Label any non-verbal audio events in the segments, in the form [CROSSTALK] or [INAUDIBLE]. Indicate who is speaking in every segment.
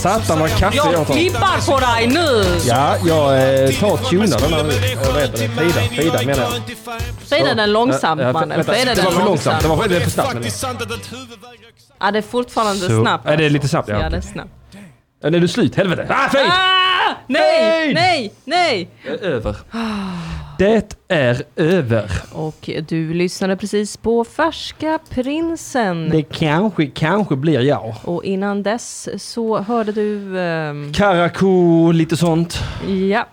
Speaker 1: Satan vad kaffe jag
Speaker 2: Jag
Speaker 1: tar.
Speaker 2: klippar på dig nu!
Speaker 1: Ja, jag eh, tar tunar den här nu. Eh, Vad heter det? Frida, Frida menar jag.
Speaker 2: Säg den långsamt
Speaker 1: Ja, ja,
Speaker 2: mannen.
Speaker 1: vänta,
Speaker 2: Säg den
Speaker 1: Det var för långsamt. Det var för, det är för snabbt. menar
Speaker 2: långsamt. Ja, det är fortfarande
Speaker 1: Så.
Speaker 2: snabbt.
Speaker 1: Ja, det är lite snabbt, ja,
Speaker 2: Ja,
Speaker 1: okej.
Speaker 2: det är snabbt.
Speaker 1: jag. Nej, du är slut. Helvete. Ah, fel!
Speaker 2: Ah, nej,
Speaker 1: Hej!
Speaker 2: nej, nej!
Speaker 1: Över. Det är över.
Speaker 2: Och du lyssnade precis på Färska Prinsen.
Speaker 1: Det kanske, kanske blir jag.
Speaker 2: Och innan dess så hörde du... ehm,
Speaker 1: Karakou, lite sånt.
Speaker 2: ja.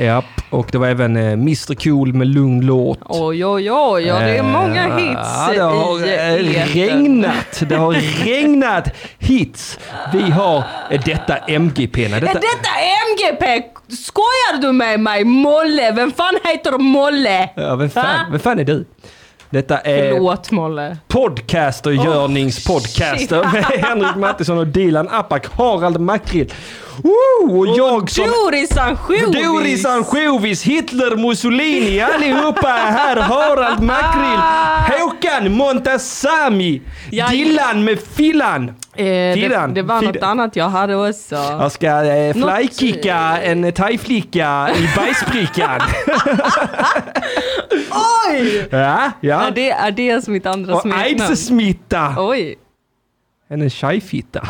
Speaker 1: Ja, och det var även eh, Mr Cool med lugn låt.
Speaker 2: Oj, oj, oj. Ja, det är många
Speaker 1: Eh,
Speaker 2: hits
Speaker 1: ja, det har eh,
Speaker 2: i etern.
Speaker 1: regnat. Det har regnat hits. Vi har eh, detta MGP. Nej,
Speaker 2: Är
Speaker 1: detta,
Speaker 2: detta MGP? Skojar du med mig? Molle? Vem fan heter Molle?
Speaker 1: ja, vem,
Speaker 2: Va?
Speaker 1: fan, vem fan är du? Detta är
Speaker 2: Förlåt Molle.
Speaker 1: podcaster, görningspodcaster
Speaker 2: Oh, shit.
Speaker 1: med Henrik Mattisson och Dilan Apak, Harald Makrill. Woo! Och jag som
Speaker 2: Doris Anjovis!
Speaker 1: Doris Ansjovis, Hitler, Mussolini, allihopa är här. Harald Makrill, Håkan Montazami,
Speaker 2: Ah. Ja,
Speaker 1: Dillan med Filan.
Speaker 2: Eh, det,
Speaker 1: Filan.
Speaker 2: det var något
Speaker 1: Filan.
Speaker 2: annat jag hade också.
Speaker 1: Jag ska eh,
Speaker 2: Något-
Speaker 1: flykicka en thaiflicka
Speaker 2: [LAUGHS]
Speaker 1: i bajsprickan.
Speaker 2: Oj!
Speaker 1: ja, ja.
Speaker 2: Är det, är det som mitt andra
Speaker 1: Och
Speaker 2: smeknamn?
Speaker 1: aidssmitta.
Speaker 2: Oj.
Speaker 1: En tjejfitta.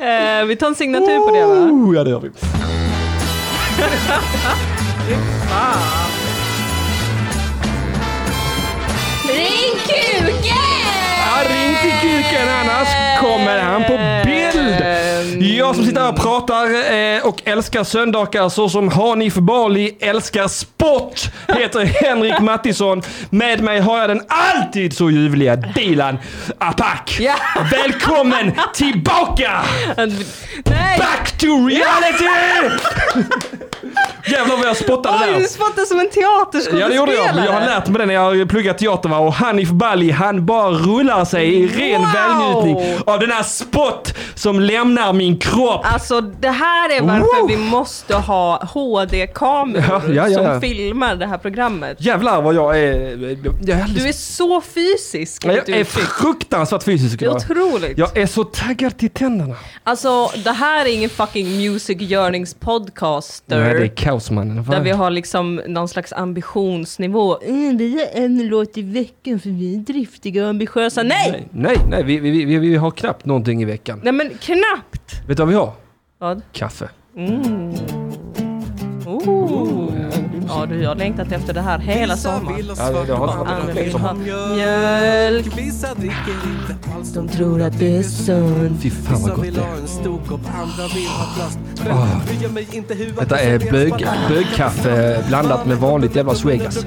Speaker 2: Eh, vi tar en signatur på det va?
Speaker 1: Oh, Ja, det gör vi.
Speaker 2: Ring kuken!
Speaker 1: Ja, ring till kuken annars kommer han på bild. Jag som sitter här och pratar eh, och älskar söndagar så som Hanif Bali älskar sport heter Henrik Mattisson. Med mig har jag den alltid så ljuvliga Dilan Apak.
Speaker 2: Ja.
Speaker 1: Välkommen tillbaka!
Speaker 2: Eh, Nej!
Speaker 1: Back to reality! Jävlar vad jag spottade
Speaker 2: Oj,
Speaker 1: där. alltså.
Speaker 2: du spottade som en
Speaker 1: Ja
Speaker 2: teaterskådespelare!
Speaker 1: det gjorde jag, men jag har lärt mig det när jag har pluggat teater va? och Hanif Bali han bara rullar sig i ren
Speaker 2: Wow!
Speaker 1: välnjutning av den här spott som lämnar min kropp.
Speaker 2: Alltså det här är varför
Speaker 1: Wow!
Speaker 2: vi måste ha HD-kameror
Speaker 1: Ja, ja, ja,
Speaker 2: som
Speaker 1: ja.
Speaker 2: filmar det här programmet.
Speaker 1: Jävlar vad jag är... Jag är, alldeles,
Speaker 2: Du är så fysisk.
Speaker 1: jag
Speaker 2: vet
Speaker 1: är,
Speaker 2: du, Fredrik.
Speaker 1: fruktansvärt fysisk
Speaker 2: det är
Speaker 1: idag.
Speaker 2: otroligt.
Speaker 1: Jag är så taggad till tänderna.
Speaker 2: Alltså det här är ingen fucking music yearnings podcaster.
Speaker 1: Nej det är kaosmannen.
Speaker 2: Där vi har liksom någon slags ambitionsnivå. Mm, vi har en låt i veckan för vi är driftiga och ambitiösa. Nej! Nej,
Speaker 1: Nej, nej, nej vi, vi, vi, vi har knappt någonting i veckan.
Speaker 2: men knappt!
Speaker 1: Vet du vad vi har?
Speaker 2: Vad?
Speaker 1: Kaffe.
Speaker 2: Mm. Oh. Ja du, jag har längtat efter det här hela sommaren.
Speaker 1: Ja, det har inte
Speaker 2: Alla
Speaker 1: varit
Speaker 2: vill
Speaker 1: någonting
Speaker 2: ha
Speaker 1: som...
Speaker 2: mjölk.
Speaker 3: Vissa dricker inte alls.
Speaker 2: De tror att det är sunt.
Speaker 1: Fy fan vad
Speaker 3: Vissa
Speaker 1: gott
Speaker 3: vill
Speaker 1: det
Speaker 3: ha
Speaker 1: är.
Speaker 3: en stor kopp, andra vill ha plast. Men
Speaker 1: Ah.
Speaker 3: bryr mig inte hur
Speaker 1: Detta är bög, bögkaffe blandat med vanligt jävla Swegas.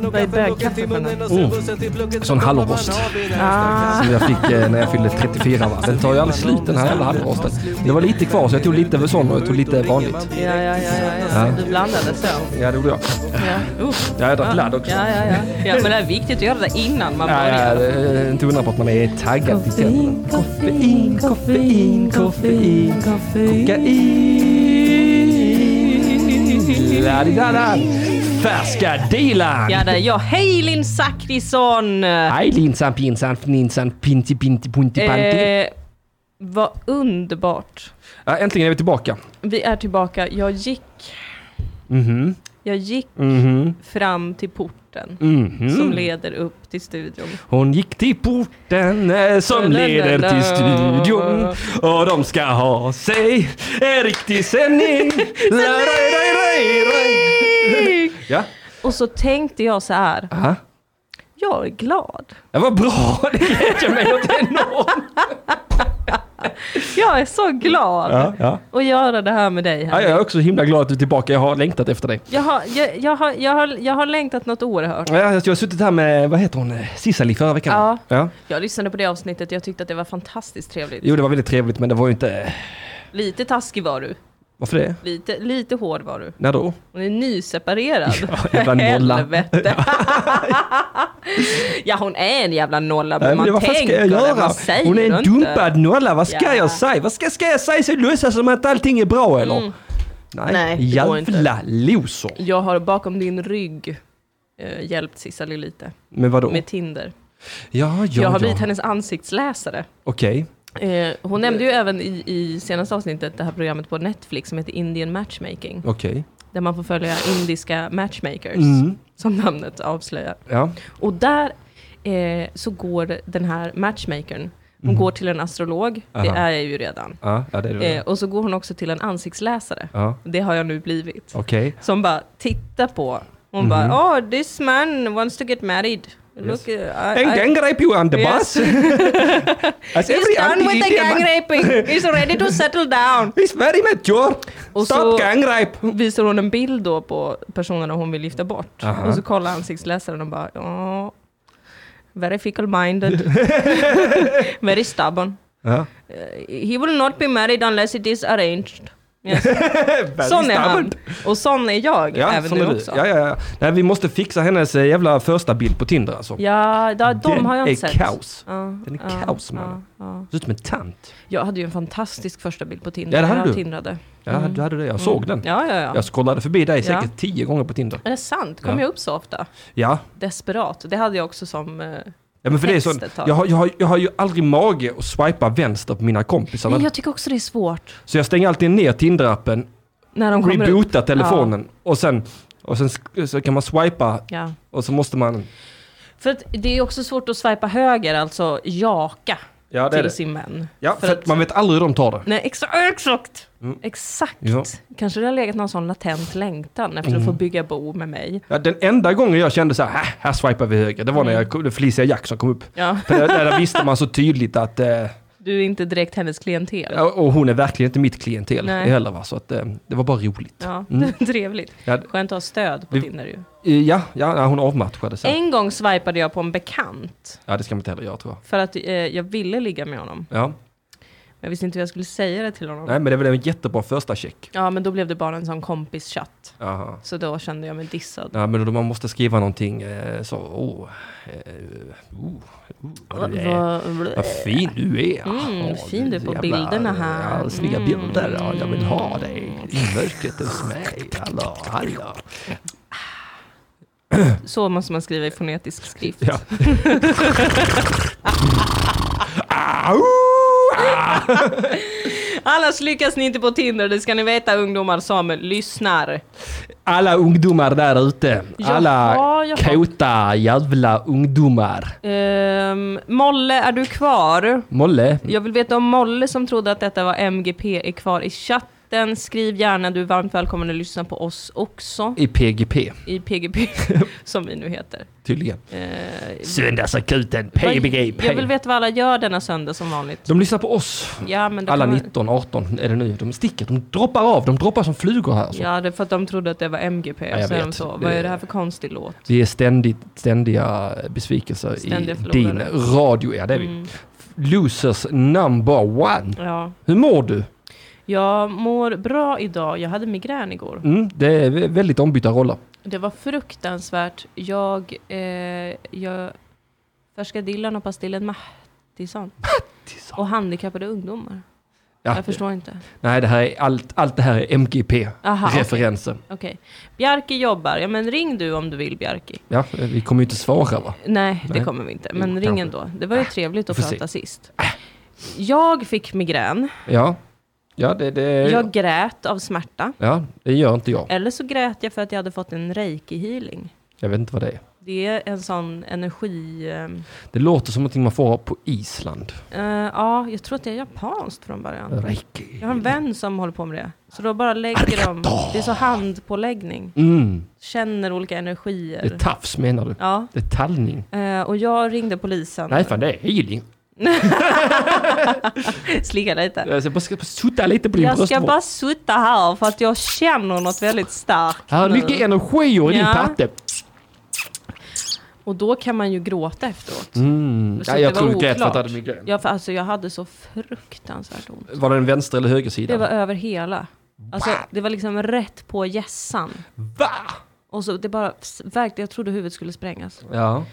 Speaker 2: Vad är bögkaffe för
Speaker 3: något?
Speaker 1: Sån hallonrost.
Speaker 2: Ah.
Speaker 1: som jag fick eh, när jag fyllde 34 va. Den tar ju aldrig slut den här jävla halvrosten. Det var lite kvar så jag tog lite sån och jag tog lite vanligt.
Speaker 2: Ja, ja, ja, ja, ja.
Speaker 1: Ja.
Speaker 2: Du blandade så.
Speaker 1: Ja det gjorde jag.
Speaker 2: Ja, uh.
Speaker 1: Ja, jag drack ladd också.
Speaker 2: ja, ja, ja. ja, men det är viktigt att göra det innan man
Speaker 1: Ja, ja,
Speaker 2: börjar.
Speaker 1: det är inte undra på att man är taggad till tänderna. Koffein, koffein, koffein, koffein, kokain. La-di-da-da. Färska Dilan!
Speaker 2: Ja, det är jag. Hej Linn Zachrisson!
Speaker 1: Aj, linsan, pinsan, fninsan, pinti, pinti, punti, panti.
Speaker 2: Eh, vad underbart.
Speaker 1: Ja, Äntligen är vi tillbaka.
Speaker 2: Vi är tillbaka. Jag gick,
Speaker 1: Mhm,
Speaker 2: jag gick
Speaker 1: mhm,
Speaker 2: fram till porten
Speaker 1: mhm.
Speaker 2: som leder upp till studion.
Speaker 1: Hon gick till porten eh, som leder till studion och de ska ha sig en riktig sändning. La, ra, ra, ra, ra. Ja,
Speaker 2: Och så tänkte jag så här,
Speaker 1: aha.
Speaker 2: jag är glad.
Speaker 1: Det var bra, [LAUGHS] det gläder mig åt enormt.
Speaker 2: Jag är så glad
Speaker 1: Ja, ja.
Speaker 2: att göra det här med dig.
Speaker 1: Ja,
Speaker 2: Här.
Speaker 1: jag är också himla glad att du är tillbaka, jag har längtat efter dig.
Speaker 2: Jag, har, jag, jag, har, jag, har, jag har längtat något oerhört.
Speaker 1: Ja, Jag har suttit här med, vad heter hon, Sissali förra veckan?
Speaker 2: Ja.
Speaker 1: ja.
Speaker 2: Jag lyssnade på det avsnittet, jag tyckte att det var fantastiskt trevligt.
Speaker 1: Jo, det var väldigt trevligt men det var ju inte...
Speaker 2: Lite taskig var du,
Speaker 1: Varför det?
Speaker 2: lite, lite hård var du.
Speaker 1: När då?
Speaker 2: Hon är nyseparerad.
Speaker 1: Ja, jävla nolla.
Speaker 2: Helvete. [LAUGHS] ja hon är en jävla nolla men
Speaker 1: Nej, men
Speaker 2: man
Speaker 1: vad fan ska
Speaker 2: tänker
Speaker 1: jag
Speaker 2: det,
Speaker 1: göra?
Speaker 2: man säger
Speaker 1: Hon är en
Speaker 2: inte.
Speaker 1: dumpad nolla, vad ska
Speaker 2: Ja. Mm.
Speaker 1: jag säga? Vad ska, ska jag säga? Så låtsas som att allting är bra eller? Nej,
Speaker 2: Nej, det går inte.
Speaker 1: jävla loser.
Speaker 2: Jag har bakom din rygg eh, hjälpt Cissali lite
Speaker 1: Men vadå?
Speaker 2: med Tinder.
Speaker 1: Ja, ja,
Speaker 2: Jag har
Speaker 1: ja.
Speaker 2: blivit hennes ansiktsläsare.
Speaker 1: Okej.
Speaker 2: Eh, hon nämnde ju även i, i senaste avsnittet det här programmet på Netflix som heter Indian Matchmaking.
Speaker 1: Okej.
Speaker 2: Där man får följa indiska matchmakers,
Speaker 1: Mm.
Speaker 2: som namnet avslöjar.
Speaker 1: Ja.
Speaker 2: Och där eh, så går den här matchmakern, hon går till en astrolog, det
Speaker 1: Mm. Aha.
Speaker 2: är jag ju redan.
Speaker 1: Ja, ja, det är det.
Speaker 2: Eh, och så går hon också till en ansiktsläsare,
Speaker 1: Ja,
Speaker 2: det har jag nu blivit.
Speaker 1: okej.
Speaker 2: Som bara tittar på, hon
Speaker 1: Mhm.
Speaker 2: bara oh this man wants to get married. Look, uh, I,
Speaker 1: And
Speaker 2: I,
Speaker 1: gang rape you on the
Speaker 2: Yes. [LAUGHS]
Speaker 1: bus. As every
Speaker 2: he's done with the
Speaker 1: anti-Indian
Speaker 2: gang
Speaker 1: man-
Speaker 2: raping, he's ready to
Speaker 1: [LAUGHS]
Speaker 2: settle down.
Speaker 1: It's very mature.
Speaker 2: Och
Speaker 1: Stop
Speaker 2: så-
Speaker 1: gang rape.
Speaker 2: Visar hon en bild då på personerna hon vill lyfta bort.
Speaker 1: Aha.
Speaker 2: Och så kollar ansiktsläsaren och bara ja, very
Speaker 1: [LAUGHS]
Speaker 2: fickle minded, very stubborn. Eh,
Speaker 1: Ja.
Speaker 2: He will not be married unless it is arranged. Yes.
Speaker 1: Very
Speaker 2: Sån är han.
Speaker 1: stubborn.
Speaker 2: Och sån är jag
Speaker 1: Ja,
Speaker 2: även
Speaker 1: sån
Speaker 2: nu
Speaker 1: är du.
Speaker 2: också.
Speaker 1: Ja, ja, ja. Nej, vi måste fixa hennes eh, jävla första bild på Tinder alltså.
Speaker 2: Ja, da, de
Speaker 1: Den
Speaker 2: har jag inte
Speaker 1: är
Speaker 2: sett.
Speaker 1: kaos.
Speaker 2: Ja,
Speaker 1: Den är
Speaker 2: ja,
Speaker 1: kaos,
Speaker 2: ja,
Speaker 1: mannen.
Speaker 2: ja.
Speaker 1: Ser ut som en tant.
Speaker 2: Jag hade ju en fantastisk första bild på Tinder.
Speaker 1: Ja, det
Speaker 2: när
Speaker 1: hade
Speaker 2: jag
Speaker 1: du.
Speaker 2: Tindrade. Mm.
Speaker 1: Ja, du hade det. Jag såg den.
Speaker 2: Ja, Mm. ja, ja.
Speaker 1: Jag scrollade förbi dig
Speaker 2: Ja.
Speaker 1: säkert tio gånger på Tinder.
Speaker 2: Är det sant? Kom
Speaker 1: Ja.
Speaker 2: jag upp så ofta?
Speaker 1: Ja,
Speaker 2: Desperat. Det hade jag också som... eh,
Speaker 1: ja men för det är så.
Speaker 2: Text ett tag.
Speaker 1: Jag har, jag, har, jag har ju aldrig mage att swipa vänster på mina kompisar.
Speaker 2: Nej, jag tycker också det är svårt.
Speaker 1: Så jag stänger alltid ner Tinder-appen,
Speaker 2: När de kommer upp.
Speaker 1: rebootar telefonen och sen, och sen sk- så kan man swipa
Speaker 2: Ja.
Speaker 1: och så måste man...
Speaker 2: För att det är också svårt att swipa höger, alltså jaka
Speaker 1: Ja, det är
Speaker 2: till
Speaker 1: det.
Speaker 2: sin vän.
Speaker 1: Ja, för att man vet aldrig hur de tar det.
Speaker 2: Nej, exa- [LAUGHS] exakt!
Speaker 1: Mm.
Speaker 2: Exakt!
Speaker 1: Ja. Mm.
Speaker 2: Kanske det har legat någon sån latent längtan efter att få bygga bo med mig.
Speaker 1: Ja, den enda gången jag kände så här, "Hä, här swipar vi höger, det var när
Speaker 2: Mm.
Speaker 1: jag, Felicia Jackson kom upp.
Speaker 2: Ja,
Speaker 1: För där, där visste man så tydligt att, eh,
Speaker 2: du är inte direkt hennes klientel. Ja,
Speaker 1: ja, och hon är verkligen inte mitt klientel
Speaker 2: Nej.
Speaker 1: heller va, så att eh, det var bara roligt.
Speaker 2: [LAUGHS]
Speaker 1: Mm.
Speaker 2: trevligt.
Speaker 1: Ja,
Speaker 2: Skönt att ha stöd på
Speaker 1: Vi-
Speaker 2: Tinder ju.
Speaker 1: eh, ja, ja ja, hon avmatchade sen.
Speaker 2: En gång swipade jag på en bekant
Speaker 1: Ja, det ska man inte heller göra tror jag.
Speaker 2: för att eh, jag ville ligga med honom.
Speaker 1: Ja,
Speaker 2: Men jag visste inte hur jag skulle säga det till honom.
Speaker 1: nej men det var en jättebra första check.
Speaker 2: Ja, men då blev det bara en sån kompischatt.
Speaker 1: Jaha.
Speaker 2: Så då kände jag mig dissad.
Speaker 1: Ja, men då man måste skriva någonting eh, så, åh, eh, oh, oh, vad du är. Vad fin du är!
Speaker 2: Mm,
Speaker 1: Ja,
Speaker 2: fin du är på
Speaker 1: jävla-
Speaker 2: bilderna här.
Speaker 1: Ja, snygga
Speaker 2: Mm.
Speaker 1: bilder. Ja, jag vill ha dig i mörkret hos mig. Hallå, hallå.
Speaker 2: Så måste man skriva i fonetisk skrift. [LAUGHS]
Speaker 1: Ja. Au! Ah!
Speaker 2: Annars lyckas ni inte på Tinder, det ska ni veta ungdomar som lyssnar.
Speaker 1: Alla ungdomar där ute. Alla
Speaker 2: Jaha, jaha.
Speaker 1: kåta jävla ungdomar.
Speaker 2: Ehm, Molle, är du kvar?
Speaker 1: Molle?
Speaker 2: Jag vill veta om Molle som trodde att detta var MGP är kvar i chatten. Skriv gärna, du är varmt välkommen att lyssna på oss också
Speaker 1: I PGP,
Speaker 2: i PGP, [LAUGHS] som vi nu heter.
Speaker 1: tydligen.
Speaker 2: Ehm,
Speaker 1: Söndagsakuten,
Speaker 2: vad-
Speaker 1: PBG.
Speaker 2: Jag vill veta vad alla gör denna söndag som vanligt.
Speaker 1: De lyssnar på oss.
Speaker 2: Ja, men då
Speaker 1: Alla
Speaker 2: kan man-
Speaker 1: 19, 18 är det nu. De sticker, de droppar av, de droppar som flugor här. Så.
Speaker 2: Ja, det är för att de trodde att det var MGP.
Speaker 1: Ja, jag
Speaker 2: så är de
Speaker 1: vet.
Speaker 2: så,
Speaker 1: Det-
Speaker 2: vad är det här för konstig låt?
Speaker 1: Vi är ständigt, ständiga besvikelser
Speaker 2: Ständiga
Speaker 1: i din
Speaker 2: förlorare.
Speaker 1: radio. Ja, det är vi.
Speaker 2: Mm,
Speaker 1: Losers number one.
Speaker 2: ja.
Speaker 1: Hur mår du?
Speaker 2: Jag mår bra idag. Jag hade migrän igår.
Speaker 1: Mm, det är vä- väldigt ombytta roller.
Speaker 2: Det var fruktansvärt. Jag, eh, jag färskadillan och pastillen Mattisson. Och handikappade ungdomar.
Speaker 1: Ja,
Speaker 2: jag förstår inte.
Speaker 1: Nej, det här är allt, allt det här är
Speaker 2: Aha, okej.
Speaker 1: MGP-referenser.
Speaker 2: Okej. Bjarke jobbar. Ja men ring du om du vill Bjarke.
Speaker 1: Ja, vi kommer ju inte svara va?
Speaker 2: Nej, det
Speaker 1: Nej.
Speaker 2: kommer vi inte.
Speaker 1: Jo,
Speaker 2: Men ring
Speaker 1: kanske. Ah,
Speaker 2: ändå. Det var ju trevligt att
Speaker 1: får se. Ah.
Speaker 2: prata sist. Jag fick migrän.
Speaker 1: Ja, ja det, det,
Speaker 2: Jag grät av smärta.
Speaker 1: ja, det gör inte jag.
Speaker 2: Eller så grät jag för att jag hade fått en reiki-healing.
Speaker 1: Jag vet inte vad det är.
Speaker 2: Det är en sån energi... ehm,
Speaker 1: Det låter som någonting man får ha på Island.
Speaker 2: Eh, ja, jag tror att det är japanskt från början.
Speaker 1: Reiki.
Speaker 2: Jag har en vän som håller på med det. Så då bara lägger de... Det är så handpåläggning.
Speaker 1: Mm,
Speaker 2: Känner olika
Speaker 1: det är
Speaker 2: energier.
Speaker 1: tafs menar du?
Speaker 2: Ja.
Speaker 1: Det är tallning?
Speaker 2: eh, och jag ringde polisen. [LAUGHS]
Speaker 1: Nej fan det är healing.
Speaker 2: Slicka lite.
Speaker 1: Jag ska bara- ska bara sutta lite på din
Speaker 2: Jag ska
Speaker 1: bröstvård.
Speaker 2: bara sitta här för att jag känner något väldigt starkt
Speaker 1: Här är
Speaker 2: nu.
Speaker 1: mycket energier i din
Speaker 2: Ja.
Speaker 1: patte.
Speaker 2: Och då kan man ju gråta efteråt.
Speaker 1: Mm.
Speaker 2: Så
Speaker 1: Ja,
Speaker 2: det
Speaker 1: jag
Speaker 2: var
Speaker 1: tror du grät för att du
Speaker 2: oklart.
Speaker 1: hade migrän.
Speaker 2: Ja, för alltså, jag hade så fruktansvärt ont.
Speaker 1: Var det en vänster eller höger
Speaker 2: Det
Speaker 1: sida?
Speaker 2: var över hela. Alltså, det var liksom rätt på hjässan.
Speaker 1: Va?
Speaker 2: Och så det bara verkligen, jag trodde huvudet skulle sprängas.
Speaker 1: Ja.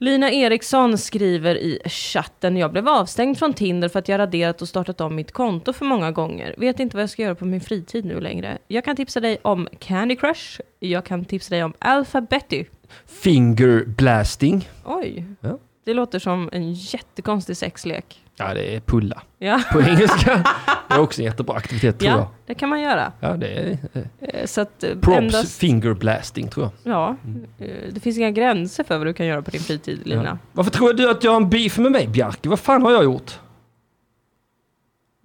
Speaker 2: Lina Eriksson skriver i chatten, jag blev avstängd från Tinder för att jag raderat och startat om mitt konto för många gånger. Vet inte vad jag ska göra på min fritid nu längre. Jag kan tipsa dig om Candy Crush, jag kan tipsa dig om Alphabety.
Speaker 1: Finger blasting.
Speaker 2: Oj.
Speaker 1: Ja.
Speaker 2: Det låter som en jättekonstig sexlek.
Speaker 1: Ja, det är pulla
Speaker 2: Ja, [LAUGHS]
Speaker 1: på engelska. Det är också en jättebra aktivitet tror
Speaker 2: ja det kan man göra.
Speaker 1: jag. Ja, det är eh,
Speaker 2: Eh, Så att eh,
Speaker 1: props Mm.
Speaker 2: endast,
Speaker 1: finger blasting tror jag.
Speaker 2: ja, eh, det finns inga gränser för vad du kan göra på din fritid, Lina.
Speaker 1: Varför tror du att jag har en beef med mig, Bjarke? Vad fan har jag gjort?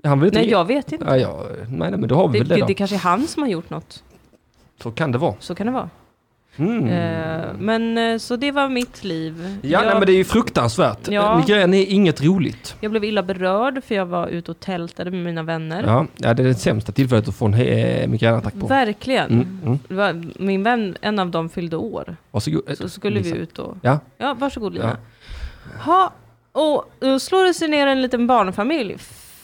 Speaker 1: Han vill inte
Speaker 2: Nej,
Speaker 1: ge-
Speaker 2: jag vet inte.
Speaker 1: Ja, jag... Nej, nej, men då har vi
Speaker 2: Det,
Speaker 1: väl det,
Speaker 2: det,
Speaker 1: då.
Speaker 2: det kanske är han som har gjort något.
Speaker 1: Så kan det vara.
Speaker 2: Så kan det vara.
Speaker 1: Mm.
Speaker 2: Eh, Men eh, så det var mitt liv.
Speaker 1: Ja,
Speaker 2: jag,
Speaker 1: nej, men det är ju fruktansvärt.
Speaker 2: Ja.
Speaker 1: Ja. Migrän är inget roligt.
Speaker 2: jag blev illa berörd för jag var ute och tältade med mina vänner.
Speaker 1: Ja, ja, det är det sämsta tillfället att få en he- migränattack på.
Speaker 2: Verkligen.
Speaker 1: Mm, mm.
Speaker 2: Det var- Min vän, en av dem fyllde år.
Speaker 1: Varsågod.
Speaker 2: Så skulle
Speaker 1: Eh, Lisa.
Speaker 2: vi ut och...
Speaker 1: Ja.
Speaker 2: Ja, varsågod Lina. Ha, och då slår det sig ner en liten barnfamilj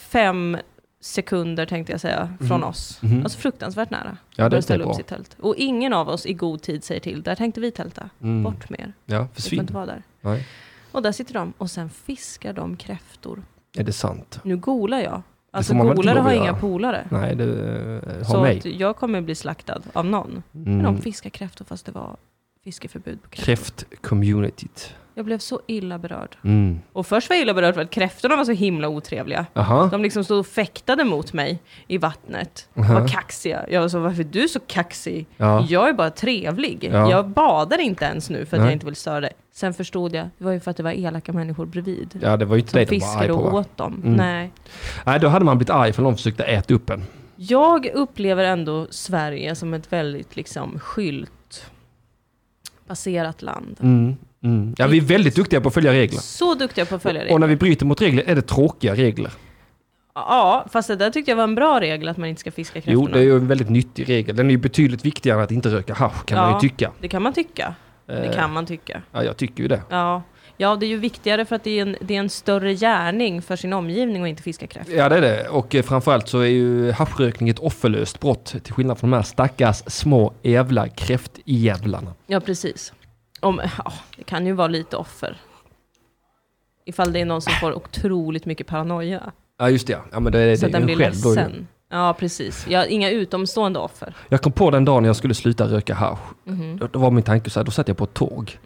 Speaker 2: fem sekunder tänkte jag säga, från oss.
Speaker 1: Mhm.
Speaker 2: Alltså fruktansvärt nära.
Speaker 1: Ja, det
Speaker 2: Börjar
Speaker 1: är
Speaker 2: ställa upp
Speaker 1: bra.
Speaker 2: sitt tält. Och ingen av oss i god tid säger till, där tänkte vi tälta.
Speaker 1: Mm.
Speaker 2: Bort med er,
Speaker 1: Ja,
Speaker 2: vi får
Speaker 1: försvinn.
Speaker 2: inte vara där.
Speaker 1: Nej,
Speaker 2: Och där sitter de, och sen fiskar de kräftor.
Speaker 1: är det sant?
Speaker 2: Nu golar jag. Alltså
Speaker 1: får man väl inte
Speaker 2: golare
Speaker 1: lov att
Speaker 2: har
Speaker 1: göra.
Speaker 2: inga polare.
Speaker 1: Nej, det eh, har
Speaker 2: Så
Speaker 1: mig.
Speaker 2: att jag kommer bli slaktad av någon. Men
Speaker 1: Mm.
Speaker 2: de fiskar kräftor fast det var fiskeförbud på kräftor.
Speaker 1: Kräftcommunityt.
Speaker 2: Jag blev så illa berörd.
Speaker 1: Mm.
Speaker 2: Och först var jag illa berörd för att kräftorna var så himla otrevliga.
Speaker 1: Aha.
Speaker 2: De liksom stod och fäktade mot mig i vattnet.
Speaker 1: Aha.
Speaker 2: Var kaxiga. Jag var så, varför är du så kaxig?
Speaker 1: Ja.
Speaker 2: Jag är bara trevlig.
Speaker 1: Ja.
Speaker 2: Jag badar inte ens nu för att
Speaker 1: Nej.
Speaker 2: jag inte vill störa dig. Sen förstod jag, det var ju för att det var elaka människor bredvid.
Speaker 1: ja, det var ju inte
Speaker 2: Som
Speaker 1: det de var arg
Speaker 2: fiskade
Speaker 1: på.
Speaker 2: och
Speaker 1: va?
Speaker 2: åt dem.
Speaker 1: Mm.
Speaker 2: Nej.
Speaker 1: Nej, då hade man blivit arg för de försökte äta upp en.
Speaker 2: Jag upplever ändå Sverige som ett väldigt liksom skyltbaserat land.
Speaker 1: Mm. Mm. Ja, vi är väldigt duktiga på att följa regler.
Speaker 2: Så duktiga på att följa
Speaker 1: Mm. Och när
Speaker 2: regler.
Speaker 1: vi bryter mot regler är det tråkiga regler.
Speaker 2: Ja, fast det där tyckte jag var en bra regel att man inte ska fiska kräftorna.
Speaker 1: Jo, det är ju en väldigt nyttig regel. Den är ju betydligt viktigare än att inte röka hasch, kan man
Speaker 2: Ja.
Speaker 1: ju tycka.
Speaker 2: Det kan man tycka. Det
Speaker 1: Eh,
Speaker 2: kan man tycka.
Speaker 1: Ja, jag tycker ju det.
Speaker 2: Ja. ja, det är ju viktigare för att det är, en, det är en större gärning för sin omgivning att inte fiska kräftor.
Speaker 1: Ja, det är det. Och eh, framförallt så är ju haschrökning ett offerlöst brott, till skillnad från de här stackars små jävla kräftjävlarna.
Speaker 2: Ja, precis. Om, ja, det kan ju vara lite offer. Ifall det är någon som får otroligt mycket paranoia.
Speaker 1: Ja, just det. ja. Ja, men det är det
Speaker 2: så att
Speaker 1: är
Speaker 2: den
Speaker 1: ju
Speaker 2: blir
Speaker 1: själv då ju.
Speaker 2: ledsen. Ja, precis. Ja, inga utomstående offer.
Speaker 1: Jag kom på den dagen jag skulle sluta röka hasch.
Speaker 2: Mm-hmm,
Speaker 1: Då, då var min tanke så här, då satt jag på ett tåg.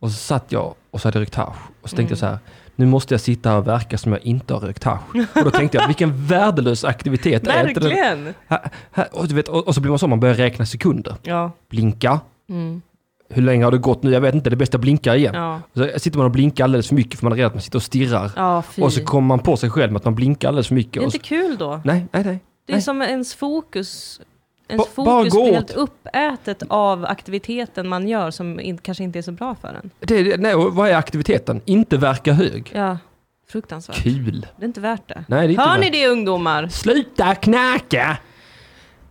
Speaker 1: Och så satt jag och så hade jag rökt hasch. Och så tänkte jag så
Speaker 2: Mm.
Speaker 1: här, nu måste jag sitta här och verka som jag inte har rökt hasch. Och då tänkte jag, vilken värdelös aktivitet är inte den?
Speaker 2: Verkligen!
Speaker 1: Här, här, och, du vet, och, och så blir man så, man börjar räkna sekunder.
Speaker 2: Ja,
Speaker 1: Blinka.
Speaker 2: Mm.
Speaker 1: Hur länge har det gått nu? Jag vet inte, det är bäst jag blinkar igen.
Speaker 2: ja.
Speaker 1: Så sitter man och blinkar alldeles för mycket för man är rädd att man sitter och stirrar.
Speaker 2: Ja, fy.
Speaker 1: och så kommer man på sig själv med att man blinkar alldeles för mycket.
Speaker 2: det är
Speaker 1: Och
Speaker 2: inte
Speaker 1: så,
Speaker 2: kul då.
Speaker 1: nej, nej, nej.
Speaker 2: Det är
Speaker 1: nej.
Speaker 2: som ens fokus. Ens
Speaker 1: Ba- bara
Speaker 2: fokus
Speaker 1: gå
Speaker 2: blir
Speaker 1: åt.
Speaker 2: helt uppätet av aktiviteten man gör som in, kanske inte är så bra för en.
Speaker 1: Det, är- nej, och vad är aktiviteten? Inte verka hög.
Speaker 2: Ja, fruktansvärt.
Speaker 1: Kul.
Speaker 2: Det är inte värt det.
Speaker 1: Nej, det är inte
Speaker 2: Hör ni
Speaker 1: värt-
Speaker 2: det ungdomar?
Speaker 1: Sluta knacka!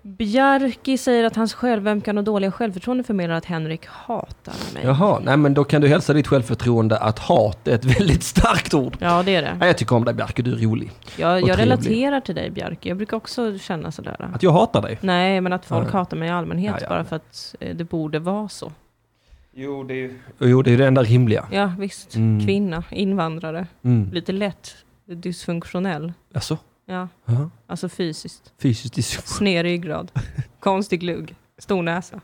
Speaker 2: Bjarki säger att hans självömkan och dåliga självförtroende förmedlar att Henrik hatar mig. Ja,
Speaker 1: Jaha, nej men då kan du hälsa ditt självförtroende att hat är ett väldigt starkt ord.
Speaker 2: det är det.
Speaker 1: Nej, jag tycker om dig Bjarke, du är rolig.
Speaker 2: Jag,
Speaker 1: Och
Speaker 2: jag
Speaker 1: trevlig.
Speaker 2: relaterar till dig Bjarki. Jag brukar också känna sådär.
Speaker 1: Att jag hatar dig.
Speaker 2: Nej, men att folk
Speaker 1: Ja.
Speaker 2: hatar mig i allmänhet
Speaker 1: Ja, ja.
Speaker 2: bara för att eh, det borde vara så.
Speaker 1: Jo, det är ju... Jo, det är det enda rimliga.
Speaker 2: Ja, visst.
Speaker 1: Mm.
Speaker 2: Kvinna, invandrare,
Speaker 1: Mm.
Speaker 2: lite lätt dysfunktionell.
Speaker 1: Alltså,
Speaker 2: Ja,
Speaker 1: ja.
Speaker 2: alltså fysiskt.
Speaker 1: fysiskt dysfunktion.
Speaker 2: Sned ryggrad,
Speaker 1: [LAUGHS]
Speaker 2: konstig glugg, stor näsa.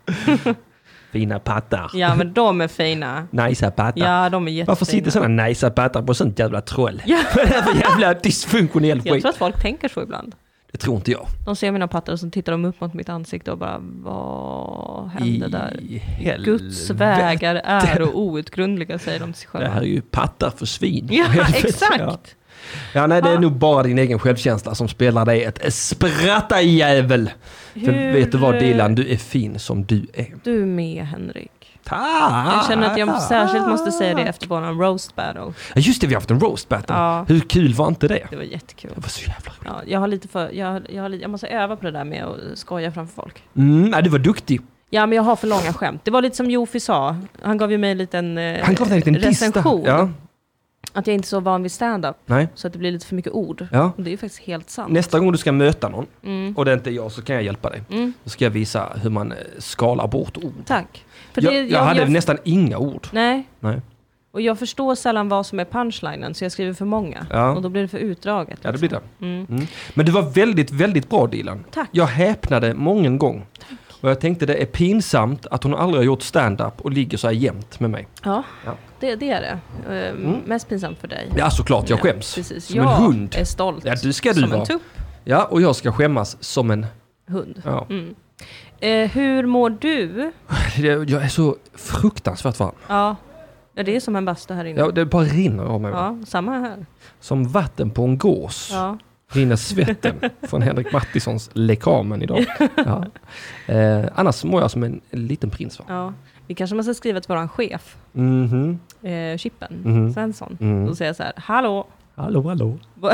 Speaker 1: Fina pattar.
Speaker 2: Ja, men de är fina.
Speaker 1: Najsa pattar.
Speaker 2: Ja, de är jättefina.
Speaker 1: Varför sitter sådana najsa pattar på sånt jävla troll? [LAUGHS]
Speaker 2: Ja.
Speaker 1: Vad är det för jävla dysfunktionell
Speaker 2: Jag
Speaker 1: skit?
Speaker 2: tror att folk tänker så ibland.
Speaker 1: Det tror inte jag.
Speaker 2: De ser mina pattar och så tittar de upp mot mitt ansikte och bara, vad hände där?
Speaker 1: I helvete.
Speaker 2: Guds vägar är och outgrundliga, säger de till sig
Speaker 1: Det här är
Speaker 2: själva.
Speaker 1: ju pattar för svin.
Speaker 2: [LAUGHS] Ja,
Speaker 1: [LAUGHS] Helvete, ja.
Speaker 2: exakt!
Speaker 1: Ja, nej, det är
Speaker 2: Ja.
Speaker 1: nog bara din egen självkänsla som spelar dig ett spratta jävel. För
Speaker 2: Hur,
Speaker 1: vet du vad
Speaker 2: eh,
Speaker 1: Dilan, du är fin som du är.
Speaker 2: Du är med, Henrik.
Speaker 1: Tack!
Speaker 2: Jag känner att jag särskilt måste säga det efter våran roast battle.
Speaker 1: Ja, just det, vi har haft en roast battle.
Speaker 2: Ja.
Speaker 1: Hur kul var inte det?
Speaker 2: Det var jättekul.
Speaker 1: Det var så jävla roligt.
Speaker 2: Ja, jag, har lite för, jag, jag, har, li- jag måste öva på det där med att skoja framför folk.
Speaker 1: Mm, nej, du var duktig.
Speaker 2: Ja, men jag har för långa skämt. Det var lite som Jofi sa. Han gav ju mig en liten eh,
Speaker 1: Han gav dig en liten
Speaker 2: recension.
Speaker 1: lista. Ja,
Speaker 2: Att jag inte är så van vid stand-up,
Speaker 1: nej.
Speaker 2: så att det blir lite för mycket ord.
Speaker 1: Ja.
Speaker 2: Och det är ju faktiskt helt sant.
Speaker 1: Nästa gång du ska möta någon
Speaker 2: Mm.
Speaker 1: och det inte är jag så kan jag hjälpa dig.
Speaker 2: Mm.
Speaker 1: Då ska jag visa hur man eh, skalar bort ord.
Speaker 2: Tack. För
Speaker 1: Jag,
Speaker 2: det-
Speaker 1: jag, hade nästan inga ord.
Speaker 2: Nej,
Speaker 1: Nej.
Speaker 2: och jag förstår sällan vad som är punchlinen, så jag skriver för många.
Speaker 1: Ja.
Speaker 2: Och då blir det för utdraget.
Speaker 1: Ja, det
Speaker 2: liksom.
Speaker 1: blir det.
Speaker 2: Mm.
Speaker 1: Men du var väldigt, väldigt bra Dilan.
Speaker 2: Tack.
Speaker 1: Jag häpnade många gång. Och jag tänkte det är pinsamt att hon aldrig har gjort stand-up och ligger så här jämt med mig.
Speaker 2: Ja,
Speaker 1: Ja.
Speaker 2: Det, det är det. Ehm, Mest pinsamt för dig.
Speaker 1: Ja såklart, jag
Speaker 2: Ja,
Speaker 1: skäms.
Speaker 2: Precis.
Speaker 1: Som
Speaker 2: jag
Speaker 1: en hund.
Speaker 2: är stolt.
Speaker 1: Ja, det ska du
Speaker 2: som
Speaker 1: vara.
Speaker 2: en tupp
Speaker 1: Ja, och jag ska skämmas som en...
Speaker 2: hund. Mm.
Speaker 1: Ja.
Speaker 2: Eh, hur mår du?
Speaker 1: Jag jag är så fruktansvärt varm.
Speaker 2: Ja. ja, det är som en bastu här inne.
Speaker 1: Ja, det bara rinner av mig.
Speaker 2: Ja, samma här.
Speaker 1: Som vatten på en gås
Speaker 2: Ja.
Speaker 1: rinner svetten
Speaker 2: [LAUGHS]
Speaker 1: från Henrik Mattissons Lekamen idag. Ja. Eh, annars mår jag som en liten prins. Va?
Speaker 2: Ja. Vi kanske måste skriva till våran chef,
Speaker 1: Mhm.
Speaker 2: eh, Chippen
Speaker 1: Mhm.
Speaker 2: Svensson,
Speaker 1: Mm.
Speaker 2: och säga så här, hallå,
Speaker 1: Hallå, hallå.
Speaker 2: [LAUGHS]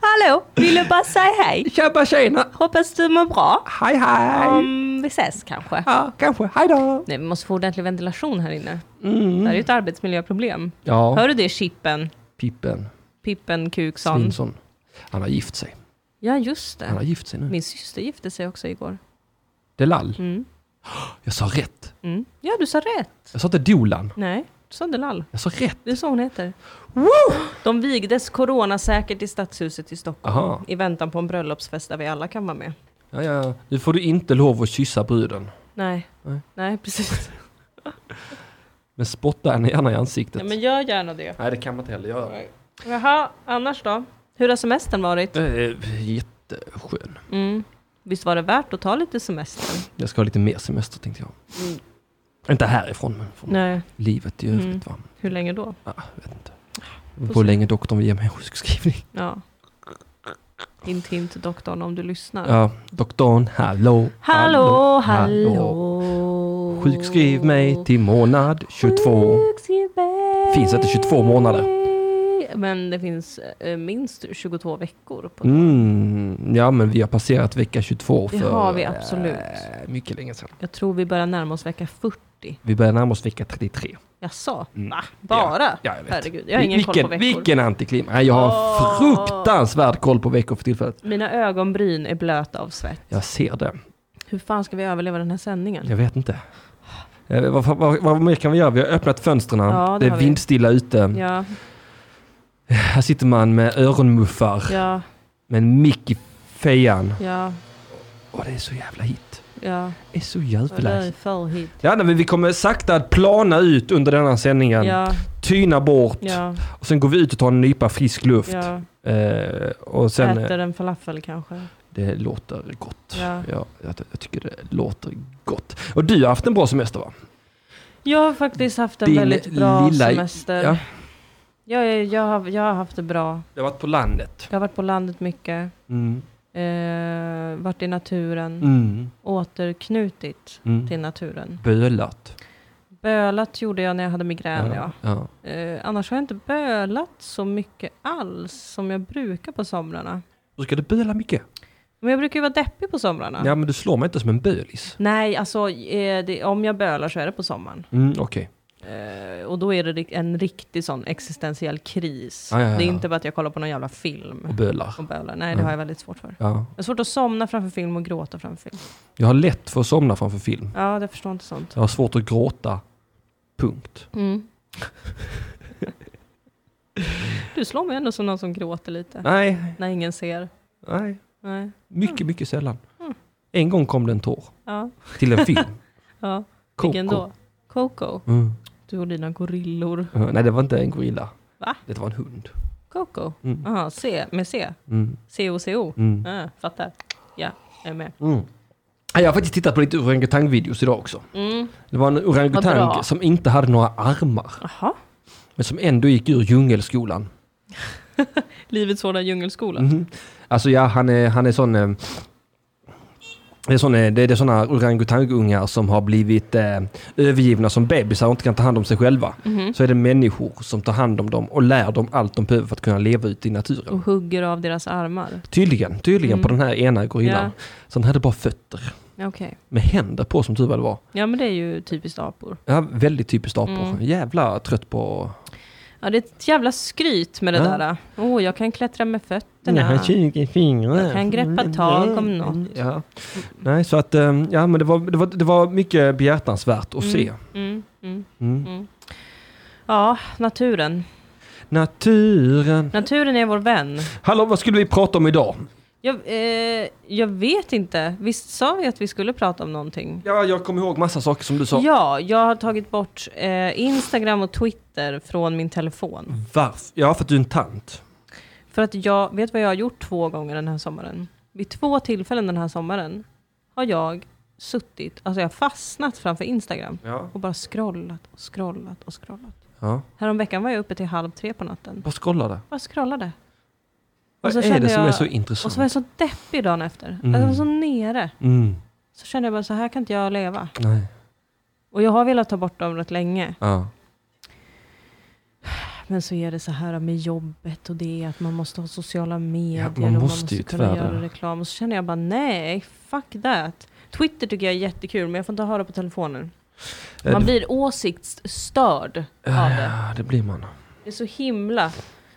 Speaker 2: hallå, vill du bara säga hej?
Speaker 1: Tjabba tjena!
Speaker 2: Hoppas du mår bra.
Speaker 1: Hej, hej!
Speaker 2: Om vi ses kanske.
Speaker 1: Ja, kanske. Hej då!
Speaker 2: Nej, vi måste få ordentlig ventilation här inne. Det här är ju ett arbetsmiljöproblem.
Speaker 1: Mm. Ja,
Speaker 2: Hör du det Chippen?
Speaker 1: Pippen
Speaker 2: Pippen Kukson.
Speaker 1: Svinsson. Han har gift sig.
Speaker 2: Ja, just det.
Speaker 1: Han har gift sig nu.
Speaker 2: Min syster gifte sig också igår.
Speaker 1: Delal.
Speaker 2: Mm.
Speaker 1: Jag sa rätt.
Speaker 2: Mm. Ja, du sa rätt.
Speaker 1: Jag sa inte Dolan.
Speaker 2: Nej, du sa Delal.
Speaker 1: Jag sa rätt.
Speaker 2: Det är så hon heter. De vigdes coronasäkert i Stadshuset i Stockholm.
Speaker 1: Aha.
Speaker 2: I väntan på en bröllopsfest där vi alla kan vara med.
Speaker 1: Ja, ja. Nu får du inte lov att kyssa bruden.
Speaker 2: Nej,
Speaker 1: Nej.
Speaker 2: nej,
Speaker 1: [LAUGHS]
Speaker 2: precis.
Speaker 1: Men spotta henne gärna i ansiktet.
Speaker 2: Ja, men gör gärna det.
Speaker 1: Nej, det kan man inte heller göra.
Speaker 2: Jaha, annars då? Hur har semestern varit?
Speaker 1: Eh, jätteskön.
Speaker 2: Mm. Visst var det värt att ta lite semester?
Speaker 1: Jag ska ha lite mer semester tänkte jag. Inte härifrån, men från
Speaker 2: Mm. Nej.
Speaker 1: livet i
Speaker 2: Mm.
Speaker 1: övrigt. Va?
Speaker 2: Hur länge då?
Speaker 1: Ja, jag vet inte.
Speaker 2: se.
Speaker 1: På hur länge doktorn vill ge mig sjukskrivning.
Speaker 2: Ja. Hint, hint, doktorn, om du lyssnar.
Speaker 1: Ja, doktorn, hallå.
Speaker 2: Hallå, hallå.
Speaker 1: Sjukskriv mig till månad 22.
Speaker 2: Sjukskriv mig.
Speaker 1: Finns inte 22 månader.
Speaker 2: Men det finns eh, minst 22 veckor. På
Speaker 1: Mm, ja, men vi har passerat vecka 22 för
Speaker 2: Det har vi absolut.
Speaker 1: eh, mycket länge sedan.
Speaker 2: Jag tror vi börjar närma oss vecka 40.
Speaker 1: Vi börjar närma oss vecka 33.
Speaker 2: Jaså?
Speaker 1: Mm.
Speaker 2: Va? Bara?
Speaker 1: Ja, jag vet.
Speaker 2: Herregud, jag har ingen
Speaker 1: vilken,
Speaker 2: koll på veckor.
Speaker 1: Vilken antiklim. Nej, jag har
Speaker 2: Åh.
Speaker 1: fruktansvärd koll på veckor för tillfället.
Speaker 2: Mina ögonbryn är blöta av svett.
Speaker 1: Jag ser det.
Speaker 2: Hur fan ska vi överleva den här sändningen?
Speaker 1: Jag vet inte. Eh, Vad, vad, vad, vad mer kan vi göra? Vi har öppnat fönstren.
Speaker 2: Ja, det
Speaker 1: det är
Speaker 2: har vi.
Speaker 1: vindstilla ute.
Speaker 2: Ja,
Speaker 1: Här sitter man med öronmuffar,
Speaker 2: ja,
Speaker 1: med en mick i fejan.
Speaker 2: ja,
Speaker 1: Åh, det är så jävla hit.
Speaker 2: ja.
Speaker 1: Det är så
Speaker 2: Och Det
Speaker 1: jävla
Speaker 2: är
Speaker 1: hit.
Speaker 2: för hit.
Speaker 1: Ja, nej, men vi kommer sakta att plana ut under denna sändningen.
Speaker 2: Ja,
Speaker 1: Tyna bort.
Speaker 2: ja,
Speaker 1: Och sen går vi ut och tar en nypa frisk luft.
Speaker 2: ja.
Speaker 1: Eh, och sen... eh,
Speaker 2: Äter en falafel kanske.
Speaker 1: Det låter gott.
Speaker 2: Ja.
Speaker 1: Ja, jag, jag tycker det låter gott. Och du har haft en bra semester va?
Speaker 2: Jag har faktiskt haft en
Speaker 1: Din
Speaker 2: väldigt bra
Speaker 1: lilla-
Speaker 2: semester.
Speaker 1: ja.
Speaker 2: Jag, är- jag, har, jag har haft det bra.
Speaker 1: Jag har varit på landet.
Speaker 2: Jag har varit på landet mycket.
Speaker 1: Mm.
Speaker 2: Eh, varit i naturen.
Speaker 1: Mm.
Speaker 2: Återknutit
Speaker 1: Mm.
Speaker 2: till naturen.
Speaker 1: Bölat.
Speaker 2: Bölat gjorde jag när jag hade migrän, ja.
Speaker 1: ja. ja.
Speaker 2: Eh, annars har jag inte bölat så mycket alls som jag brukar på somrarna.
Speaker 1: Brukar du böla mycket?
Speaker 2: Men jag brukar ju vara deppig på somrarna.
Speaker 1: Ja. men du slår mig inte som en bölis.
Speaker 2: Nej, alltså eh, det, om jag bölar så är det på sommaren.
Speaker 1: Mm, Okej.
Speaker 2: Eh, och då är det ri- en riktig sån existentiell kris.
Speaker 1: Ja, ja, ja,
Speaker 2: Det är
Speaker 1: ja. Mm.
Speaker 2: inte bara att jag kollar på någon jävla film
Speaker 1: Och bölar.
Speaker 2: och bölar. Nej, det
Speaker 1: Ja.
Speaker 2: har jag väldigt svårt för.
Speaker 1: Ja.
Speaker 2: Jag har svårt att somna framför film och gråta framför film.
Speaker 1: Jag har lätt för att somna framför film.
Speaker 2: Ja, det förstår inte sånt.
Speaker 1: Jag har svårt att gråta. Punkt.
Speaker 2: Mm. [LAUGHS] Du slår mig ändå som någon som gråter lite.
Speaker 1: Nej,
Speaker 2: När ingen ser.
Speaker 1: nej.
Speaker 2: Nej. Mm.
Speaker 1: Mycket, mycket sällan. En gång kom det en tår.
Speaker 2: Ja.
Speaker 1: Till en film.
Speaker 2: ja.
Speaker 1: Coco.
Speaker 2: [LAUGHS] Vilken då? Coco.
Speaker 1: Mm.
Speaker 2: Du och dina gorillor.
Speaker 1: Ja, Nej, det var inte en gorilla.
Speaker 2: Va?
Speaker 1: Det var en hund.
Speaker 2: Coco?
Speaker 1: Mm.
Speaker 2: Aha, C med C.
Speaker 1: Mm.
Speaker 2: C-O-C-O.
Speaker 1: Mm.
Speaker 2: Ah, fattar. Ja, jag är med.
Speaker 1: Ja, Jag har faktiskt tittat på lite orangutangvideos idag också.
Speaker 2: Mm.
Speaker 1: Det var en
Speaker 2: Vad bra.
Speaker 1: orangutang som inte hade några armar,
Speaker 2: Jaha.
Speaker 1: men som ändå gick ur djungelskolan.
Speaker 2: Livets hårda djungelskola.
Speaker 1: Mhm. Alltså ja, han är, han är sån... eh, Det är, sån, eh, det är, det är såna orangutangungar som har blivit eh, övergivna som bebisar och inte kan ta hand om sig själva.
Speaker 2: Mm. Mhm.
Speaker 1: Så är det människor som tar hand om dem och lär dem allt de behöver för att kunna leva ute i naturen.
Speaker 2: Och hugger av deras armar.
Speaker 1: Tydligen, tydligen
Speaker 2: Mm.
Speaker 1: på den här ena gorillan.
Speaker 2: Ja.
Speaker 1: Så den hade bara fötter
Speaker 2: Okej.
Speaker 1: med händer på som tur väl var.
Speaker 2: Ja, men det är ju typiskt apor.
Speaker 1: Ja, väldigt typiskt apor.
Speaker 2: Mm.
Speaker 1: Jävla trött på...
Speaker 2: Ja, det är ett jävla skryt med det
Speaker 1: Ja.
Speaker 2: där. Åh, oh, jag kan klättra med fötterna.
Speaker 1: 20 fingrar.
Speaker 2: Jag kan greppa tag om något.
Speaker 1: Ja. Nej, så att, ehm, ja men det var, det var, det var mycket behjärtansvärt att se.
Speaker 2: Mm, mm.
Speaker 1: Mm.
Speaker 2: Ja, naturen.
Speaker 1: Naturen.
Speaker 2: Naturen är vår vän.
Speaker 1: Hallå, vad skulle vi prata om idag?
Speaker 2: Jag, eh, jag vet inte. Visst sa vi att vi skulle prata om någonting?
Speaker 1: Ja, jag kommer ihåg massa saker som du sa.
Speaker 2: Ja, jag har tagit bort eh, Instagram och Twitter från min telefon.
Speaker 1: Varför? Ja, för att du är en tant.
Speaker 2: För att jag, vet vad jag har gjort två gånger den här sommaren? Vid två tillfällen den här sommaren har jag suttit, alltså jag har fastnat framför Instagram
Speaker 1: Ja.
Speaker 2: och bara scrollat och scrollat och scrollat.
Speaker 1: ja.
Speaker 2: Häromveckan var jag uppe till halv tre på natten.
Speaker 1: Bara scrolla där.
Speaker 2: Bara scrollade. Och
Speaker 1: Vad
Speaker 2: så
Speaker 1: är
Speaker 2: kände
Speaker 1: det som
Speaker 2: jag-
Speaker 1: är så
Speaker 2: Och
Speaker 1: intressant?
Speaker 2: så var jag så deppig dagen efter.
Speaker 1: Mm.
Speaker 2: Alltså, jag var så nere.
Speaker 1: Mm.
Speaker 2: Så kände jag bara, så här kan inte jag leva.
Speaker 1: Nej.
Speaker 2: Och jag har velat ta bort dem rätt länge.
Speaker 1: Ja.
Speaker 2: Men så är det så här med jobbet och det är att man måste ha sociala medier.
Speaker 1: Ja, man
Speaker 2: och man
Speaker 1: måste
Speaker 2: måste
Speaker 1: ju
Speaker 2: kunna
Speaker 1: tyvärr
Speaker 2: göra
Speaker 1: det.
Speaker 2: reklam. Och så känner jag bara, nej, fuck that. Twitter tycker jag är jättekul, men jag får inte ha det på telefonen.
Speaker 1: Eh,
Speaker 2: Man
Speaker 1: det-
Speaker 2: blir åsiktsstörd av det.
Speaker 1: Ja, det blir man.
Speaker 2: Det är så himla...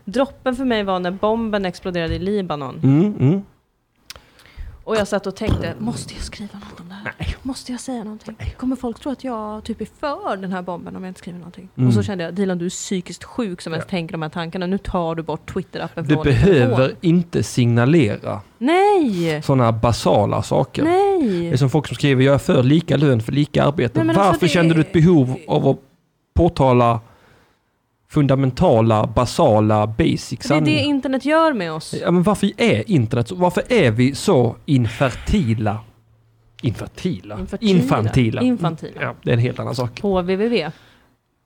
Speaker 2: Droppen för mig var när bomben exploderade i Libanon.
Speaker 1: Mm, mm.
Speaker 2: Och jag satt och tänkte, måste jag skriva något om det här? Måste jag säga någonting? Kommer folk tro att jag typ är för den här bomben om jag inte skriver någonting?
Speaker 1: Mm.
Speaker 2: Och så kände jag, Dilan du är psykiskt sjuk som ens tänker de här tankarna. Nu tar du bort Twitter-appen
Speaker 1: Du
Speaker 2: från din telefon.
Speaker 1: behöver inte signalera
Speaker 2: Nej!
Speaker 1: sådana basala saker. Det är
Speaker 2: Nej!
Speaker 1: som folk som skriver jag är för lika lön för lika arbete.
Speaker 2: Nej, men
Speaker 1: Varför
Speaker 2: alltså, det-
Speaker 1: kände du ett behov av att påtala fundamentala, basala, basic
Speaker 2: För det är det
Speaker 1: sanningar?
Speaker 2: internet gör med oss.
Speaker 1: Ja, men varför är internet så? Varför är vi så infertila? Infertila?
Speaker 2: Infertila.
Speaker 1: Infantila. Mm.
Speaker 2: Infantila.
Speaker 1: Ja, det är en helt annan sak.
Speaker 2: På www.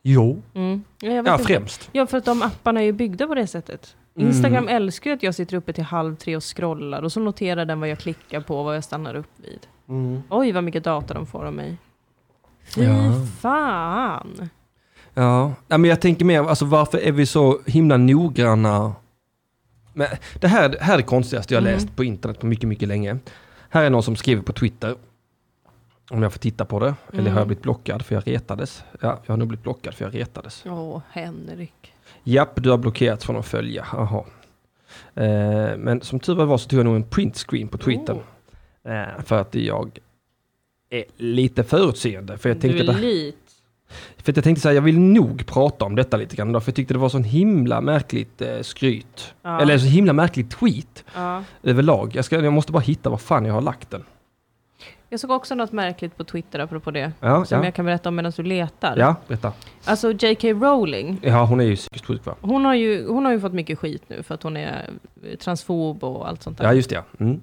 Speaker 1: Jo,
Speaker 2: Mm. Ja, jag vet
Speaker 1: ja
Speaker 2: inte.
Speaker 1: främst.
Speaker 2: Ja, för att de apparna är ju byggda på det sättet.
Speaker 1: Mm.
Speaker 2: Instagram älskar ju att jag sitter uppe till halv tre och scrollar och så noterar den vad jag klickar på och vad jag stannar upp vid.
Speaker 1: Mm.
Speaker 2: Oj, vad mycket data de får om mig. Fy
Speaker 1: Ja.
Speaker 2: fan!
Speaker 1: Ja, Nej, men jag tänker mer, alltså varför är vi så himla noggranna? Men det här, det här är det konstigaste jag har
Speaker 2: Mm.
Speaker 1: läst på internet på mycket, mycket länge. Här är någon som skriver på Twitter. Om jag får titta på det. Eller
Speaker 2: Mm.
Speaker 1: har jag blivit blockad för jag retades? Ja, jag har nog blivit blockad för jag retades.
Speaker 2: Åh, Henrik.
Speaker 1: Japp, du har blockerats från att följa. Jaha. Eh, men som tur var så tog jag nog en printscreen på Twitter.
Speaker 2: Oh.
Speaker 1: Eh, för att jag är lite förutseende. För jag
Speaker 2: Du
Speaker 1: tänkte
Speaker 2: är
Speaker 1: det-
Speaker 2: lit.
Speaker 1: för att jag tänkte så här, jag vill nog prata om detta lite grann idag, för jag tyckte det var sån himla märkligt eh, skryt.
Speaker 2: Ja.
Speaker 1: Eller så himla märkligt tweet
Speaker 2: Ja.
Speaker 1: överlag. Jag, ska, jag måste bara hitta vad fan jag har lagt den.
Speaker 2: Jag såg också något märkligt på Twitter apropå det.
Speaker 1: Ja,
Speaker 2: Som
Speaker 1: ja.
Speaker 2: jag kan berätta om medan du letar.
Speaker 1: ja berätta.
Speaker 2: Alltså J.K. Rowling.
Speaker 1: Ja, hon är ju psykiskt sjuk va?
Speaker 2: Hon har, ju, hon har ju fått mycket skit nu för att hon är eh, transfob och allt sånt där.
Speaker 1: Ja, just det. ja. Mm.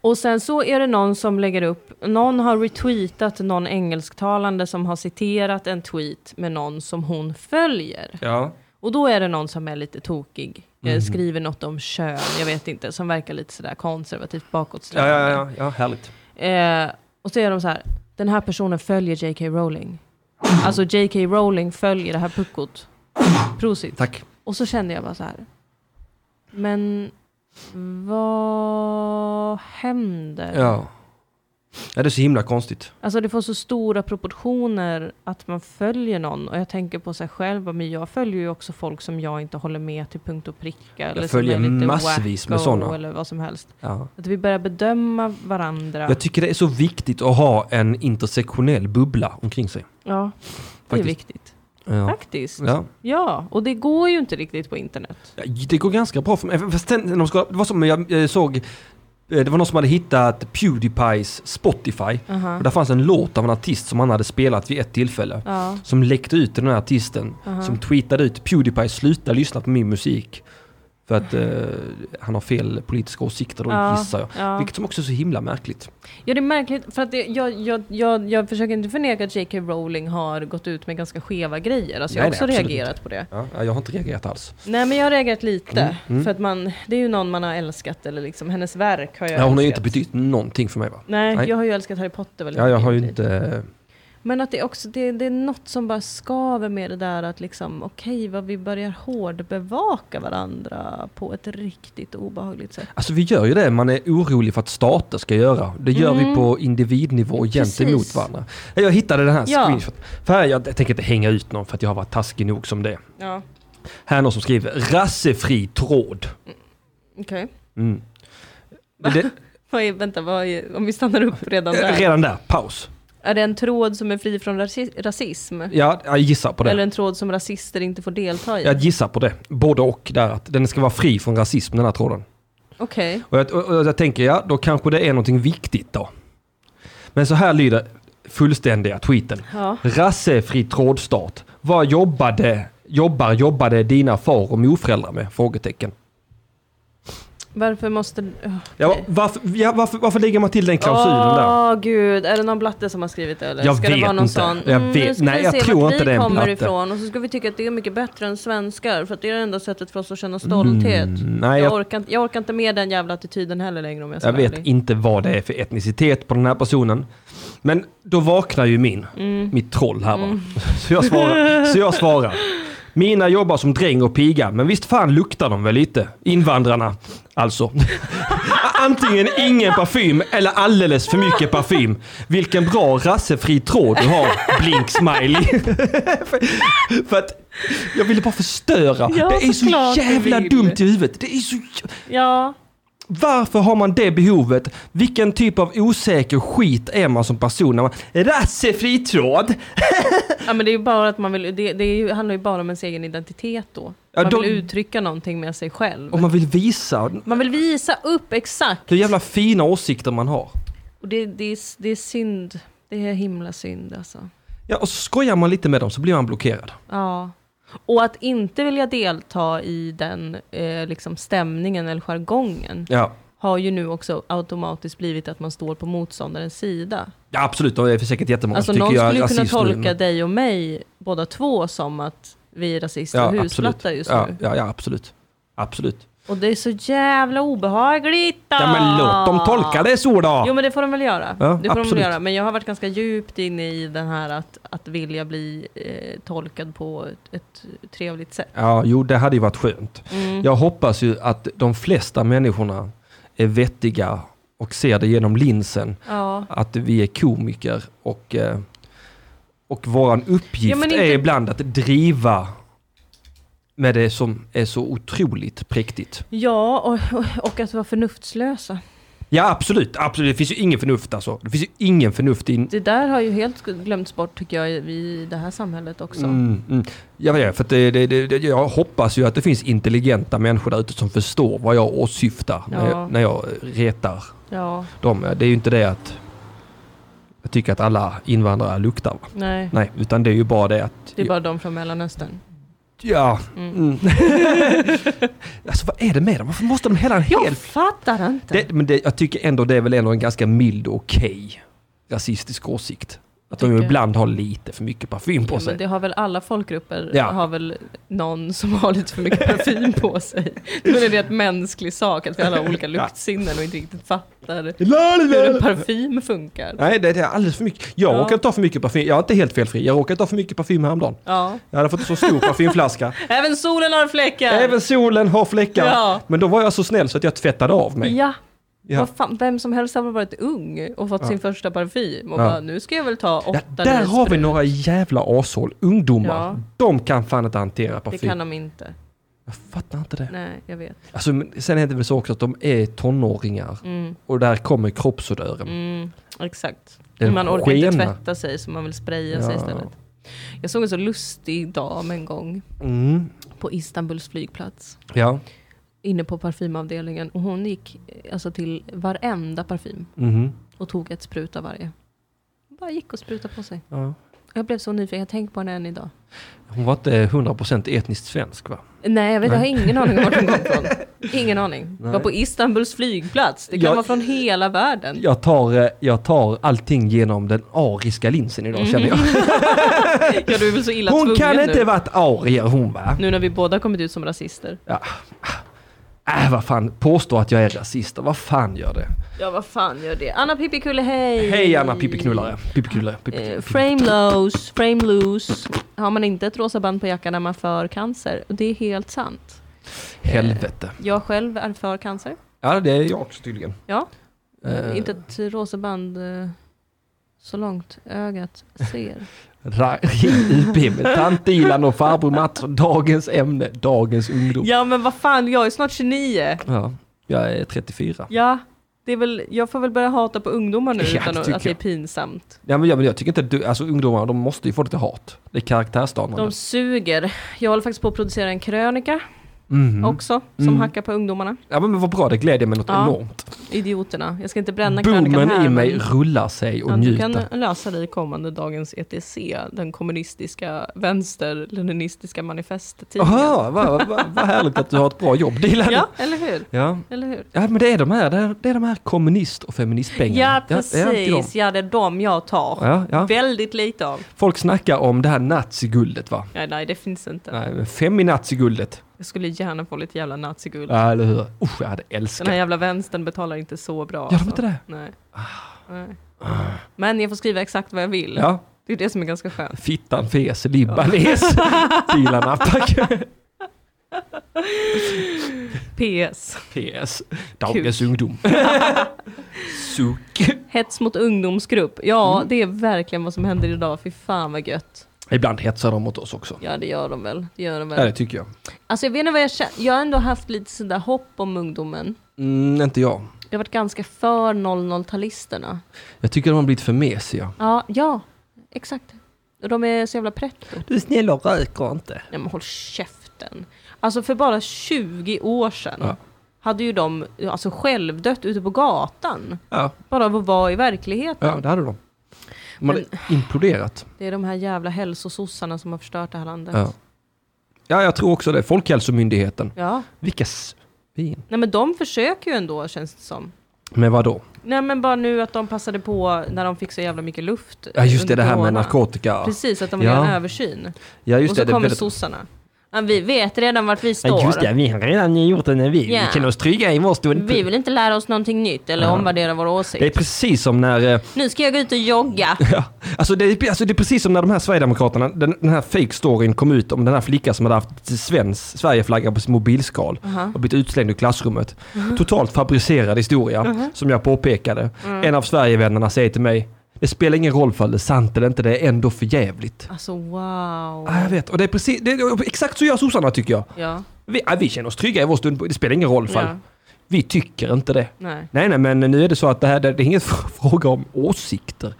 Speaker 2: Och sen så är det någon som lägger upp, någon har retweetat någon engelsktalande som har citerat en tweet med någon som hon följer.
Speaker 1: Ja.
Speaker 2: Och då är det någon som är lite tokig, eh,
Speaker 1: Mhm.
Speaker 2: skriver något om kön, jag vet inte, som verkar lite sådär konservativt
Speaker 1: Ja,
Speaker 2: bakåtsträvande.
Speaker 1: ja, ja, ja, härligt.
Speaker 2: Eh, och så är de så här, den här personen följer J.K. Rowling. Alltså J.K. Rowling följer det här puckot. Prosit.
Speaker 1: Tack.
Speaker 2: Och så kände jag bara så här. Men vad händer?
Speaker 1: Ja. ja, det är så himla konstigt.
Speaker 2: Alltså det får så stora proportioner att man följer någon. Och jag tänker på sig själv, bara, men jag följer ju också folk som jag inte håller med till punkt och pricka. Eller som
Speaker 1: följer
Speaker 2: är lite
Speaker 1: massvis med
Speaker 2: wacko
Speaker 1: såna.
Speaker 2: Eller vad som helst.
Speaker 1: Ja.
Speaker 2: Att vi börjar bedöma varandra.
Speaker 1: Jag tycker det är så viktigt att ha en intersektionell bubbla omkring sig.
Speaker 2: ja, det är
Speaker 1: Faktiskt.
Speaker 2: viktigt.
Speaker 1: Ja.
Speaker 2: Faktiskt. Ja.
Speaker 1: Ja.
Speaker 2: och det går ju inte riktigt på internet.
Speaker 1: Ja, Det går ganska bra för mig. Fast sen, när de ska, det var som jag eh, såg, eh, det var någon som hade hittat Pewdiepies Spotify.
Speaker 2: Aha.
Speaker 1: Och där fanns en låt av en artist som han hade spelat vid ett tillfälle.
Speaker 2: Ja.
Speaker 1: Som läckte ut till den här artisten. Som tweetade ut Pewdiepie sluta lyssna på min musik. För att eh, han har fel politiska åsikter då
Speaker 2: Ja,
Speaker 1: gissar jag.
Speaker 2: ja.
Speaker 1: Vilket som också är så himla märkligt.
Speaker 2: Ja, det är märkligt. För att det, jag, jag, jag, jag försöker inte förneka att J.K. Rowling har gått ut med ganska skeva grejer. Alltså, jag
Speaker 1: Nej,
Speaker 2: har
Speaker 1: nej,
Speaker 2: också
Speaker 1: absolut
Speaker 2: reagerat på det.
Speaker 1: Ja, jag har inte reagerat alls.
Speaker 2: Nej, men jag har reagerat lite.
Speaker 1: Mm,
Speaker 2: För att man, det är ju någon man har älskat, eller liksom hennes verk har jag
Speaker 1: Ja, hon har ju inte
Speaker 2: älskat.
Speaker 1: betytt någonting för mig va?
Speaker 2: Nej,
Speaker 1: Nej.
Speaker 2: jag har ju älskat Harry Potter väldigt
Speaker 1: Ja, jag
Speaker 2: mycket i
Speaker 1: har ju
Speaker 2: mitt liv.
Speaker 1: inte...
Speaker 2: Men att det är också, det, det är något som bara skaver med det där att liksom, okej, vad vi börjar hårdbevaka varandra på ett riktigt obehagligt sätt.
Speaker 1: Alltså vi gör ju det man är orolig för att stater ska göra. Det gör vi på individnivå gentemot
Speaker 2: Mm. Precis.
Speaker 1: varandra. Jag hittade den här
Speaker 2: Ja.
Speaker 1: screenshot. För här, jag tänker inte hänga ut någon för att jag har varit taskig nog som det är.
Speaker 2: Ja,
Speaker 1: Här är någon som skriver rassefri tråd.
Speaker 2: okej.
Speaker 1: Mm. Det,
Speaker 2: Vad är, vänta, vad är, om vi stannar upp redan där.
Speaker 1: [LAUGHS] redan där, paus.
Speaker 2: Är det en tråd som är fri från rasi- rasism?
Speaker 1: Ja, jag gissar på
Speaker 2: Eller
Speaker 1: det.
Speaker 2: en tråd som rasister inte får delta i?
Speaker 1: Jag gissar på det. Både och där. Att den ska vara fri från rasism den här tråden.
Speaker 2: Okej.
Speaker 1: Och jag, och och jag tänker, ja, då kanske det är någonting viktigt då. Men så här lyder fullständiga tweeten.
Speaker 2: Ja.
Speaker 1: Rassefri trådstart. Vad jobbade, jobbar, jobbade dina far och morföräldrar med? Frågetecken.
Speaker 2: Varför måste... Åh,
Speaker 1: Ja, varför, ja, varför, varför lägger man till den klausulen där?
Speaker 2: Åh, gud, är det någon blatte som har skrivit det eller?
Speaker 1: Jag
Speaker 2: ska det
Speaker 1: vet
Speaker 2: vara någon
Speaker 1: inte.
Speaker 2: sån? Mm,
Speaker 1: Jag vet-
Speaker 2: nu ska
Speaker 1: nej,
Speaker 2: vi
Speaker 1: jag
Speaker 2: se
Speaker 1: tror
Speaker 2: vart
Speaker 1: inte
Speaker 2: vi
Speaker 1: det är en
Speaker 2: kommer
Speaker 1: blatte.
Speaker 2: ifrån och så ska vi tycka att det är mycket bättre än svenskar för att det är det enda sättet för oss att känna stolthet.
Speaker 1: Mm, nej, jag,
Speaker 2: jag, orkar, inte- jag orkar inte med den jävla attityden heller längre om jag ska
Speaker 1: jag
Speaker 2: vara
Speaker 1: vet
Speaker 2: ärlig.
Speaker 1: inte vad det är för etnicitet på den här personen. Men då vaknar ju min,
Speaker 2: Mm.
Speaker 1: mitt troll här va. [LAUGHS] Så, jag svarar, så jag svarar. Mina jobbar som dräng och piga, men visst fan luktar de väl lite? Invandrarna, alltså. [LAUGHS] Antingen ingen parfym eller alldeles för mycket parfym. Vilken bra rassefri tråd du har, blink smiley. [LAUGHS] för, för att jag ville bara förstöra.
Speaker 2: Ja,
Speaker 1: det är så
Speaker 2: såklart du
Speaker 1: jävla
Speaker 2: vill.
Speaker 1: dumt i huvudet. Det är så... jä-
Speaker 2: Ja,
Speaker 1: Varför har man det behovet? Vilken typ av osäker skit är man som person? När man, rassefri tråd!
Speaker 2: ja, men det är ju bara att man vill, det, det är ju, handlar ju bara om ens egen identitet då.
Speaker 1: Ja,
Speaker 2: Man
Speaker 1: då-
Speaker 2: vill uttrycka någonting med sig själv.
Speaker 1: Och man vill visa
Speaker 2: Man vill visa upp exakt.
Speaker 1: hur jävla fina åsikter man har.
Speaker 2: Och det, det, är, det är synd. Det är himla synd alltså.
Speaker 1: Ja, och så skojar man lite med dem så blir man blockerad.
Speaker 2: Ja. Och att inte vilja delta i den eh, liksom stämningen eller jargongen
Speaker 1: Ja,
Speaker 2: har ju nu också automatiskt blivit att man står på motståndarens sida.
Speaker 1: ja absolut. Och det är säkert jättemånga
Speaker 2: Alltså
Speaker 1: som
Speaker 2: någon
Speaker 1: tycker jag
Speaker 2: skulle
Speaker 1: är
Speaker 2: ju kunna
Speaker 1: rasist nu,
Speaker 2: tolka
Speaker 1: men-
Speaker 2: dig och mig, båda två, som att vi är rasister och husplatta just
Speaker 1: ja,
Speaker 2: nu.
Speaker 1: Ja, ja, absolut. Absolut.
Speaker 2: Och det är så jävla obehagligt! då!
Speaker 1: Ja, men låt dem tolka det så då!
Speaker 2: Ah. Jo men det får de väl göra.
Speaker 1: Ja,
Speaker 2: det får de väl
Speaker 1: absolut.
Speaker 2: göra. Men jag har varit ganska djupt inne i den här att, att vilja bli eh, tolkad på ett, ett trevligt sätt.
Speaker 1: Ja, jo, det hade ju varit skönt.
Speaker 2: Mm.
Speaker 1: Jag hoppas ju att de flesta människorna är vettiga och ser det genom linsen.
Speaker 2: Ja.
Speaker 1: Att vi är komiker och, eh, och vår uppgift
Speaker 2: Ja, men inte-
Speaker 1: är ibland att driva med det som är så otroligt präktigt.
Speaker 2: Ja, och, och- och att vara förnuftslösa.
Speaker 1: Ja, absolut. absolut. Det finns ju ingen förnuft alltså. Det finns ju ingen förnuft in...
Speaker 2: Det där har ju helt glömts bort tycker jag i- i det här samhället också.
Speaker 1: Mm, mm. Ja, men ja, för att det, det, det, det- jag hoppas ju att det finns intelligenta människor där ute som förstår vad jag åsyftar när,
Speaker 2: Ja.
Speaker 1: jag, när jag retar
Speaker 2: Ja,
Speaker 1: dem. Det är ju inte det att jag tycker att alla invandrare luktar. va?
Speaker 2: nej.
Speaker 1: Nej, utan det är ju bara det att...
Speaker 2: Det är bara de från Mellanöstern.
Speaker 1: Ja.
Speaker 2: Mm.
Speaker 1: Mm. [LAUGHS] alltså vad är det med dem? Varför måste de hela en hel...
Speaker 2: Jag fattar inte!
Speaker 1: Det, men det, jag tycker ändå det är väl ändå en ganska mild och okej rasistisk åsikt. Att de
Speaker 2: Tycker.
Speaker 1: ibland har lite för mycket parfym på
Speaker 2: ja,
Speaker 1: sig.
Speaker 2: men det har väl alla folkgrupper,
Speaker 1: Ja.
Speaker 2: har väl någon som har lite för mycket parfym på sig.
Speaker 1: [LAUGHS]
Speaker 2: Det är en rätt mänsklig sak att vi alla har olika luktsinnen och inte riktigt fattar hur en parfym funkar.
Speaker 1: Nej, det, det är alldeles för mycket. Jag
Speaker 2: Ja.
Speaker 1: råkar ta för mycket parfym. Jag är inte helt felfri. Jag råkar ta för mycket parfym häromdagen.
Speaker 2: Ja.
Speaker 1: Jag hade fått en så
Speaker 2: [LAUGHS]
Speaker 1: stor parfymflaska.
Speaker 2: Även solen har fläckar!
Speaker 1: Även solen har fläckar.
Speaker 2: Ja.
Speaker 1: Men då var jag så snäll så att jag tvättade av mig.
Speaker 2: Ja.
Speaker 1: Ja.
Speaker 2: Vad fan, vem som helst har väl varit ung och fått sin första parfym och
Speaker 1: Ja.
Speaker 2: bara, nu ska jag väl ta åtta
Speaker 1: Ja, där har vi
Speaker 2: nysprut."
Speaker 1: några jävla ashål. Ungdomar.
Speaker 2: Ja.
Speaker 1: De kan fan inte hantera
Speaker 2: Det
Speaker 1: parfym.
Speaker 2: kan de inte.
Speaker 1: Jag fattar inte det.
Speaker 2: Nej, jag vet.
Speaker 1: Alltså, men sen är det väl så också att de är tonåringar
Speaker 2: Mm,
Speaker 1: och där kommer kroppsodören.
Speaker 2: mm, exakt.
Speaker 1: Den
Speaker 2: man orkar inte
Speaker 1: skenar.
Speaker 2: tvätta sig så man vill spraya sig
Speaker 1: Ja.
Speaker 2: istället. Jag såg en så lustig dam en gång
Speaker 1: Mm.
Speaker 2: på Istanbuls flygplats.
Speaker 1: Ja.
Speaker 2: Inne på parfymavdelningen. Och hon gick eh, alltså till varenda parfym
Speaker 1: Mhm.
Speaker 2: och tog ett sprut av varje. Hon bara gick och sprutade på sig.
Speaker 1: ja.
Speaker 2: Jag blev så nyfiken, jag tänker på henne än idag.
Speaker 1: Hon var inte 100% etniskt svensk va?
Speaker 2: Nej, jag, vet, jag har ingen aning om vart hon kom från.
Speaker 1: [LAUGHS]
Speaker 2: Ingen aning.
Speaker 1: Nej.
Speaker 2: Var på Istanbuls flygplats. Det kan
Speaker 1: Jag-
Speaker 2: vara från hela världen.
Speaker 1: Jag tar, eh, jag tar allting genom den ariska linsen idag känner
Speaker 2: [LAUGHS]
Speaker 1: jag.
Speaker 2: Ja, du är väl så illa
Speaker 1: Hon
Speaker 2: Mm. tvungen
Speaker 1: kan
Speaker 2: nu.
Speaker 1: inte varit arier hon va?
Speaker 2: Nu när vi båda kommit ut som rasister.
Speaker 1: Ja. Äh, vad fan, påstå att jag är rasist. Vad fan gör det?
Speaker 2: Ja, vad fan gör det? Anna Pippikulle, hej!
Speaker 1: Hej Anna Pippiknullare. Pippiknullare.
Speaker 2: Eh,
Speaker 1: Pippiknullare.
Speaker 2: frame loose, frame loose. Har man inte ett rosa band på jackan är man för cancer. Och det är helt sant.
Speaker 1: Helvete.
Speaker 2: Jag själv är för cancer.
Speaker 1: Ja det är jag också tydligen.
Speaker 2: Ja.
Speaker 1: Eh,
Speaker 2: Inte ett rosa band eh, så långt ögat
Speaker 1: [LAUGHS]
Speaker 2: ser.
Speaker 1: Ra- UP med tant Dilan och farbror Mats. Dagens ämne, dagens ungdom.
Speaker 2: ja, men vad fan, jag är snart 29.
Speaker 1: Ja, jag är 34.
Speaker 2: Ja, det är väl, jag får väl börja hata på ungdomar nu
Speaker 1: Ja, det
Speaker 2: utan att,
Speaker 1: tycker
Speaker 2: att det är
Speaker 1: jag.
Speaker 2: pinsamt.
Speaker 1: Ja, men, jag- men jag tycker inte att du, alltså ungdomar de måste ju få lite hat. Det är karaktärsdanande.
Speaker 2: De suger. Jag håller faktiskt på att producera en krönika
Speaker 1: Mhm.
Speaker 2: också, som
Speaker 1: Mm.
Speaker 2: hackar på ungdomarna.
Speaker 1: Ja men vad bra, det glädjer mig något
Speaker 2: Ja.
Speaker 1: enormt.
Speaker 2: Idioterna. Jag ska inte bränna krönikan
Speaker 1: Boomen
Speaker 2: här.
Speaker 1: i mig
Speaker 2: men-
Speaker 1: rullar sig och
Speaker 2: Ja, du kan
Speaker 1: njuter.
Speaker 2: läsa det i kommande dagens ETC, den kommunistiska vänster-leninistiska manifesttidningen.
Speaker 1: Jaha, vad, vad, vad härligt att du har ett bra jobb Dilan.
Speaker 2: Ja, eller hur?
Speaker 1: Ja.
Speaker 2: Eller hur?
Speaker 1: Ja, men det är de här, det är, det är de här kommunist och feministpengarna.
Speaker 2: Ja,
Speaker 1: det är alltid de.
Speaker 2: precis. Ja, det är de jag tar.
Speaker 1: Ja, ja.
Speaker 2: Väldigt lite av.
Speaker 1: Folk snackar om det här naziguldet va?
Speaker 2: Nej, nej, det finns inte.
Speaker 1: Nej, men fem i naziguldet.
Speaker 2: Jag skulle gärna få lite jävla naziguld.
Speaker 1: Ja, eller hur? Usch, jag hade
Speaker 2: Den här
Speaker 1: älskat.
Speaker 2: jävla vänstern betalar inte så bra. alltså.
Speaker 1: Gör de inte det? Ah.
Speaker 2: Nej. nej. Men jag får skriva exakt vad jag vill.
Speaker 1: Ja,
Speaker 2: Det är det som är ganska skönt.
Speaker 1: fittan fes, libban
Speaker 2: [LAUGHS]
Speaker 1: les, Dilan Apak.
Speaker 2: PS.
Speaker 1: PS. Dagens
Speaker 2: [LAUGHS]
Speaker 1: ungdom. Suck.
Speaker 2: Hets mot ungdomsgrupp. Ja,
Speaker 1: Mm.
Speaker 2: det är verkligen vad som händer idag. Fy fan vad gött.
Speaker 1: Ibland hetsar de mot oss också.
Speaker 2: Ja, det gör de väl. Det gör de väl.
Speaker 1: Ja, det tycker jag.
Speaker 2: Alltså jag vet inte vad jag känner. Jag har ändå haft lite sådär hopp om ungdomen.
Speaker 1: Mm, inte jag.
Speaker 2: Jag har varit ganska för 00-talisterna.
Speaker 1: Jag tycker de har blivit för mesiga.
Speaker 2: Ja, ja, exakt. Och De är så jävla pretto.
Speaker 1: Du är snäll och röker inte.
Speaker 2: Nej men håll käften. Alltså för bara 20 år sedan
Speaker 1: Ja.
Speaker 2: hade ju de alltså självdött ute på gatan.
Speaker 1: Ja,
Speaker 2: Bara av att vara i verkligheten.
Speaker 1: ja det hade de. De hade imploderat.
Speaker 2: Det är de här jävla hälsosossarna som har förstört det här landet.
Speaker 1: Ja. ja, jag tror också det. Folkhälsomyndigheten.
Speaker 2: Ja.
Speaker 1: Vilka svin.
Speaker 2: Nej men de försöker ju ändå känns det som.
Speaker 1: Men vadå?
Speaker 2: Nej men bara nu att de passade på när de fick så jävla mycket luft.
Speaker 1: Ja, just det,
Speaker 2: under
Speaker 1: det här med
Speaker 2: corona.
Speaker 1: narkotika.
Speaker 2: Precis, att de vill
Speaker 1: Ja.
Speaker 2: göra en översyn.
Speaker 1: Ja, just
Speaker 2: och så
Speaker 1: det. det är
Speaker 2: kommer
Speaker 1: väldigt-
Speaker 2: sossarna. Ja, vi vet redan vart vi står.
Speaker 1: Ja, just det, vi har redan gjort en vi.
Speaker 2: Ja.
Speaker 1: Vi känner oss trygga i vår stund.
Speaker 2: Vi vill inte lära oss någonting nytt eller
Speaker 1: Ja.
Speaker 2: omvärdera våra
Speaker 1: Det är
Speaker 2: åsikter.
Speaker 1: precis som när eh,
Speaker 2: Nu ska jag gå ut och jogga.
Speaker 1: Ja, alltså det, är, alltså det är precis som när de här Sverigedemokraterna, den, den här fake-storyn kom ut om den här flickan som hade haft svensk Sverigeflagga på sin mobilskal och blivit utslängd ur klassrummet.
Speaker 2: Mhm.
Speaker 1: Totalt fabricerad historia, som jag påpekade.
Speaker 2: Mm.
Speaker 1: En av Sverigevännerna säger till mig, det spelar ingen roll för det är sant eller inte, det är ändå för jävligt.
Speaker 2: Alltså wow.
Speaker 1: Ja, jag vet, och det är precis, det är, exakt så gör sossarna tycker jag.
Speaker 2: Ja,
Speaker 1: Vi, ja, vi känner oss trygga i vår stund, det spelar ingen roll för
Speaker 2: ja.
Speaker 1: Vi tycker inte det.
Speaker 2: Nej.
Speaker 1: Nej, nej, men nu är det så att det här det är ingen [LAUGHS] fråga om åsikter.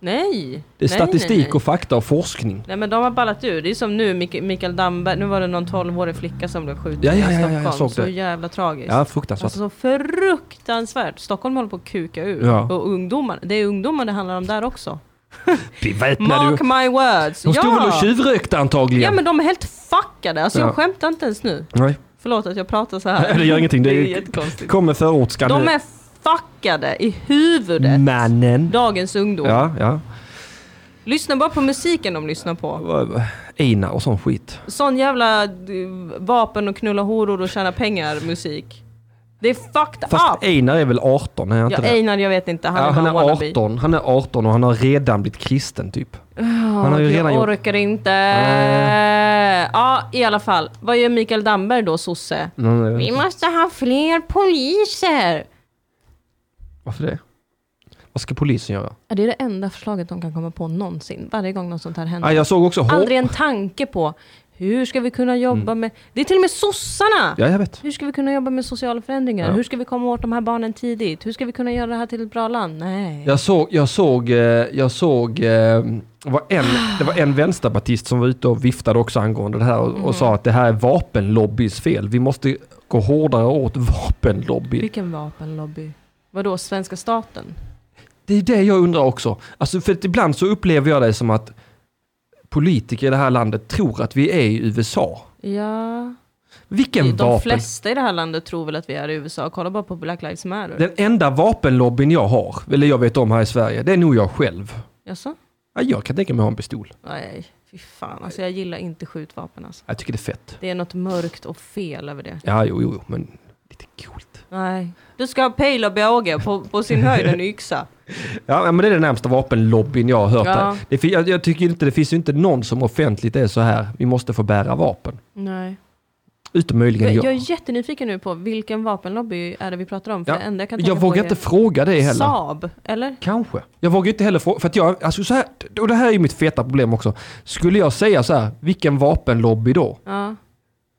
Speaker 2: Nej.
Speaker 1: Det är
Speaker 2: nej,
Speaker 1: statistik
Speaker 2: nej, nej.
Speaker 1: och fakta och forskning.
Speaker 2: Nej men de har ballat ur. Det är som nu Mik- Mikael Damberg. Nu var det någon 12-årig flicka som blev skjuten
Speaker 1: Ja, ja,
Speaker 2: i
Speaker 1: ja, ja, jag
Speaker 2: Stockholm.
Speaker 1: såg
Speaker 2: så
Speaker 1: det.
Speaker 2: jävla tragiskt.
Speaker 1: Ja, fruktansvärt.
Speaker 2: Alltså så fruktansvärt. Stockholm håller på att kuka ur.
Speaker 1: Ja.
Speaker 2: Och ungdomar, det är ungdomar det handlar om där också.
Speaker 1: Beväpnade
Speaker 2: Mark
Speaker 1: du?
Speaker 2: my words.
Speaker 1: De stod väl och
Speaker 2: ja.
Speaker 1: tjuvrökte antagligen?
Speaker 2: ja men de är helt fuckade. Alltså
Speaker 1: Ja.
Speaker 2: jag skämtar inte ens nu.
Speaker 1: Nej,
Speaker 2: Förlåt att jag pratar så
Speaker 1: Nej, [LAUGHS]
Speaker 2: här.
Speaker 1: det gör ingenting. Det
Speaker 2: Det
Speaker 1: är-
Speaker 2: är jättekonstigt.
Speaker 1: kom med förortsskan
Speaker 2: De
Speaker 1: nu.
Speaker 2: är fuckade i huvudet.
Speaker 1: Mannen.
Speaker 2: Dagens ungdom.
Speaker 1: Ja, ja.
Speaker 2: Lyssna bara på musiken de lyssnar på.
Speaker 1: Eina och sån skit.
Speaker 2: Sån jävla d- vapen och knulla horor och tjäna pengar musik. Det är fucked
Speaker 1: Fast
Speaker 2: up.
Speaker 1: Einar är väl 18? Är han
Speaker 2: Ah! Ja,
Speaker 1: inte det?
Speaker 2: Einar jag vet inte, han
Speaker 1: ja,
Speaker 2: är
Speaker 1: han
Speaker 2: bara
Speaker 1: är
Speaker 2: wannabe.
Speaker 1: 18. Han är 18 och han har redan blivit kristen typ.
Speaker 2: Han
Speaker 1: har ju redan
Speaker 2: jag
Speaker 1: gjort-
Speaker 2: orkar inte.
Speaker 1: Nej.
Speaker 2: Ja, i alla fall. Vad gör Mikael Damberg då, sosse?
Speaker 1: Mm, jag vet
Speaker 2: Vi
Speaker 1: inte.
Speaker 2: måste ha fler poliser.
Speaker 1: Varför det? Vad ska polisen göra?
Speaker 2: Ja, det är det enda förslaget de kan komma på någonsin. Varje gång något sånt här händer.
Speaker 1: Ah, jag såg också... hår-
Speaker 2: Aldrig en tanke på hur ska vi kunna jobba
Speaker 1: Mm.
Speaker 2: med... Det är till och med sossarna!
Speaker 1: Ja, jag vet.
Speaker 2: Hur ska vi kunna jobba med sociala förändringar?
Speaker 1: Ja.
Speaker 2: Hur ska vi komma åt de här barnen tidigt? Hur ska vi kunna göra det här till ett bra land? Nej.
Speaker 1: Jag såg, jag såg, eh, jag såg, eh, det var en, det var
Speaker 2: Ah.
Speaker 1: en vänsterpartist som var ute och viftade också angående det här och, och
Speaker 2: Mm.
Speaker 1: sa att det här är vapenlobbyns fel. Vi måste gå hårdare åt vapenlobby.
Speaker 2: Vilken vapenlobby? Vadå, svenska staten?
Speaker 1: Det är det jag undrar också. Alltså för att ibland så upplever jag det som att politiker i det här landet tror att vi är i USA.
Speaker 2: Ja...
Speaker 1: Vilken
Speaker 2: de
Speaker 1: vapen?
Speaker 2: flesta i det här landet tror väl att vi är i USA. Kolla bara på Black Lives Matter.
Speaker 1: Den enda vapenlobbyn jag har, eller jag vet om här i Sverige, det är nog jag själv.
Speaker 2: Jaså?
Speaker 1: Ja, Jag kan tänka mig att ha en pistol.
Speaker 2: Nej, fy fan. Alltså jag gillar inte skjutvapen alltså.
Speaker 1: Jag tycker det är fett.
Speaker 2: Det är något mörkt och fel över det.
Speaker 1: Ja, jo, jo, jo, men lite coolt.
Speaker 2: Nej. Du ska ha pil och båge, på, på sin höjd en yxa.
Speaker 1: Ja, men det är den närmsta vapenlobbyn jag har hört.
Speaker 2: Ja.
Speaker 1: här. Det, fin- jag, jag tycker inte, det finns ju inte någon som offentligt är så här, vi måste få bära vapen.
Speaker 2: Nej.
Speaker 1: Utom möjligen jag.
Speaker 2: Jag, jag
Speaker 1: Jag,
Speaker 2: är jättenyfiken nu på vilken vapenlobby är det vi pratar om? För
Speaker 1: Ja,
Speaker 2: det enda jag kan tänka på
Speaker 1: vågar
Speaker 2: är
Speaker 1: inte fråga det heller.
Speaker 2: Saab, eller?
Speaker 1: Kanske. Jag vågar inte heller fråga, för att jag, alltså så här, och det här är ju mitt feta problem också. Skulle jag säga så här, vilken vapenlobby då?
Speaker 2: Ja.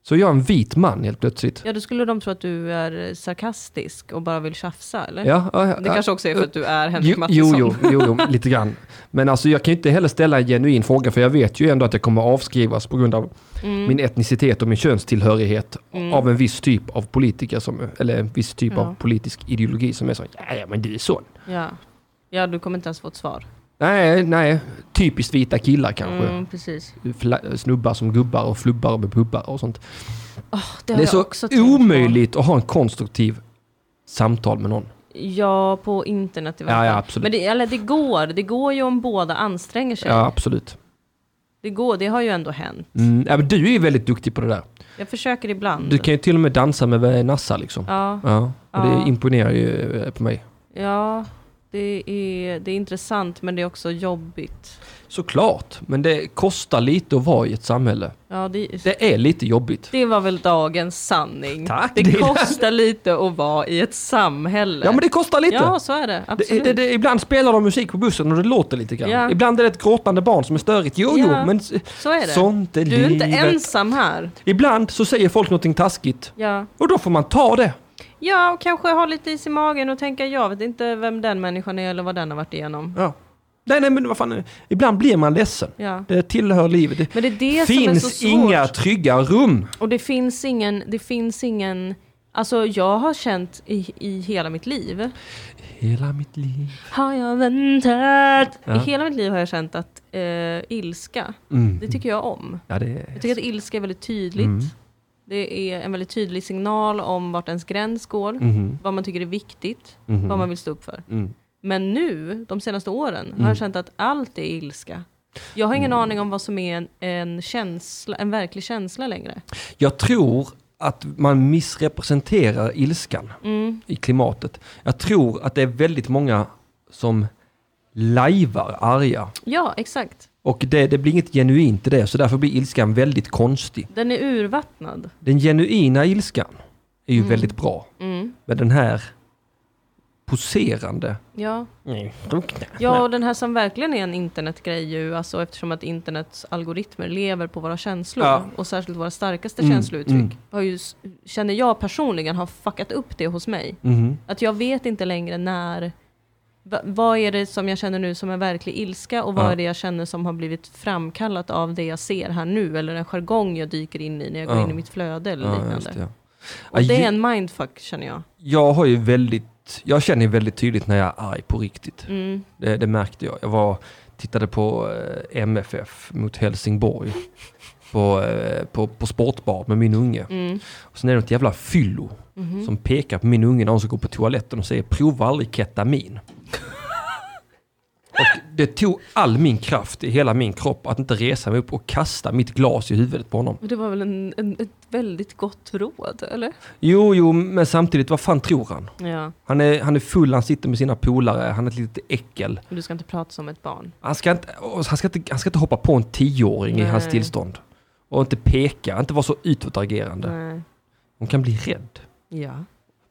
Speaker 1: Så är jag en vit man helt plötsligt.
Speaker 2: Ja, då skulle de tro att du är sarkastisk och bara vill tjafsa, eller?
Speaker 1: Ja, ja,
Speaker 4: Det
Speaker 1: ja.
Speaker 4: kanske också är för att du är Henrik
Speaker 1: Jo,
Speaker 4: Mattisson.
Speaker 1: jo, jo, jo, jo, lite grann. Men alltså jag kan ju inte heller ställa en genuin fråga för jag vet ju ändå att jag kommer avskrivas på grund av
Speaker 2: Mm.
Speaker 1: min etnicitet och min könstillhörighet av en viss typ av politiker som, eller en viss typ
Speaker 2: Ja.
Speaker 1: av politisk ideologi som är så, "Ja, ja men du är sån.
Speaker 2: Ja. ja, du kommer inte ens få ett svar.
Speaker 1: Nej, nej, typiskt vita killar kanske.
Speaker 2: Mm, precis.
Speaker 1: Fla- snubbar som gubbar och flubbar med pubbar och sånt.
Speaker 2: Det, har
Speaker 1: det är
Speaker 2: jag
Speaker 1: så
Speaker 2: också tänkt på.
Speaker 1: omöjligt att ha en konstruktiv samtal med någon.
Speaker 2: Ja, på internet i varje
Speaker 1: Ja,
Speaker 2: fall.
Speaker 1: ja, absolut.
Speaker 2: Men det, eller det går, det går ju om båda anstränger sig.
Speaker 1: Ja, absolut.
Speaker 2: Det går, det har ju ändå hänt.
Speaker 1: Mm, ja, men du är ju väldigt duktig på det där.
Speaker 2: Jag försöker ibland.
Speaker 1: Du kan ju till och med dansa med Nassa liksom.
Speaker 2: Mm. Ja,
Speaker 1: Ja, och det
Speaker 2: Ja.
Speaker 1: imponerar ju eh, på mig.
Speaker 2: ja det, är, det är intressant men det är också jobbigt.
Speaker 1: Såklart, men det kostar lite att vara i ett samhälle.
Speaker 2: Ja, det,
Speaker 1: Det är lite jobbigt.
Speaker 2: det var väl dagens sanning.
Speaker 1: Tack, det
Speaker 2: det
Speaker 1: är-
Speaker 2: kostar lite att vara i ett samhälle.
Speaker 1: Ja, men det kostar lite.
Speaker 2: Ja, så är det.
Speaker 1: det,
Speaker 2: Absolut.
Speaker 1: det, det, ibland spelar de musik på bussen och det låter lite grann.
Speaker 2: Ja.
Speaker 1: Ibland är det ett gråtande barn som är störigt. Jo,
Speaker 2: Ja,
Speaker 1: jo, men s-
Speaker 2: så är det.
Speaker 1: sånt är
Speaker 2: du är inte
Speaker 1: livet.
Speaker 2: ensam här.
Speaker 1: Ibland så säger folk någonting taskigt
Speaker 2: Ja.
Speaker 1: och då får man ta det.
Speaker 2: ja, och kanske ha lite is i magen och tänka jag vet inte vem den människan är eller vad den har varit igenom.
Speaker 1: Ja. Nej, nej, men vad fan. Ibland blir man ledsen.
Speaker 2: Ja.
Speaker 1: Det tillhör livet. Det,
Speaker 2: Men det är det som är så
Speaker 1: finns
Speaker 2: svårt.
Speaker 1: inga trygga rum.
Speaker 2: Och det finns ingen, det finns ingen, alltså jag har känt i, i hela mitt liv,
Speaker 1: Hela mitt liv.
Speaker 2: har jag väntat.
Speaker 1: Ja.
Speaker 2: I hela mitt liv har jag känt att eh, ilska,
Speaker 1: Mm.
Speaker 2: det tycker jag om.
Speaker 1: Ja, det
Speaker 2: Jag
Speaker 1: är...
Speaker 2: tycker att ilska är väldigt tydligt.
Speaker 1: Mm.
Speaker 2: Det är en väldigt tydlig signal om vart ens gräns går,
Speaker 1: Mhm,
Speaker 2: vad man tycker är viktigt,
Speaker 1: mhm,
Speaker 2: vad man vill stå upp för.
Speaker 1: mm.
Speaker 2: Men nu, de senaste åren, har jag känt att allt är ilska. Jag har
Speaker 1: Mm.
Speaker 2: ingen aning om vad som är en, en, känsla, en verklig känsla längre.
Speaker 1: Jag tror att man missrepresenterar ilskan
Speaker 2: Mm.
Speaker 1: i klimatet. Jag tror att det är väldigt många som lajvar arga.
Speaker 2: Ja, exakt.
Speaker 1: Och det, det blir inget genuint i det, så därför blir ilskan väldigt konstig.
Speaker 2: Den är urvattnad.
Speaker 1: Den genuina ilskan är ju väldigt bra.
Speaker 2: Mm.
Speaker 1: Men den här poserande...
Speaker 2: Ja. ja, och den här som verkligen är en internetgrej ju, alltså eftersom att internets algoritmer lever på våra känslor
Speaker 1: Ja.
Speaker 2: och särskilt våra starkaste
Speaker 1: Mm,
Speaker 2: känslouttryck,
Speaker 1: mm.
Speaker 2: Har ju, s- känner jag personligen har fuckat upp det hos mig.
Speaker 1: Mhm.
Speaker 2: Att jag vet inte längre när, va, vad är det som jag känner nu som är verklig ilska och vad
Speaker 1: Ja.
Speaker 2: är det jag känner som har blivit framkallat av det jag ser här nu eller en jargong jag dyker in i när jag går
Speaker 1: Ja.
Speaker 2: in i mitt flöde eller
Speaker 1: Ja, just
Speaker 2: liknande.
Speaker 1: det.
Speaker 2: Och
Speaker 1: Ja,
Speaker 2: det
Speaker 1: ju-
Speaker 2: är en mindfuck känner jag.
Speaker 1: Jag har ju väldigt... Jag känner ju väldigt tydligt när jag är arg på riktigt.
Speaker 2: Mm.
Speaker 1: Det, det märkte jag. Jag var, tittade på eh, MFF mot Helsingborg på, eh, på, på sportbar med min unge.
Speaker 2: Mm.
Speaker 1: Och sen är det något jävla fyllo
Speaker 2: Mhm.
Speaker 1: som pekar på min unge när hon ska gå på toaletten och säger prova aldrig ketamin. och det tog all min kraft i hela min kropp att inte resa mig upp och kasta mitt glas i huvudet på honom.
Speaker 2: Men Det var väl en, en, ett väldigt gott råd, eller?
Speaker 1: Jo, jo, men samtidigt, vad fan tror han?
Speaker 2: Ja,
Speaker 1: Han är, han är full, han sitter med sina polare, han är ett litet äckel.
Speaker 2: men du ska inte prata som ett barn.
Speaker 1: Han ska inte, och han ska inte, han ska inte hoppa på en tioåring i
Speaker 2: Nej.
Speaker 1: hans tillstånd. Och inte peka, inte vara så utåtagerande.
Speaker 2: Nej.
Speaker 1: Hon kan bli rädd.
Speaker 2: Ja.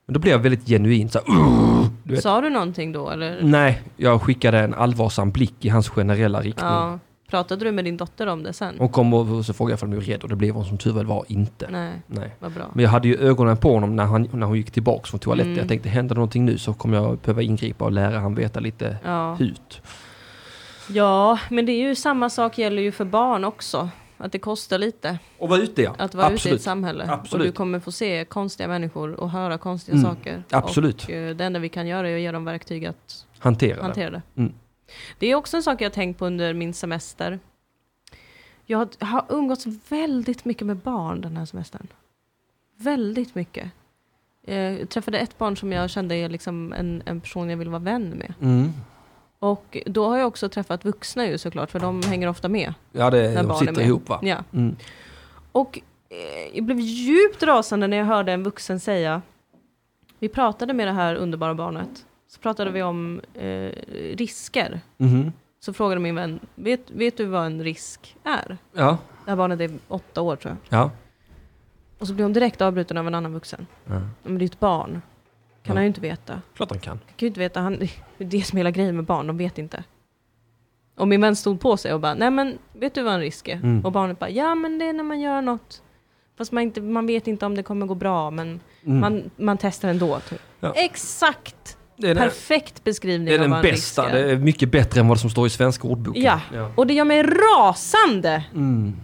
Speaker 1: Men då blir jag väldigt genuin så här, "Ugh!" du vet. Mm.
Speaker 2: Sa du någonting då, eller?
Speaker 1: Nej, jag skickade en allvarsam blick i hans generella riktning.
Speaker 2: Ja. Pratade du med din dotter om det sen?
Speaker 1: Hon kom och och så frågade jag om hon blev rädd och det blev hon som tur väl var inte.
Speaker 2: Nej,
Speaker 1: Nej.
Speaker 2: vad bra.
Speaker 1: Men jag hade ju ögonen på honom när, han, när hon gick tillbaks från toaletten.
Speaker 2: Mm.
Speaker 1: Jag tänkte, händer det någonting nu så kommer jag behöva ingripa och lära han veta lite
Speaker 2: Ja.
Speaker 1: hut.
Speaker 2: ja, men det är ju samma sak gäller ju för barn också. Att det kostar lite
Speaker 1: Och vara ute ja.
Speaker 2: att vara ute i ett
Speaker 1: Absolut.
Speaker 2: samhälle.
Speaker 1: Absolut.
Speaker 2: Och du kommer få se konstiga människor och höra konstiga
Speaker 1: Mm.
Speaker 2: saker.
Speaker 1: Absolut.
Speaker 2: Och eh, det enda vi kan göra är att ge dem verktyg att
Speaker 1: Hantera, det.
Speaker 2: hantera det.
Speaker 1: Mm.
Speaker 2: Det är också en sak jag har tänkt på under min semester. Jag har- har umgåtts väldigt mycket med barn den här semestern. Väldigt mycket. Eh, Jag träffade ett barn som jag kände är liksom en, en person jag vill vara vän med.
Speaker 1: Mm.
Speaker 2: Och då har jag också träffat vuxna ju såklart, för de hänger ofta med.
Speaker 1: Ja, det,
Speaker 2: När
Speaker 1: de
Speaker 2: barn är
Speaker 1: sitter
Speaker 2: med.
Speaker 1: ihop va?
Speaker 2: Ja.
Speaker 1: Mm.
Speaker 2: Och eh, jag blev djupt rasande när jag hörde en vuxen säga, vi pratade med det här underbara barnet, så pratade vi om eh, risker.
Speaker 1: Mhm.
Speaker 2: Så frågade min vän, vet, vet du vad en risk är?
Speaker 1: Ja,
Speaker 2: Det här barnet är åtta år tror jag.
Speaker 1: ja.
Speaker 2: Och så blir hon direkt avbruten av en annan vuxen.
Speaker 1: ja.
Speaker 2: Men det är ju ett barn.
Speaker 1: Ja.
Speaker 2: Kan han ju inte veta.
Speaker 1: Klart han kan.
Speaker 2: Han kan ju inte veta. Han, [LAUGHS] det är det som är hela grejen med barn, de vet inte. Och min vän stod på sig och bara, nej men vet du vad en risk är?
Speaker 1: Mm.
Speaker 2: Och barnet bara, ja men det är när man gör något Fast man, inte, man vet inte om det kommer gå bra, men man, man testar ändå. Typ.
Speaker 1: Mm. Ja.
Speaker 2: Exakt!
Speaker 1: Det är den,
Speaker 2: Perfekt beskrivning
Speaker 1: det är
Speaker 2: av
Speaker 1: den
Speaker 2: vad en
Speaker 1: bästa.
Speaker 2: risk
Speaker 1: Det
Speaker 2: är.
Speaker 1: är mycket bättre än vad som står i svenska ordboken.
Speaker 2: Ja. och det gör mig rasande!
Speaker 1: Mm.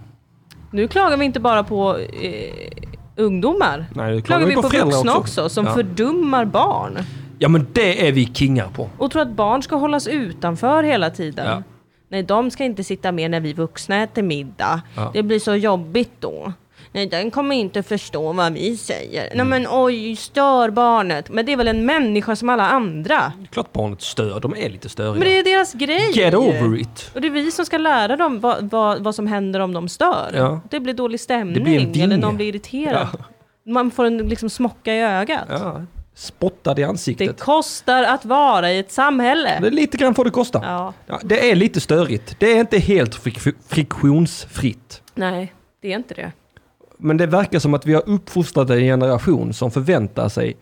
Speaker 2: Nu klagar vi inte bara på eh, ungdomar.
Speaker 1: Nej, det
Speaker 2: klagar vi på,
Speaker 1: föräldrar
Speaker 2: vuxna också, som
Speaker 1: ja.
Speaker 2: fördummar barn.
Speaker 1: ja, men det är vi kingar på.
Speaker 2: Och tror att barn ska hållas utanför hela tiden.
Speaker 1: Ja.
Speaker 2: Nej, de ska inte sitta med när vi vuxna äter middag.
Speaker 1: Ja.
Speaker 2: Det blir så jobbigt då. Nej, den kommer inte förstå vad vi säger. Nej men oj, stör barnet. Men det är väl en människa som alla andra?
Speaker 1: Klart barnet stör, de är lite störiga.
Speaker 2: Men det är ju deras grej.
Speaker 1: Get over it.
Speaker 2: Och det är vi som ska lära dem vad, vad, vad som händer om de stör.
Speaker 1: Ja.
Speaker 2: Det blir dålig stämning
Speaker 1: Det blir en dinge.
Speaker 2: eller någon blir irriterad. Man får en liksom smocka i ögat.
Speaker 1: Ja. Spottad i
Speaker 2: Det
Speaker 1: ansiktet.
Speaker 2: kostar att vara i ett samhälle.
Speaker 1: Det är lite grann vad det kostar.
Speaker 2: Ja,
Speaker 1: Ja, det är lite störigt. Det är inte helt frik- friktionsfritt.
Speaker 2: nej, det är inte det.
Speaker 1: Men det verkar som att vi har uppfostrat en generation som förväntar sig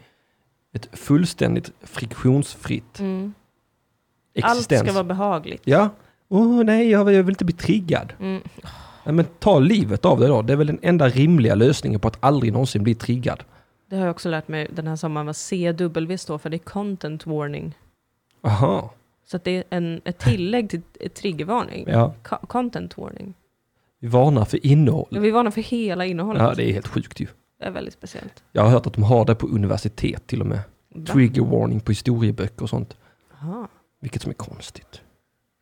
Speaker 1: ett fullständigt friktionsfritt
Speaker 2: Mm.
Speaker 1: existens.
Speaker 2: Allt ska vara behagligt.
Speaker 1: Ja. Åh nej, jag vill jag vill inte bli triggad.
Speaker 2: Mm.
Speaker 1: Ja, men ta livet av det då. Det är väl den enda rimliga lösningen på att aldrig någonsin bli triggad.
Speaker 2: Det har jag också lärt mig den här sommaren vad CW står för. Det är content warning.
Speaker 1: Aha.
Speaker 2: Så att det är en, ett tillägg till ett triggervarning.
Speaker 1: Ja.
Speaker 2: Co- Content warning.
Speaker 1: Vi varnar för
Speaker 2: Ja,
Speaker 1: innehåll.
Speaker 2: Vi varnar för hela innehållet.
Speaker 1: Ja, det är helt sjukt ju.
Speaker 2: det är väldigt speciellt.
Speaker 1: Jag har hört att de har det på universitet till och med.
Speaker 2: Va?
Speaker 1: Trigger warning på historieböcker och sånt.
Speaker 2: Jaha.
Speaker 1: Vilket som är konstigt.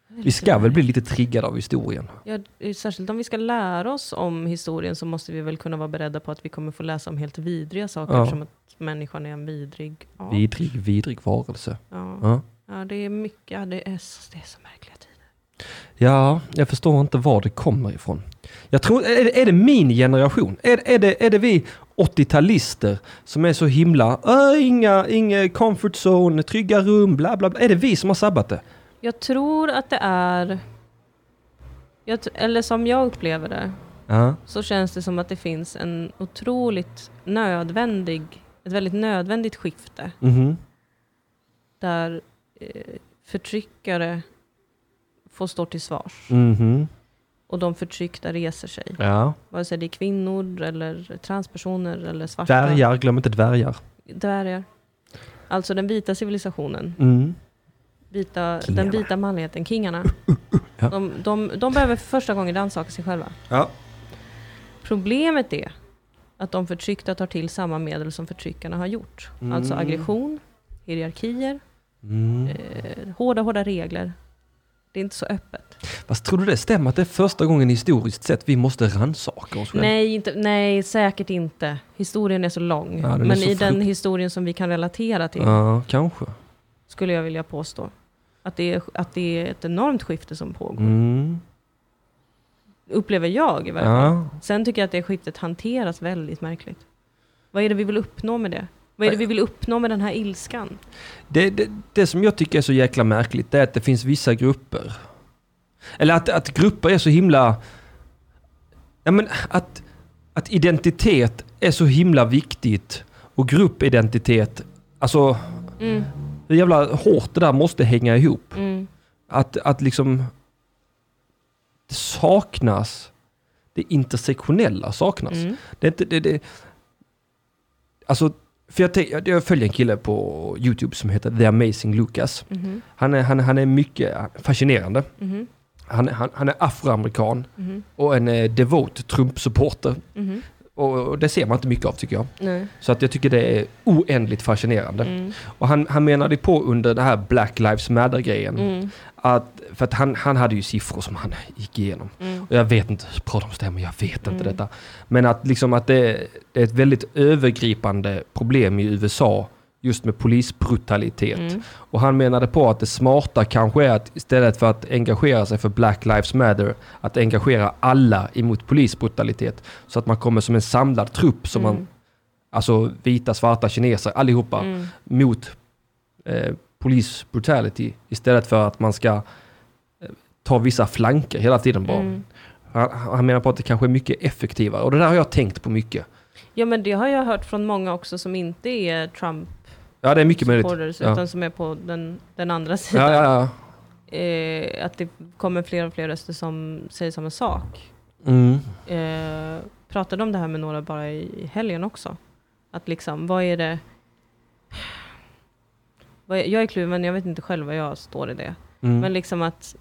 Speaker 1: Vi ska väl bli lite triggade av historien.
Speaker 2: Ja, eh, särskilt om vi ska lära oss om historien så måste vi väl kunna vara beredda på att vi kommer få läsa om helt vidriga saker
Speaker 1: Ja.
Speaker 2: eftersom att människan är en vidrig... Ja,
Speaker 1: Vidrig, vidrig varelse.
Speaker 2: ja.
Speaker 1: Ja.
Speaker 2: ja det är mycket, ja, det, är, så- det är så märkliga tider.
Speaker 1: ja, jag förstår inte var det kommer ifrån. Jag tror, är det, är det min generation? Är, är, det, är det vi 80-talister som är så himla, "Äh, inga, inga comfort zone, trygga rum, bla bla bla. Är det vi som har sabbat det?
Speaker 2: Jag tror att det är... Jag, tr- eller som jag upplever det,
Speaker 1: Ja,
Speaker 2: så känns det som att det finns en otroligt nödvändig, ett väldigt nödvändigt skifte
Speaker 1: mhm.
Speaker 2: där eh, förtryckare får stå till svars
Speaker 1: Mhm.
Speaker 2: och de förtryckta reser sig.
Speaker 1: Ja.
Speaker 2: Vare sig det är kvinnor eller transpersoner eller svarta.
Speaker 1: Dvärgar, glöm inte dvärgar.
Speaker 2: Dvärgar. Alltså den vita civilisationen,
Speaker 1: Mm.
Speaker 2: vita,
Speaker 1: Kingarna. Uh,
Speaker 2: den vita manligheten, kingarna.
Speaker 1: Ja.
Speaker 2: De, de, de behöver för första gången rannsaka sig själva.
Speaker 1: Ja.
Speaker 2: Problemet är att de förtryckta tar till samma medel som förtryckarna har gjort.
Speaker 1: Mm.
Speaker 2: Alltså aggression, hierarkier,
Speaker 1: Mm.
Speaker 2: eh, hårda, hårda regler. Det är inte så öppet.
Speaker 1: Fast tror du det stämmer att det är första gången historiskt sett vi måste rannsaka oss själva?
Speaker 2: Nej, inte, nej, säkert inte. Historien är så lång.
Speaker 1: Ja, den är
Speaker 2: men
Speaker 1: så
Speaker 2: i den
Speaker 1: frukt-
Speaker 2: historien som vi kan relatera till
Speaker 1: Ja, kanske.
Speaker 2: skulle jag vilja påstå. Att det, är, att det är ett enormt skifte som pågår.
Speaker 1: Mm.
Speaker 2: Upplever jag i varje fall.
Speaker 1: Ja.
Speaker 2: Sen tycker jag att det skiftet hanteras väldigt märkligt. Vad är det vi vill uppnå med det? Vad är det vi vill uppnå med den här ilskan?
Speaker 1: Det, det, det som jag tycker är så jäkla märkligt det är att det finns vissa grupper. Eller att, att grupper är så himla... Ja, men att, att identitet är så himla viktigt och gruppidentitet, alltså
Speaker 2: Mm,
Speaker 1: hur jävla hårt det där måste hänga ihop.
Speaker 2: mm,
Speaker 1: Att, att liksom... Det saknas, det intersektionella saknas.
Speaker 2: mm.
Speaker 1: Det är inte, det, det, alltså, för jag, tänk- jag, jag följer en kille på YouTube som heter The Amazing Lucas.
Speaker 2: Mhm,
Speaker 1: Han är, han, han är mycket fascinerande.
Speaker 2: mhm,
Speaker 1: Han, är- han, han är afroamerikan
Speaker 2: mhm,
Speaker 1: och en eh, devout Trump-supporter.
Speaker 2: mhm.
Speaker 1: Och, och det ser man inte mycket av tycker jag.
Speaker 2: Nej.
Speaker 1: Så att jag tycker det är oändligt fascinerande.
Speaker 2: Mm,
Speaker 1: Och han, han menade på under det här Black Lives Matter-grejen.
Speaker 2: mm,
Speaker 1: Att, för att han, han hade ju siffror som han gick igenom.
Speaker 2: mm,
Speaker 1: Och jag vet inte hur bra de stämmer, jag vet inte
Speaker 2: Mm.
Speaker 1: detta. Men att, liksom att det, det är ett väldigt övergripande problem i USA just med polisbrutalitet.
Speaker 2: mm,
Speaker 1: Och han menade på att det smarta kanske är att istället för att engagera sig för Black Lives Matter, att engagera alla emot polisbrutalitet. Så att man kommer som en samlad trupp, som man,
Speaker 2: Mm.
Speaker 1: alltså vita, svarta, kineser, allihopa,
Speaker 2: mm.
Speaker 1: mot eh, polisbrutality. Istället för att man ska eh, ta vissa flanker hela tiden bara.
Speaker 2: Mm.
Speaker 1: Han, han menar på att det kanske är mycket effektivare. Och det där har jag tänkt på mycket.
Speaker 2: Ja men det har jag hört från många också som inte är Trump-supporters
Speaker 1: Ja, det är mycket möjligt. Ja.
Speaker 2: utan som är på den, den andra sidan.
Speaker 1: Ja, ja, ja.
Speaker 2: Eh, att det kommer fler och fler röster som säger samma sak.
Speaker 1: Mm.
Speaker 2: Eh, pratade om det här med några bara i i helgen också. Att liksom, vad är det... Vad är, jag är kluven, jag vet inte själv vad jag står i det.
Speaker 1: mm.
Speaker 2: Men liksom att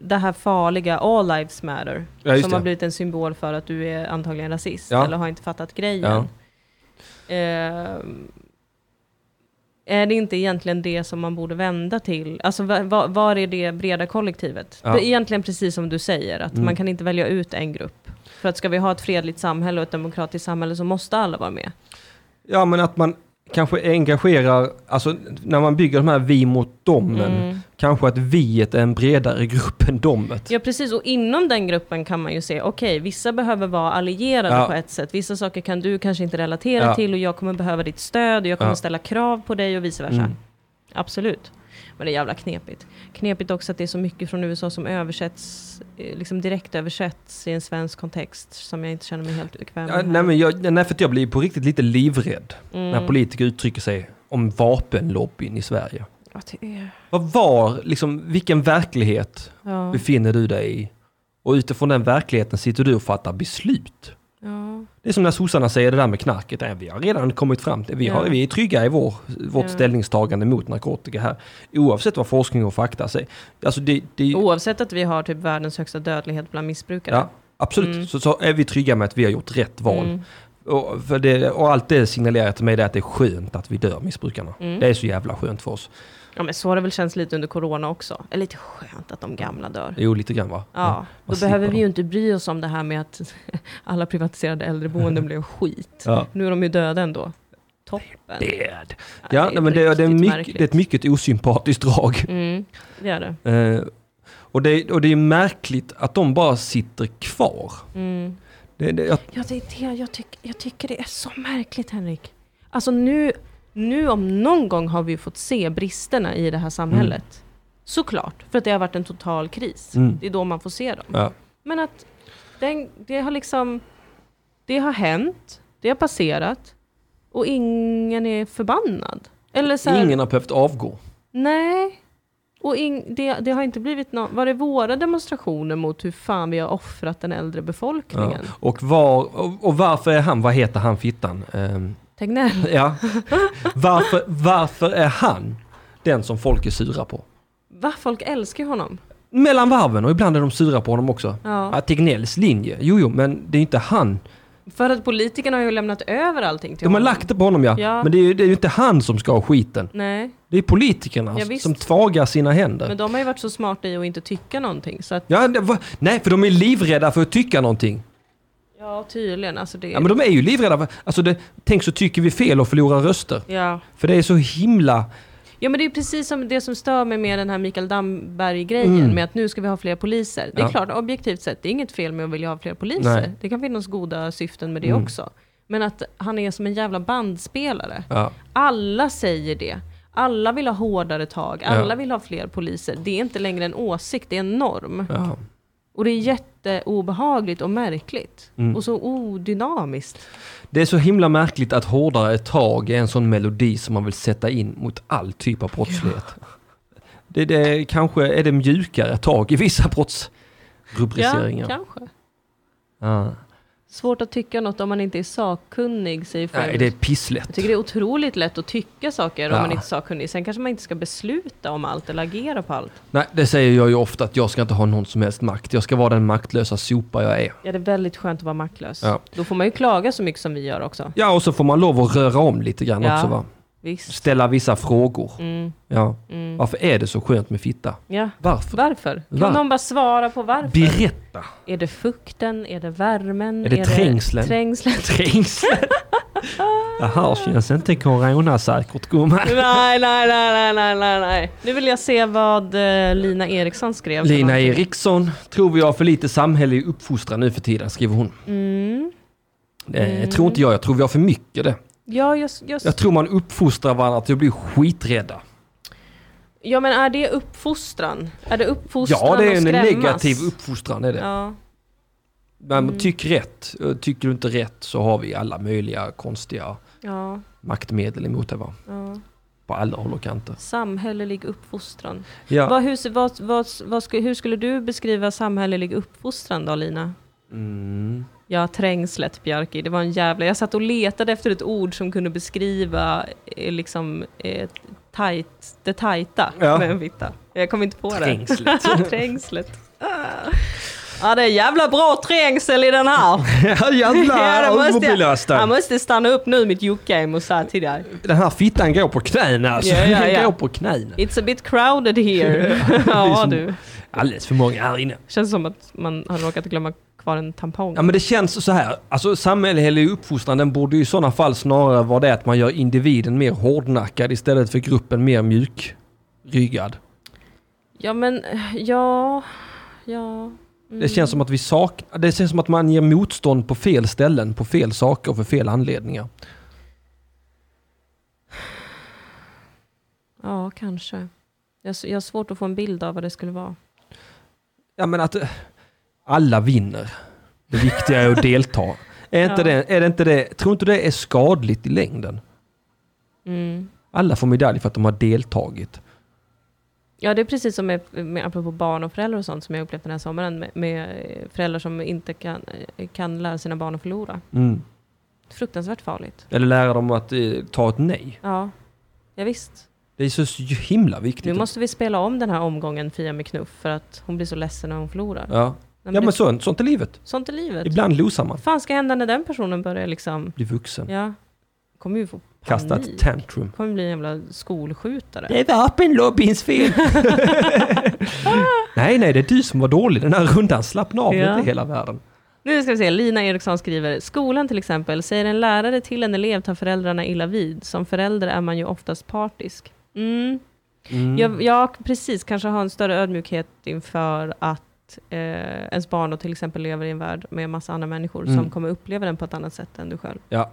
Speaker 2: det här farliga All Lives Matter,
Speaker 1: Ja, just
Speaker 2: som
Speaker 1: det.
Speaker 2: har blivit en symbol för att du är antagligen rasist
Speaker 1: Ja.
Speaker 2: eller har inte fattat grejen. Eh, är det inte egentligen det som man borde vända till? Alltså va- va- var är det breda kollektivet?
Speaker 1: Ja.
Speaker 2: Det är egentligen precis som du säger, att
Speaker 1: Mm.
Speaker 2: man kan inte välja ut en grupp. För att ska vi ha ett fredligt samhälle och ett demokratiskt samhälle så måste alla vara med.
Speaker 1: Ja, men att man kanske engagerar, alltså när man bygger de här vi mot domen,
Speaker 2: Mm.
Speaker 1: kanske att viet är en bredare grupp än domet.
Speaker 2: Ja precis, och inom den gruppen kan man ju se, okej, vissa behöver vara allierade
Speaker 1: Ja.
Speaker 2: på ett sätt, vissa saker kan du kanske inte relatera
Speaker 1: Ja.
Speaker 2: till och jag kommer behöva ditt stöd och jag kommer
Speaker 1: Ja.
Speaker 2: ställa krav på dig och vice versa.
Speaker 1: Mm.
Speaker 2: Absolut. Men det är jävla knepigt. Knepigt också att det är så mycket från USA som översätts, eh, liksom direkt översätts i en svensk kontext som jag inte känner mig helt bekväm
Speaker 1: Ja,
Speaker 2: med. Mm.
Speaker 1: nej, men jag, nej, för att jag blir på riktigt lite livrädd när politiker uttrycker sig om vapenlobbyn i Sverige.
Speaker 2: Ja, det är-
Speaker 1: Vad var, liksom, vilken verklighet
Speaker 2: ja,
Speaker 1: befinner du dig i? Och utifrån den verkligheten sitter du och fattar beslut.
Speaker 2: ja.
Speaker 1: Det är som när sossarna säger det där med knarket. Nej, vi har redan kommit fram till, vi, har,
Speaker 2: Ja.
Speaker 1: vi är trygga i vår, vårt
Speaker 2: Ja.
Speaker 1: ställningstagande mot narkotika här. Oavsett vad forskning och fakta säger. Alltså det, det,
Speaker 2: Oavsett att vi har typ världens högsta dödlighet bland missbrukare.
Speaker 1: ja, absolut,
Speaker 2: Mm.
Speaker 1: så, så är vi trygga med att vi har gjort rätt val.
Speaker 2: Mm.
Speaker 1: Och, för det, och allt det signalerar till mig det är att det är skönt att vi dör missbrukarna.
Speaker 2: Mm.
Speaker 1: Det är så jävla skönt för oss.
Speaker 2: Ja men så har det väl känts lite under corona också. Eller lite skönt att de gamla dör.
Speaker 1: Jo, lite grann va?
Speaker 2: Ja, då
Speaker 1: slipper
Speaker 2: behöver
Speaker 1: de.
Speaker 2: vi ju inte bry oss om det här med att [LAUGHS] alla privatiserade äldreboenden blev skit.
Speaker 1: Ja.
Speaker 2: Nu är de ju döda ändå. Toppen.
Speaker 1: Dead.
Speaker 2: Ja,
Speaker 1: Ja, nej, men det, det, är
Speaker 2: riktigt
Speaker 1: mycket,
Speaker 2: märkligt.
Speaker 1: det är ett mycket osympatiskt drag.
Speaker 2: Mm, det är det.
Speaker 1: Eh, och, det, och det är märkligt att de bara sitter kvar.
Speaker 2: Mm.
Speaker 1: Det, det, jag,
Speaker 2: Ja, det är det. Jag, tyck, jag tycker det är så märkligt, Henrik. Alltså nu, nu om någon gång har vi ju fått se bristerna i det här samhället. Såklart, för att det har varit en total kris.
Speaker 1: Mm.
Speaker 2: Det är då man får se dem.
Speaker 1: ja.
Speaker 2: Men att den, det har liksom... Det har hänt, det har passerat och ingen är förbannad. Eller så här,
Speaker 1: Ingen har behövt avgå.
Speaker 2: Nej. Och ing, det, det har inte blivit någon... Var det våra demonstrationer mot hur fan vi har offrat den äldre
Speaker 1: Ja.
Speaker 2: befolkningen?
Speaker 1: Och, var, och, och varför är han, vad heter han fittan? Ehm,
Speaker 2: Tegnell.
Speaker 1: ja. varför, varför är han den som folk är sura på?
Speaker 2: Va? Folk älskar ju honom.
Speaker 1: Mellan varven och ibland är de sura på honom också.
Speaker 2: Ja.
Speaker 1: Ja, Tegnells linje, jo jo men det är ju inte han.
Speaker 2: För att politikerna har ju lämnat över allting till
Speaker 1: De har
Speaker 2: honom.
Speaker 1: lagt det på honom ja,
Speaker 2: Ja.
Speaker 1: men det är, ju- det är ju inte han som ska ha skiten.
Speaker 2: Nej,
Speaker 1: Det är politikerna
Speaker 2: Ja,
Speaker 1: som-
Speaker 2: visst.
Speaker 1: som tvagar sina händer.
Speaker 2: men de har ju varit så smarta i att inte tycka någonting. Så att,
Speaker 1: Ja, det, va? Nej, för de är livrädda för att tycka någonting.
Speaker 2: ja, tydligen. Alltså det...
Speaker 1: Ja, men de är ju livrädda. För, alltså det, tänk så tycker vi fel och förlorar röster.
Speaker 2: ja.
Speaker 1: För det är så himla...
Speaker 2: Ja men det är precis som det som stör mig med den här Mikael Damberg-grejen
Speaker 1: Mm.
Speaker 2: med att nu ska vi ha fler poliser. Det är
Speaker 1: Ja.
Speaker 2: klart, objektivt sett, det är inget fel med att vilja ha fler poliser.
Speaker 1: Nej.
Speaker 2: Det kan finnas goda syften med det
Speaker 1: Mm.
Speaker 2: också. Men att han är som en jävla bandspelare.
Speaker 1: Ja.
Speaker 2: Alla säger det. Alla vill ha hårdare tag, alla
Speaker 1: Ja.
Speaker 2: vill ha fler poliser. Det är inte längre en åsikt, det är en norm.
Speaker 1: Ja.
Speaker 2: Och det är jätteobehagligt och märkligt.
Speaker 1: Mm.
Speaker 2: Och så odynamiskt.
Speaker 1: Det är så himla märkligt att hårdare tag är en sån melodi som man vill sätta in mot all typ av brottslighet. Det, det, kanske är det mjukare tag i vissa brottsrubriceringar. Ja,
Speaker 2: kanske. Svårt att tycka något om man inte är sakkunnig, säger
Speaker 1: Nej,
Speaker 2: Fredrik.
Speaker 1: det är pisslätt.
Speaker 2: Jag tycker det är otroligt lätt att tycka saker om
Speaker 1: Ja.
Speaker 2: man inte är sakkunnig. Sen kanske man inte ska besluta om allt eller agera på allt.
Speaker 1: Nej, det säger jag ju ofta att jag ska inte ha någon som helst makt. Jag ska vara den maktlösa sopa jag är.
Speaker 2: Ja, det är väldigt skönt att vara maktlös.
Speaker 1: Ja.
Speaker 2: Då får man ju klaga så mycket som vi gör också.
Speaker 1: Ja, och så får man lov att röra om lite grann
Speaker 2: Ja.
Speaker 1: också va?
Speaker 2: Visst.
Speaker 1: Ställa vissa frågor.
Speaker 2: Mm,
Speaker 1: Ja.
Speaker 2: mm.
Speaker 1: Varför är det så skönt med fitta?
Speaker 2: Ja.
Speaker 1: Varför?
Speaker 2: Varför? Kan
Speaker 1: Var-
Speaker 2: någon bara svara på varför?
Speaker 1: Berätta! [LAUGHS]
Speaker 2: Är det fukten? Är det värmen?
Speaker 1: Är det trängslen?
Speaker 2: trängslen? [LAUGHS]
Speaker 1: Trängsel! Det här känns inte coronasäkert gumman.
Speaker 2: nej, nej, nej, nej, nej, nej, nej. Nu vill jag se vad eh, Lina Eriksson skrev. Mm. för
Speaker 1: Lina
Speaker 2: någonting.
Speaker 1: Eriksson, tror vi har för lite samhällelig uppfostran nu för tiden, skriver hon.
Speaker 2: Mm.
Speaker 1: Eh,
Speaker 2: Mm.
Speaker 1: tror inte jag, jag tror vi har för mycket det.
Speaker 2: Ja, just, just.
Speaker 1: Jag tror man uppfostrar varandra till att bli skiträdda.
Speaker 2: ja, men är det uppfostran? Är det uppfostran
Speaker 1: Ja, det är
Speaker 2: att
Speaker 1: en
Speaker 2: skrämmas?
Speaker 1: negativ uppfostran är det.
Speaker 2: Ja. Mm.
Speaker 1: Men tyck rätt, Eh, tycker du inte rätt så har vi alla möjliga konstiga
Speaker 2: Ja,
Speaker 1: maktmedel emot det va?
Speaker 2: ja.
Speaker 1: På alla håll och kanter.
Speaker 2: Samhällelig uppfostran.
Speaker 1: Ja.
Speaker 2: Vad, hur, vad, vad, vad, sku- hur skulle du beskriva samhällelig uppfostran då Lina?
Speaker 1: Mm.
Speaker 2: Ja, trängslet Bjarki, det var en jävla... Jag satt och letade efter ett ord som kunde beskriva eh, liksom eh, tajt, det tajta
Speaker 1: Ja.
Speaker 2: med en fitta. Jag kom inte på [LAUGHS]
Speaker 1: Trängslet.
Speaker 2: det. Trängslet. Ah. Ja, det är jävla bra trängsel i den här.
Speaker 1: Ja,
Speaker 2: [LAUGHS] Ja,
Speaker 1: jävlar,
Speaker 2: det måste jag- Jag
Speaker 1: överbelastad.
Speaker 2: måste stanna upp nu i mitt juckgame och säga till dig.
Speaker 1: Den här fittan går på knäna alltså.
Speaker 2: Ja, ja, ja.
Speaker 1: Den går på knäna.
Speaker 2: It's a bit
Speaker 1: [LAUGHS]
Speaker 2: crowded here.
Speaker 1: är
Speaker 2: [LAUGHS] ja
Speaker 1: som-
Speaker 2: du.
Speaker 1: Alldeles för många här inne.
Speaker 2: Känns som att man har råkat glömma kvar en tampong.
Speaker 1: Ja men det känns så här, alltså samhällelig uppfostran den borde ju i sådana fall snarare vara det att man gör individen mer hårdnackad istället för gruppen mer mjukryggad.
Speaker 2: Ja men, ja, ja. mm,
Speaker 1: Det känns som att vi saknar, det känns som att man ger motstånd på fel ställen, på fel saker och för fel anledningar.
Speaker 2: Ja, kanske. Jag, s- jag har svårt att få en bild av vad det skulle vara.
Speaker 1: Ja men att eh, alla vinner. Det viktiga är att delta. Är inte,
Speaker 2: Ja.
Speaker 1: det, är det inte det, tror inte det är skadligt i längden?
Speaker 2: Mm.
Speaker 1: Alla får medalj för att de har deltagit.
Speaker 2: Ja, det är precis som med, med, apropå barn och föräldrar och sånt som jag upplevt den här sommaren med, med eh, föräldrar som inte kan, eh, kan lära sina barn att förlora.
Speaker 1: Mm.
Speaker 2: Fruktansvärt farligt.
Speaker 1: Eller lära dem att eh, ta ett nej.
Speaker 2: Ja, ja visst.
Speaker 1: Det är så himla viktigt.
Speaker 2: Nu måste vi spela om den här omgången Fia med knuff för att hon blir så ledsen när hon förlorar.
Speaker 1: Ja. Ja
Speaker 2: Nej, men
Speaker 1: men
Speaker 2: det,
Speaker 1: sånt, sånt är livet.
Speaker 2: sånt är livet.
Speaker 1: Ibland losar man.
Speaker 2: Vad fan ska hända när den personen börjar liksom,
Speaker 1: Blir vuxen.
Speaker 2: ja, kommer ju få panik.
Speaker 1: Kasta ett tantrum.
Speaker 2: kommer bli en jävla skolskjutare.
Speaker 1: är vapenlobbyns fel! [LAUGHS] nej, nej, det är du som var dålig den här rundan. Slappna av, det är
Speaker 2: Ja.
Speaker 1: inte hela världen.
Speaker 2: Nu ska vi se, Lina Eriksson skriver, skolan till exempel, säger en lärare till en elev tar föräldrarna illa vid. Som förälder är man ju oftast partisk. Mm.
Speaker 1: Mm.
Speaker 2: Jag, jag precis, kanske har en större ödmjukhet inför att eh, ens barn då till exempel lever i en värld med massa andra människor
Speaker 1: Mm.
Speaker 2: som kommer uppleva den på ett annat sätt än du själv.
Speaker 1: Ja.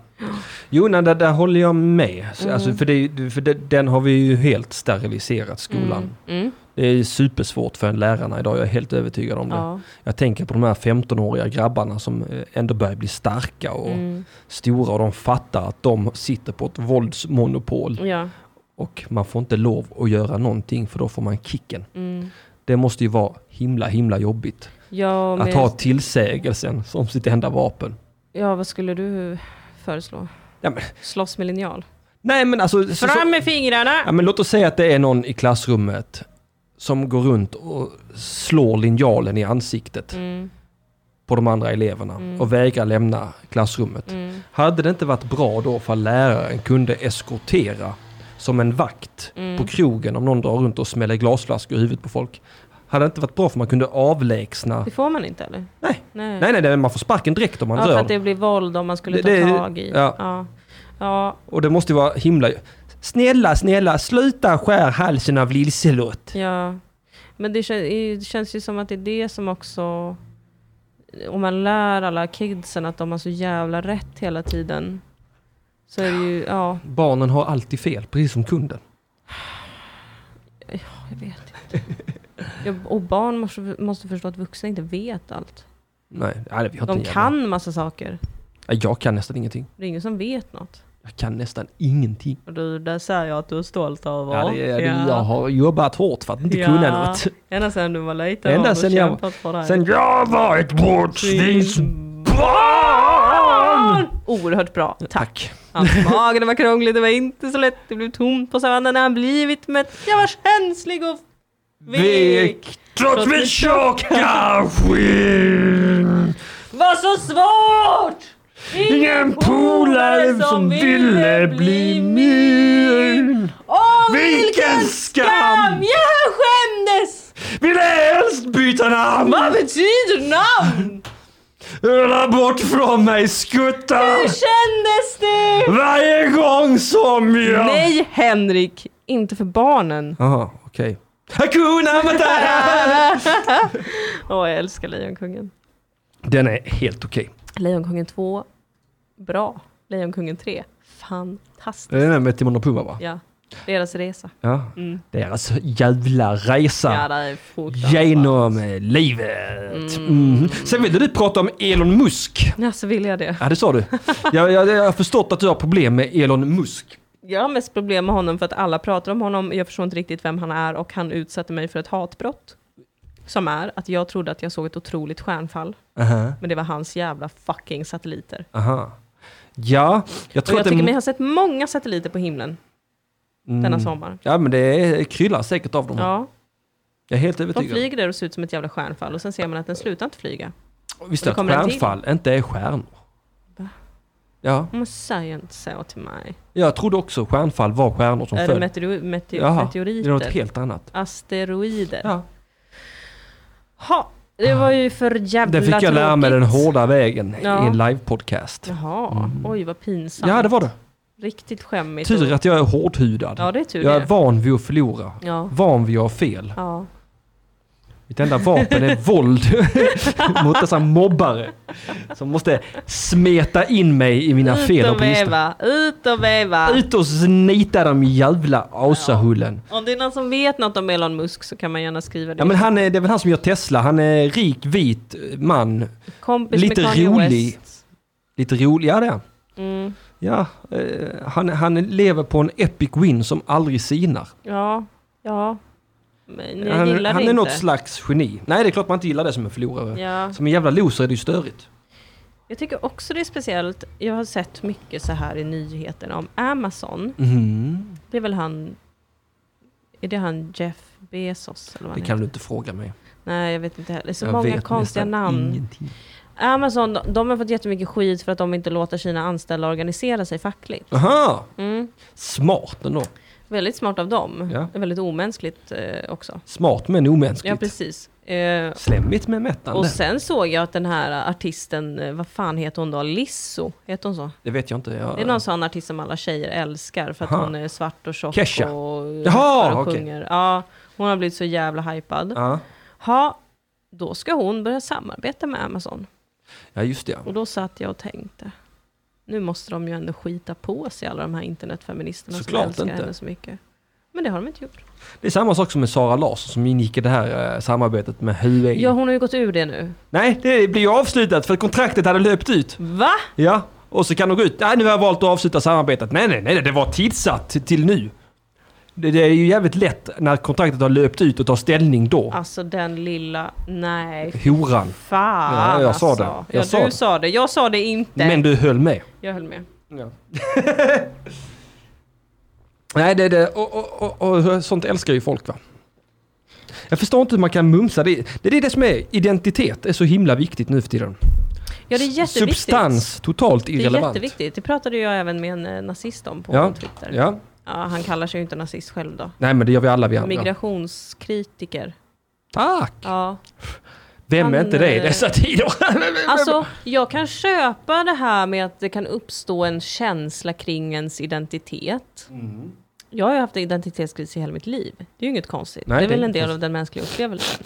Speaker 1: Jo, nej, där, där håller jag med. Så,
Speaker 2: Mm.
Speaker 1: Alltså, för det, är ju- för det, den har vi ju helt steriliserat, skolan.
Speaker 2: Mm. Mm.
Speaker 1: Det är supersvårt för en lärarna idag, jag är helt övertygad om det.
Speaker 2: Ja.
Speaker 1: Jag tänker på de här 15-åriga grabbarna som eh, ändå börjar bli starka och
Speaker 2: Mm.
Speaker 1: stora och de fattar att de sitter på ett våldsmonopol.
Speaker 2: ja.
Speaker 1: Och man får inte lov att göra någonting för då får man kicken.
Speaker 2: Mm.
Speaker 1: Det måste ju vara himla himla jobbigt.
Speaker 2: Ja,
Speaker 1: Att
Speaker 2: men-
Speaker 1: ha tillsägelsen som sitt enda vapen.
Speaker 2: ja, vad skulle du föreslå?
Speaker 1: Ja, men-
Speaker 2: Slåss med linjal?
Speaker 1: Nej men alltså... så- så-
Speaker 2: Fram med
Speaker 1: ja,
Speaker 2: fingrarna!
Speaker 1: men låt oss säga att det är någon i klassrummet som går runt och slår linjalen i ansiktet
Speaker 2: Mm.
Speaker 1: på de andra eleverna och vägrar lämna klassrummet.
Speaker 2: Mm.
Speaker 1: Hade det inte varit bra då för läraren kunde eskortera som en vakt
Speaker 2: Mm.
Speaker 1: på krogen om någon drar runt och smäller glasflaskor i huvudet på folk? Hade det inte varit bra för man kunde avlägsna
Speaker 2: Det får man inte eller?
Speaker 1: Nej.
Speaker 2: Nej.
Speaker 1: Nej, nej, det är- man får sparken direkt om man
Speaker 2: ja, för
Speaker 1: rör.
Speaker 2: att det blir våld om man skulle
Speaker 1: Det- det-
Speaker 2: ta tag i.
Speaker 1: ja.
Speaker 2: Ja. Ja,
Speaker 1: Och det måste ju vara himla... Snälla, snälla, sluta skär halsen av Liselott.
Speaker 2: ja. Men det, kän- det känns ju som att det är det som också... Om man lär alla kidsen att de har så jävla rätt hela tiden. Så är det ju, ja,
Speaker 1: Barnen har alltid fel, precis som kunden.
Speaker 2: jag vet inte. [LAUGHS] Ja, Och barn måste, måste förstå att vuxna inte vet allt.
Speaker 1: Nej, nej vi har
Speaker 2: Mm. De
Speaker 1: inte en jävla-
Speaker 2: kan massa saker.
Speaker 1: Nej, Jag kan nästan ingenting.
Speaker 2: Det är ingen som vet något.
Speaker 1: Jag kan nästan ingenting.
Speaker 2: Och du, det säger jag att du är stolt över.
Speaker 1: Ja, det, är- det, Jag har jobbat hårt för att inte kunna något.
Speaker 2: Ända sedan du var liten
Speaker 1: [LAUGHS] Ända
Speaker 2: har du
Speaker 1: sedan jag-
Speaker 2: kämpat för det.
Speaker 1: Sen jag var ett brottslingsbarn!
Speaker 2: Oerhört bra.
Speaker 1: Tack.
Speaker 2: Hans mage, det var krångligt, det var inte så lätt, det blev tomt på savannen när han blivit mätt. Jag var känslig och vek.
Speaker 1: Vek, trots min tjocka skinn.
Speaker 2: Var så svårt!
Speaker 1: Ingen polare som ville bli min.
Speaker 2: Åh,
Speaker 1: Vilken skam!
Speaker 2: jag skämdes!
Speaker 1: Ville helst byta namn.
Speaker 2: Vad betyder namn?
Speaker 1: Rulla bort från mig skuttar.
Speaker 2: Hur kändes det?
Speaker 1: Varje gång som jag...
Speaker 2: Nej, Henrik. Inte för barnen.
Speaker 1: Jaha, okej. Hakuna Matata!
Speaker 2: Åh, jag älskar Lejonkungen.
Speaker 1: Den är helt okej.
Speaker 2: Lejonkungen 2, bra. Lejonkungen 3, fantastiskt.
Speaker 1: Det är Den där med Timon och Pumba va?
Speaker 2: Ja, deras resa.
Speaker 1: Ja. Deras jävla resa.
Speaker 2: Mm. Ja, det är fruktansvärt. Mm.
Speaker 1: Genom eh, livet. Mhm. Sen ville du prata om Elon Musk.
Speaker 2: Ja, så vill jag det.
Speaker 1: Ja, det sa
Speaker 2: [LAUGHS]
Speaker 1: du. Jag, jag, jag har förstått att du har problem med Elon Musk.
Speaker 2: Jag har mest problem med honom för att alla pratar om honom. Jag förstår inte riktigt vem han är och han utsatte mig för ett hatbrott. Som är att jag trodde att jag såg ett otroligt stjärnfall,
Speaker 1: Aha.
Speaker 2: men det var hans jävla fucking satelliter.
Speaker 1: Aha. Ja, jag
Speaker 2: Och
Speaker 1: tror
Speaker 2: jag
Speaker 1: att det...
Speaker 2: tycker mig ha sett många satelliter på himlen
Speaker 1: Mm.
Speaker 2: denna sommar.
Speaker 1: Ja, men det är- kryllar säkert av dem.
Speaker 2: Ja,
Speaker 1: Jag är helt
Speaker 2: de
Speaker 1: övertygad.
Speaker 2: flyger där och ser ut som ett jävla stjärnfall och sen ser man att den slutar inte flyga.
Speaker 1: Visst
Speaker 2: Och
Speaker 1: är
Speaker 2: det kommer en till.
Speaker 1: stjärnfall inte är stjärnor?
Speaker 2: Va?
Speaker 1: Ja,
Speaker 2: Men säg inte så till mig.
Speaker 1: jag trodde också stjärnfall var stjärnor som
Speaker 2: är det
Speaker 1: föll.
Speaker 2: meteor- meteor-
Speaker 1: Jaha, Det är något
Speaker 2: Äh, meteoriter?
Speaker 1: helt annat.
Speaker 2: Asteroider?
Speaker 1: Ja.
Speaker 2: Ha, det var ju för jävla
Speaker 1: Det fick jag lära mig den
Speaker 2: tråkigt.
Speaker 1: hårda vägen
Speaker 2: Ja.
Speaker 1: i en livepodcast.
Speaker 2: Jaha, oj vad pinsamt.
Speaker 1: Mm. Ja, det var det.
Speaker 2: Riktigt skämmigt.
Speaker 1: Tur att jag är hårdhudad.
Speaker 2: Ja, det är tur
Speaker 1: jag
Speaker 2: det.
Speaker 1: är van vid att förlora.
Speaker 2: Ja.
Speaker 1: Van vid att ha fel.
Speaker 2: Ja.
Speaker 1: Mitt enda vapen är våld [LAUGHS] mot dessa mobbare som måste smeta in mig i mina fel
Speaker 2: Ut
Speaker 1: och
Speaker 2: och
Speaker 1: brister.
Speaker 2: veva, ut och veva.
Speaker 1: Ut och snita de jävla asahullen.
Speaker 2: Om det är någon som vet något om Elon Musk så kan man gärna skriva det.
Speaker 1: Ja men han är, det är väl han som gör Tesla. Han är rik, vit man.
Speaker 2: Kompis
Speaker 1: lite
Speaker 2: med Kanye
Speaker 1: rolig.
Speaker 2: West.
Speaker 1: Lite rolig, ja det är han.
Speaker 2: Mm.
Speaker 1: Ja, eh, han, han lever på en epic win som aldrig sinar.
Speaker 2: Ja, ja. Men jag
Speaker 1: Han,
Speaker 2: gillar
Speaker 1: han
Speaker 2: det
Speaker 1: är
Speaker 2: inte.
Speaker 1: något slags geni. Nej, det är klart man inte gillar det som en förlorare.
Speaker 2: Ja.
Speaker 1: Som en jävla loser är det ju störigt.
Speaker 2: Jag tycker också det är speciellt. Jag har sett mycket så här i nyheterna om Amazon.
Speaker 1: Mm.
Speaker 2: Det är väl han... Är det han Jeff Bezos? Eller vad
Speaker 1: Det kan
Speaker 2: han heter?
Speaker 1: du inte fråga mig.
Speaker 2: Nej, jag vet inte heller. Det är så
Speaker 1: Jag
Speaker 2: många
Speaker 1: vet
Speaker 2: konstiga
Speaker 1: nästan
Speaker 2: namn.
Speaker 1: Ingenting.
Speaker 2: Amazon, de- de har fått jättemycket skit för att de inte låter sina anställda organisera sig fackligt.
Speaker 1: Aha!
Speaker 2: Mm.
Speaker 1: Smart ändå.
Speaker 2: Väldigt smart av dem.
Speaker 1: Ja.
Speaker 2: Väldigt omänskligt eh, också.
Speaker 1: Smart men
Speaker 2: Ja,
Speaker 1: omänskligt.
Speaker 2: precis. Eh,
Speaker 1: Slemmigt men
Speaker 2: och
Speaker 1: mättande.
Speaker 2: sen såg jag att den här artisten, eh, vad fan heter hon då? Lizzo, heter hon så?
Speaker 1: Det vet jag inte. Jag...
Speaker 2: Det är någon sån artist som alla tjejer älskar för att
Speaker 1: Aha.
Speaker 2: hon är svart och tjock
Speaker 1: Kesha.
Speaker 2: och
Speaker 1: Jaha,
Speaker 2: rappar och
Speaker 1: okej.
Speaker 2: sjunger. Ja, hon har blivit så jävla hypad.
Speaker 1: Ja.
Speaker 2: Ha, då ska hon börja samarbeta med Amazon.
Speaker 1: ja, just det.
Speaker 2: Och då satt jag och tänkte, nu måste de ju ändå skita på sig alla de här internetfeministerna
Speaker 1: Såklart
Speaker 2: som älskar
Speaker 1: inte.
Speaker 2: henne så mycket. Men det har de inte gjort.
Speaker 1: Det är samma sak som med Sara Larsson som ingick i det här eh, samarbetet med Huawei.
Speaker 2: Ja, hon har ju gått ur det nu.
Speaker 1: Nej, det blir ju avslutat för kontraktet hade löpt ut.
Speaker 2: Va?
Speaker 1: Ja, och så kan de gå ut. Nej, nu har jag valt att avsluta samarbetet. Nej, nej, nej, det var tidsatt till- till nu. Det, det är ju jävligt lätt när kontraktet har löpt ut och ta ställning då.
Speaker 2: Alltså den lilla, nej.
Speaker 1: Horan.
Speaker 2: Fan
Speaker 1: Ja, jag sa det.
Speaker 2: alltså.
Speaker 1: Jag
Speaker 2: ja,
Speaker 1: sa
Speaker 2: du
Speaker 1: det.
Speaker 2: sa det. Jag sa det inte.
Speaker 1: Men du höll med.
Speaker 2: Jag höll med.
Speaker 1: [LAUGHS] Nej, det är det. Och, och, och, och sånt älskar ju folk va. Jag förstår inte hur man kan mumsa. Det, det är det som är identitet. är så himla viktigt nu för tiden.
Speaker 2: Ja, det är jätteviktigt.
Speaker 1: Substans, totalt
Speaker 2: Det är
Speaker 1: irrelevant.
Speaker 2: jätteviktigt. Det pratade jag även med en eh, nazist om på
Speaker 1: Ja,
Speaker 2: Twitter. Ja.
Speaker 1: Ja,
Speaker 2: han kallar sig ju inte nazist själv då.
Speaker 1: nej men det gör vi alla vi andra.
Speaker 2: Migrationskritiker.
Speaker 1: Tack!
Speaker 2: Ja.
Speaker 1: Vem är
Speaker 2: Han,
Speaker 1: inte det i
Speaker 2: eh,
Speaker 1: dessa tider?
Speaker 2: Alltså, jag kan köpa det här med att det kan uppstå en känsla kring ens identitet.
Speaker 1: Mm.
Speaker 2: Jag har ju haft identitetskris i hela mitt liv. Det är ju inget konstigt.
Speaker 1: Nej,
Speaker 2: det är
Speaker 1: det är
Speaker 2: väl en
Speaker 1: inte
Speaker 2: del
Speaker 1: konstigt.
Speaker 2: av den mänskliga upplevelsen.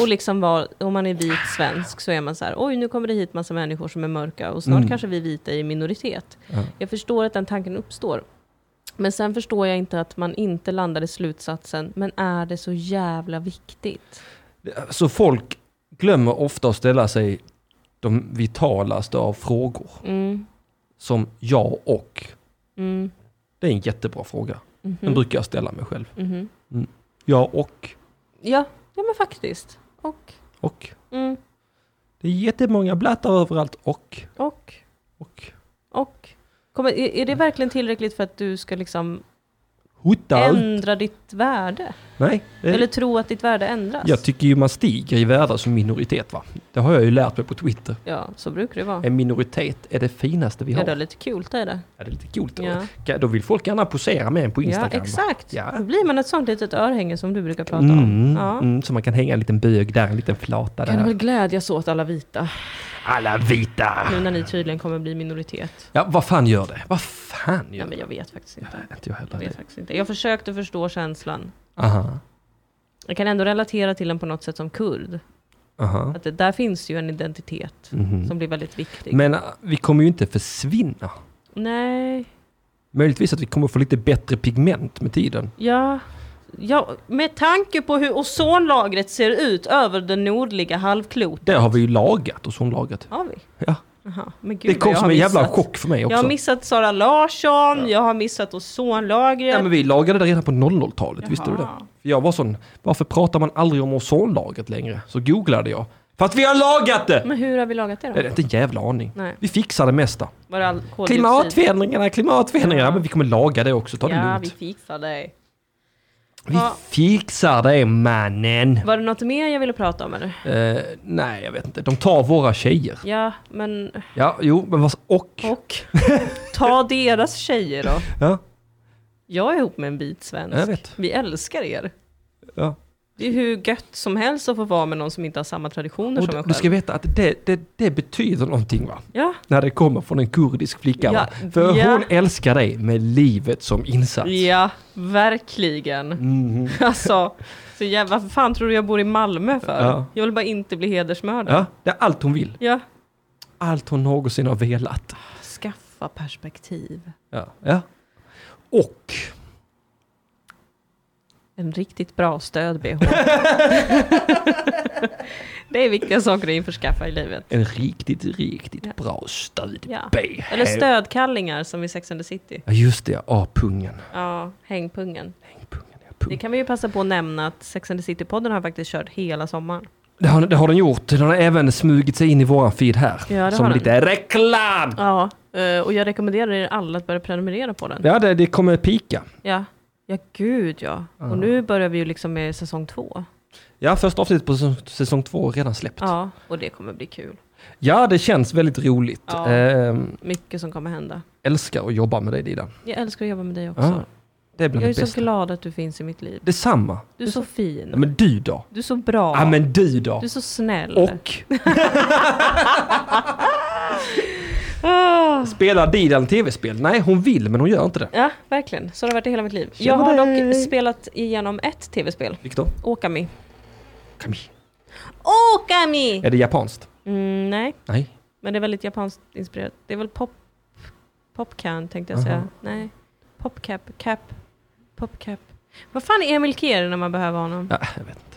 Speaker 2: Och liksom var, om man är vit svensk så är man så här, oj nu kommer det hit massa människor som är mörka och
Speaker 1: Mm.
Speaker 2: snart kanske vi vita är i minoritet. Jag förstår att den tanken uppstår. Men sen förstår jag inte att man inte landade i slutsatsen, men är det så jävla viktigt?
Speaker 1: Så folk glömmer ofta att ställa sig de vitalaste av frågor.
Speaker 2: Mm,
Speaker 1: Som ja och.
Speaker 2: mm,
Speaker 1: Det är en jättebra fråga.
Speaker 2: mhm,
Speaker 1: Den brukar jag ställa mig själv.
Speaker 2: mhm.
Speaker 1: Ja och.
Speaker 2: Ja, ja men faktiskt. Och,
Speaker 1: Och.
Speaker 2: mm,
Speaker 1: Det är jättemånga blattar överallt och.
Speaker 2: och,
Speaker 1: Och.
Speaker 2: och. Kommer, är, är det verkligen tillräckligt för att du ska liksom
Speaker 1: Hota allt.
Speaker 2: ändra ditt värde?
Speaker 1: Nej. det-
Speaker 2: Eller tro att ditt värde ändras?
Speaker 1: Eh. Jag tycker ju man stiger i värde som minoritet va. Det har jag ju lärt mig på Twitter.
Speaker 2: ja, så brukar det vara.
Speaker 1: En minoritet är det finaste Eh, vi
Speaker 2: Ja,
Speaker 1: har.
Speaker 2: det är lite kul det är det.
Speaker 1: Ja, det är lite coolt.
Speaker 2: Ja.
Speaker 1: Ja. Då vill folk gärna posera med en på
Speaker 2: Ja,
Speaker 1: Instagram. va?
Speaker 2: exakt.
Speaker 1: Ja.
Speaker 2: Då blir man ett sånt litet örhänge som du brukar prata om.
Speaker 1: Mm,
Speaker 2: Ja.
Speaker 1: mm, så man kan hänga en liten bög där, en liten flata
Speaker 2: Kan du väl
Speaker 1: där.
Speaker 2: glädjas åt alla vita,
Speaker 1: Alla vita!
Speaker 2: nu när ni tydligen kommer bli minoritet?
Speaker 1: Ja, vad fan gör det? Vad fan
Speaker 2: Ja,
Speaker 1: gör det?
Speaker 2: men jag vet faktiskt inte.
Speaker 1: Inte jag heller.
Speaker 2: Jag vet faktiskt inte. Jag försökte förstå känslan.
Speaker 1: Aha,
Speaker 2: Jag kan ändå relatera till den på något sätt som kurd.
Speaker 1: aha.
Speaker 2: Att det, där finns ju en identitet
Speaker 1: Mhm.
Speaker 2: som blir väldigt viktig.
Speaker 1: Men äh, vi kommer ju inte försvinna.
Speaker 2: Nej,
Speaker 1: Möjligtvis att vi kommer få lite bättre pigment med tiden.
Speaker 2: ja. ja. Med tanke på hur ozonlagret ser ut över det nordliga halvklotet.
Speaker 1: Det har vi ju lagat, ozonlagret.
Speaker 2: Har vi?
Speaker 1: Ja.
Speaker 2: Aha, men gud,
Speaker 1: Det kom
Speaker 2: jag
Speaker 1: som
Speaker 2: har
Speaker 1: en jävla
Speaker 2: missat.
Speaker 1: chock för mig
Speaker 2: Jag har
Speaker 1: också.
Speaker 2: missat Sara Larsson, jag har missat ozonlagret.
Speaker 1: Nej, men vi lagade det redan på 00-talet, visste du det?
Speaker 2: Jaha.
Speaker 1: För Jag var sån, varför pratar man aldrig om ozonlagret längre? Så googlade jag. Fast vi har lagat det!
Speaker 2: Men hur har vi lagat det
Speaker 1: Nej,
Speaker 2: då?
Speaker 1: det är inte en jävla aning.
Speaker 2: Nej.
Speaker 1: Vi fixar det mesta.
Speaker 2: Var det all koldioxid?
Speaker 1: Klimatförändringarna, klimatförändringarna. Ja. Men vi kommer laga det också, ta det
Speaker 2: Ja, vi
Speaker 1: lugnt.
Speaker 2: fixar det.
Speaker 1: Vi
Speaker 2: Ja.
Speaker 1: fixar det mannen.
Speaker 2: Var det något mer jag ville prata om eller?
Speaker 1: Eh, nej, jag vet inte. De tar våra tjejer.
Speaker 2: Ja, men
Speaker 1: Ja, jo, men vad... Och?
Speaker 2: och? Ta deras tjejer då.
Speaker 1: Ja,
Speaker 2: Jag är ihop med en vit svensk.
Speaker 1: Jag vet.
Speaker 2: Vi älskar er.
Speaker 1: ja.
Speaker 2: Det är hur gött som helst att få vara med någon som inte har samma traditioner
Speaker 1: Och
Speaker 2: som
Speaker 1: du,
Speaker 2: jag
Speaker 1: du
Speaker 2: själv.
Speaker 1: ska veta att det, det, det betyder någonting va?
Speaker 2: Ja,
Speaker 1: När det kommer från en kurdisk flicka va?
Speaker 2: Ja,
Speaker 1: För
Speaker 2: ja.
Speaker 1: hon älskar dig med livet som insats. Mhm.
Speaker 2: ja, verkligen.
Speaker 1: Mm.
Speaker 2: [LAUGHS] Alltså, så jävla, vad fan tror du jag bor i Malmö för?
Speaker 1: Ja.
Speaker 2: Jag vill bara inte bli hedersmördare.
Speaker 1: Ja, det är allt hon vill.
Speaker 2: Ja.
Speaker 1: Allt hon någonsin har velat.
Speaker 2: Skaffa perspektiv.
Speaker 1: Ja. ja. Och
Speaker 2: En riktigt
Speaker 1: [LAUGHS]
Speaker 2: bra stöd-bh. det är viktiga saker att införskaffa i livet.
Speaker 1: en riktigt, riktigt
Speaker 2: Ja.
Speaker 1: bra stöd.
Speaker 2: Ja.
Speaker 1: B.
Speaker 2: Eller stödkallingar som i Sex and the City.
Speaker 1: Ja, just det. Ja, pungen.
Speaker 2: Ja, hängpungen.
Speaker 1: Hängpungen, ja,
Speaker 2: Det
Speaker 1: pung.
Speaker 2: kan vi ju passa på att nämna att Sex and the City-podden har faktiskt kört hela sommaren.
Speaker 1: Det har, det har den gjort. Den har även smugit sig in i våran feed här.
Speaker 2: Ja, det
Speaker 1: som
Speaker 2: har den.
Speaker 1: lite reklam!
Speaker 2: Ja, eh, och jag rekommenderar er alla att börja prenumerera på den.
Speaker 1: Ja, det, det kommer pika.
Speaker 2: Ja, ja gud ja. Och nu börjar vi ju liksom med säsong två.
Speaker 1: Ja, första avsnittet på säsong, säsong två är redan släppt. Ja.
Speaker 2: Ja, och det kommer bli kul.
Speaker 1: det känns väldigt roligt.
Speaker 2: Ja.
Speaker 1: Ehm,
Speaker 2: Mycket som kommer hända.
Speaker 1: älskar att jobba med dig, Dida.
Speaker 2: Jag älskar att jobba med dig också.
Speaker 1: Ja, det är
Speaker 2: jag
Speaker 1: bland
Speaker 2: är
Speaker 1: det
Speaker 2: så
Speaker 1: bästa.
Speaker 2: glad att du finns i mitt liv.
Speaker 1: Detsamma.
Speaker 2: Du är så
Speaker 1: Ja,
Speaker 2: fin.
Speaker 1: men du då?
Speaker 2: Du är så bra.
Speaker 1: Ja, men du då?
Speaker 2: Du är så snäll.
Speaker 1: Och
Speaker 2: Ah.
Speaker 1: spelar Didan tv-spel? Nej, hon vill, men hon gör inte det.
Speaker 2: Ja, verkligen. Så har det varit i hela mitt liv.
Speaker 1: Tjena
Speaker 2: Jag har dock
Speaker 1: dig.
Speaker 2: spelat igenom ett tv-spel.
Speaker 1: Viktor?
Speaker 2: Okami.
Speaker 1: Kami.
Speaker 2: Okami!
Speaker 1: Är det japanskt?
Speaker 2: Mm, nej,
Speaker 1: Nej.
Speaker 2: men det är väldigt japanskt inspirerat. Det är väl pop... Popcan tänkte jag
Speaker 1: Aha.
Speaker 2: säga. Nej. Popcap. Cap. Popcap. Vad fan är Emil Keri när man behöver honom?
Speaker 1: Ja, jag vet inte.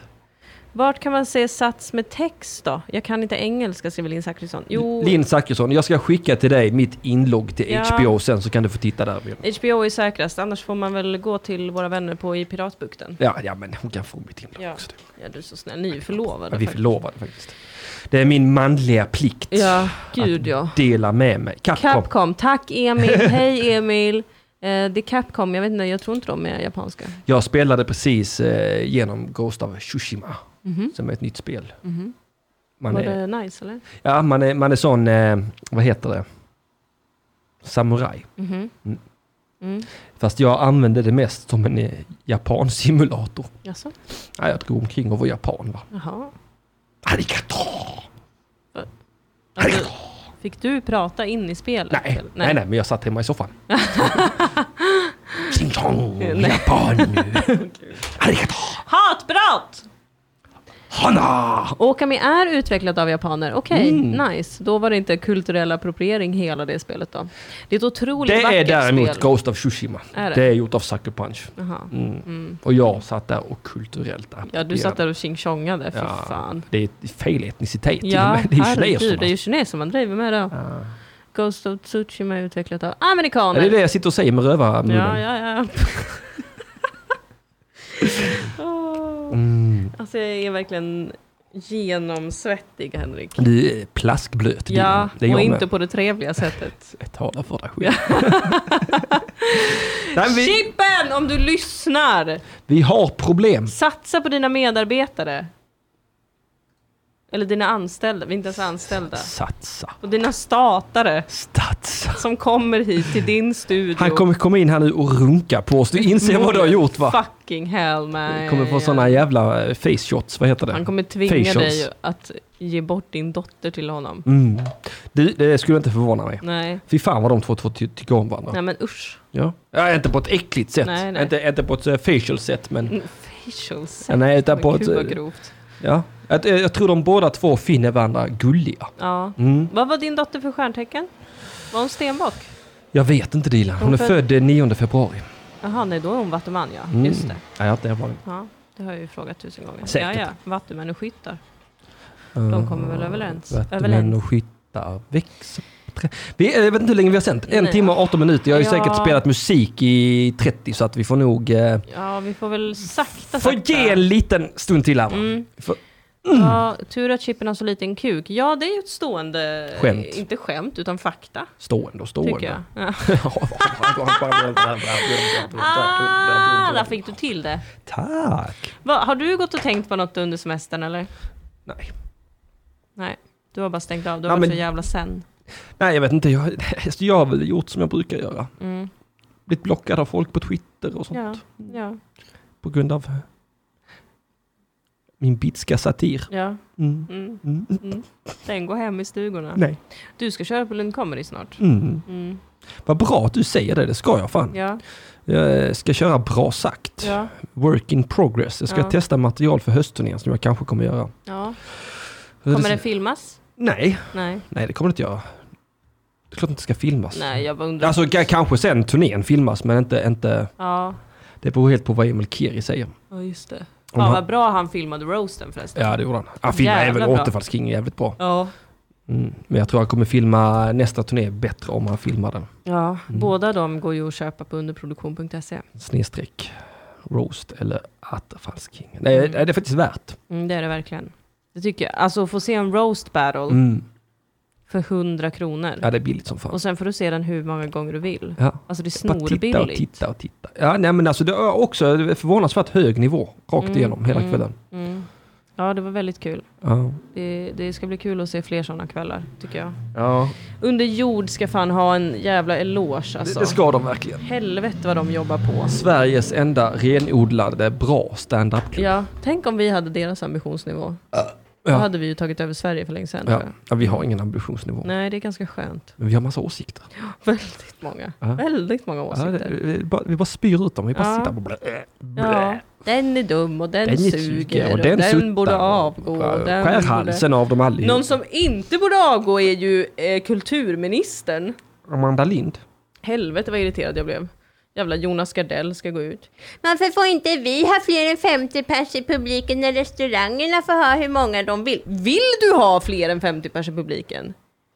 Speaker 2: Vart kan man se sats med text då? Jag kan inte engelska skriver Linn Zachrisson. Jo,
Speaker 1: Linn Zachrisson, jag ska skicka till dig mitt inlogg till
Speaker 2: Ja.
Speaker 1: HBO sen så kan du få titta där.
Speaker 2: HBO är säkrast. Annars får man väl gå till våra vänner på i Piratbukten.
Speaker 1: Ja, ja, men hon kan få mitt inlogg
Speaker 2: Ja.
Speaker 1: också.
Speaker 2: Ja, du är så snäll. Ni är ju förlovade.
Speaker 1: Ja, vi är
Speaker 2: faktiskt.
Speaker 1: förlovade faktiskt. Det är min manliga plikt.
Speaker 2: Ja, gud ja.
Speaker 1: Dela med mig. Capcom.
Speaker 2: Capcom, tack Emil, hej Emil. Eh, det är Capcom, jag vet inte, jag tror inte de är japanska.
Speaker 1: Jag spelade precis eh, genom Ghost of Tsushima. Som är ett nytt spel. Man,
Speaker 2: Mhm. Var
Speaker 1: är,
Speaker 2: det nice eller?
Speaker 1: ja, man, är, man är sån, eh, vad heter det? Samurai.
Speaker 2: Mhm.
Speaker 1: Mm.
Speaker 2: Mm.
Speaker 1: Fast jag använde det mest som en eh, japansimulator.
Speaker 2: Jaså?
Speaker 1: Ja, jag drog omkring och var japan va.
Speaker 2: Jaha.
Speaker 1: Arigato!
Speaker 2: Alltså, fick du prata in i spelet?
Speaker 1: Nej, nej,
Speaker 2: eller?
Speaker 1: nej, men jag satt hemma i
Speaker 2: [LAUGHS]
Speaker 1: soffan. Ching chong,
Speaker 2: Nej. [LAUGHS]
Speaker 1: Japan! Arigato!
Speaker 2: Hatbrott!
Speaker 1: Hana!
Speaker 2: Okami är utvecklat av japaner, okej,
Speaker 1: Mm.
Speaker 2: nice. Då var det inte kulturell appropriering hela det spelet då. Det är ett otroligt
Speaker 1: Det är
Speaker 2: vackert
Speaker 1: däremot
Speaker 2: spel.
Speaker 1: Ghost of Tsushima.
Speaker 2: Är det?
Speaker 1: Det är gjort av Sucker Punch.
Speaker 2: Jaha.
Speaker 1: Mm.
Speaker 2: Mm.
Speaker 1: Och jag satt där och kulturellt
Speaker 2: Ja, du satt där och tjingtjongade, fy
Speaker 1: Ja.
Speaker 2: fan.
Speaker 1: Det är fel etnicitet till och
Speaker 2: Ja,
Speaker 1: med. [LAUGHS] Det är
Speaker 2: herregud, det är
Speaker 1: kineserna.
Speaker 2: ju kineser man driver med då.
Speaker 1: Ja.
Speaker 2: Ghost of Tsushima är utvecklat av
Speaker 1: Ja,
Speaker 2: amerikaner.
Speaker 1: det är det jag sitter och säger med rövarmunnen.
Speaker 2: Ja, ja, ja.
Speaker 1: [LAUGHS]
Speaker 2: Åh.
Speaker 1: Mm.
Speaker 2: Alltså jag är verkligen genomsvettig Henrik.
Speaker 1: Du är plaskblöt.
Speaker 2: Ja,
Speaker 1: Dylan. det är
Speaker 2: och
Speaker 1: jag
Speaker 2: inte
Speaker 1: med.
Speaker 2: på det trevliga sättet.
Speaker 1: Jag talar för dig själv. [LAUGHS] Nej, vi,
Speaker 2: Chippen, om du lyssnar!
Speaker 1: vi har problem.
Speaker 2: Satsa på dina medarbetare. Eller dina anställda, vi är inte ens anställda.
Speaker 1: Satsa.
Speaker 2: Och dina statare
Speaker 1: Satsa.
Speaker 2: som kommer hit till din studio.
Speaker 1: Han kommer komma in här nu och runka på oss. Du inser vad du har gjort va?
Speaker 2: Fucking hell man.
Speaker 1: Kommer få sådana jävla eh, face shots, vad heter det?
Speaker 2: Han kommer tvinga
Speaker 1: Facials.
Speaker 2: dig att ge bort din dotter till honom.
Speaker 1: Mm. Du, det skulle inte förvåna mig.
Speaker 2: Nej.
Speaker 1: Fy fan vad de två, två ty- tycker om varandra.
Speaker 2: Nej men usch.
Speaker 1: Ja. ja, inte på ett äckligt sätt.
Speaker 2: Nej, nej.
Speaker 1: Inte, inte på ett eh, facial sätt, men...
Speaker 2: Mm, Facials.
Speaker 1: Ja, nej, utan på
Speaker 2: Men Gud
Speaker 1: ett...
Speaker 2: vad
Speaker 1: eh,
Speaker 2: grovt.
Speaker 1: Ja. Att, eh, jag tror de båda två finner varandra gulliga.
Speaker 2: Ja.
Speaker 1: Mm.
Speaker 2: Vad var din dotter för stjärntecken? Var hon stenbock?
Speaker 1: Jag vet inte Dilan. Hon är
Speaker 2: Hon föd-
Speaker 1: född eh, 9 februari.
Speaker 2: Jaha, nej då är hon vattuman ja.
Speaker 1: Mm.
Speaker 2: Just det.
Speaker 1: Ja, jag har inte jävla
Speaker 2: Ja, det har jag ju frågat tusen gånger.
Speaker 1: Säkert. Mm. Eh.
Speaker 2: Ja, ja. Vattumän och skyttar. De kommer väl överens?
Speaker 1: Vattumän
Speaker 2: Överens.
Speaker 1: och skyttar. Växlar, växlar. trä- Vi, eh, jag vet inte hur länge vi har sänt. En
Speaker 2: Nej.
Speaker 1: timme och 18 minuter. Jag har ju
Speaker 2: Ja.
Speaker 1: säkert spelat musik i 30 så att vi får nog eh,
Speaker 2: Ja, vi får väl sakta,
Speaker 1: få
Speaker 2: sakta. Mm.
Speaker 1: ge Mm. en liten stund till här. va? För,
Speaker 2: Ja, tur att Chippen har så liten kuk. Ja, det är ju ett stående...
Speaker 1: Skämt.
Speaker 2: Inte skämt, utan fakta,
Speaker 1: stående och
Speaker 2: tycker jag.
Speaker 1: [LAUGHS] stående.
Speaker 2: Ja. Ah, där
Speaker 1: Ah,
Speaker 2: fick du till det.
Speaker 1: Tack.
Speaker 2: Va, har du gått och tänkt på något under semestern eller?
Speaker 1: Nej.
Speaker 2: Nej, du har bara stängt av. Du
Speaker 1: Ja,
Speaker 2: har varit
Speaker 1: men-
Speaker 2: så jävla sen.
Speaker 1: Nej, jag vet inte. Jag, [LAUGHS] jag har väl gjort som jag brukar göra.
Speaker 2: Mm.
Speaker 1: Blivit blockad av folk på Twitter och sånt.
Speaker 2: Ja, ja,
Speaker 1: På grund av eh, min bitska satir.
Speaker 2: ja.
Speaker 1: Mm.
Speaker 2: Mm.
Speaker 1: Mm.
Speaker 2: Den går hem i stugorna.
Speaker 1: Nej.
Speaker 2: Du ska köra på Lund Comedy snart.
Speaker 1: Mm.
Speaker 2: Mm.
Speaker 1: Vad bra att du säger det, det ska jag fan.
Speaker 2: Ja,
Speaker 1: Jag eh, ska köra bra sagt.
Speaker 2: ja,
Speaker 1: Work in progress. Jag ska
Speaker 2: Ja.
Speaker 1: testa material för höstturnén som jag kanske kommer göra.
Speaker 2: ja. Kommer det filmas?
Speaker 1: Nej,
Speaker 2: Nej,
Speaker 1: nej det kommer det inte göra. Det är klart det inte ska filmas.
Speaker 2: nej, jag bara undrar.
Speaker 1: Alltså ka- kanske sen turnén filmas men inte, inte...
Speaker 2: Ja,
Speaker 1: Det beror helt på vad Emil Kiri säger.
Speaker 2: ja just det.
Speaker 1: Om
Speaker 2: Fan
Speaker 1: han-
Speaker 2: vad bra han filmade roasten förresten.
Speaker 1: Ja det gjorde han. Han filmar
Speaker 2: Jävla
Speaker 1: även
Speaker 2: bra.
Speaker 1: Återfallskingen jävligt bra.
Speaker 2: Ja,
Speaker 1: Mm. Men jag tror han kommer filma nästa turné bättre om han filmar den.
Speaker 2: ja.
Speaker 1: Mm.
Speaker 2: båda de går ju att köpa på underproduktion.se.
Speaker 1: Snedstreck. Roast eller Återfallskingen. Nej det är faktiskt värt.
Speaker 2: Mm, det är det verkligen. Det tycker jag. Alltså att få se en roast battle
Speaker 1: Mm.
Speaker 2: för 100 kronor.
Speaker 1: Ja det är billigt som fan.
Speaker 2: Och sen får du se den hur många gånger du vill.
Speaker 1: Ja.
Speaker 2: Alltså det är
Speaker 1: Bara titta och
Speaker 2: snorbilligt.
Speaker 1: titta och titta. Ja, nej, men alltså det är också förvånansvärt hög nivå rakt
Speaker 2: Mm,
Speaker 1: igenom hela
Speaker 2: mm.
Speaker 1: kvällen.
Speaker 2: Mm. Ja, det var väldigt kul.
Speaker 1: Ja.
Speaker 2: Det, det ska bli kul att se fler sådana kvällar, tycker jag.
Speaker 1: Ja.
Speaker 2: Under jord ska fan ha en jävla eloge
Speaker 1: Det,
Speaker 2: alltså.
Speaker 1: det ska de verkligen.
Speaker 2: Helvete vad de jobbar på.
Speaker 1: Sveriges enda renodlade bra standup-klubb.
Speaker 2: Ja, tänk om vi hade deras ambitionsnivå. Då
Speaker 1: Ja.
Speaker 2: hade vi ju tagit över Sverige för länge sedan.
Speaker 1: Ja.
Speaker 2: tror jag.
Speaker 1: ja, vi har ingen ambitionsnivå.
Speaker 2: Nej, det är ganska skönt. [LAUGHS]
Speaker 1: Men vi har massa åsikter.
Speaker 2: Väldigt många.
Speaker 1: Ja.
Speaker 2: Väldigt många
Speaker 1: Ja, det,
Speaker 2: åsikter.
Speaker 1: vi, bara, vi bara spyr ut dem. Vi bara
Speaker 2: Ja.
Speaker 1: sitter och blä, blä.
Speaker 2: Ja, den är dum och den,
Speaker 1: Den är
Speaker 2: suger
Speaker 1: suger
Speaker 2: och den,
Speaker 1: suttar.
Speaker 2: borde avgå. och
Speaker 1: Ja,
Speaker 2: den
Speaker 1: Skär halsen av dem
Speaker 2: Borde...
Speaker 1: allihop.
Speaker 2: Någon som inte borde avgå är ju eh, kulturministern.
Speaker 1: Amanda Lind.
Speaker 2: Helvete vad irriterad jag blev. Jävla Jonas Gardell ska gå ut.
Speaker 4: Varför får inte vi ha fler än 50 pers i publiken när restaurangerna får ha hur många de vill?
Speaker 2: Vill du ha fler än 50 pers i publiken?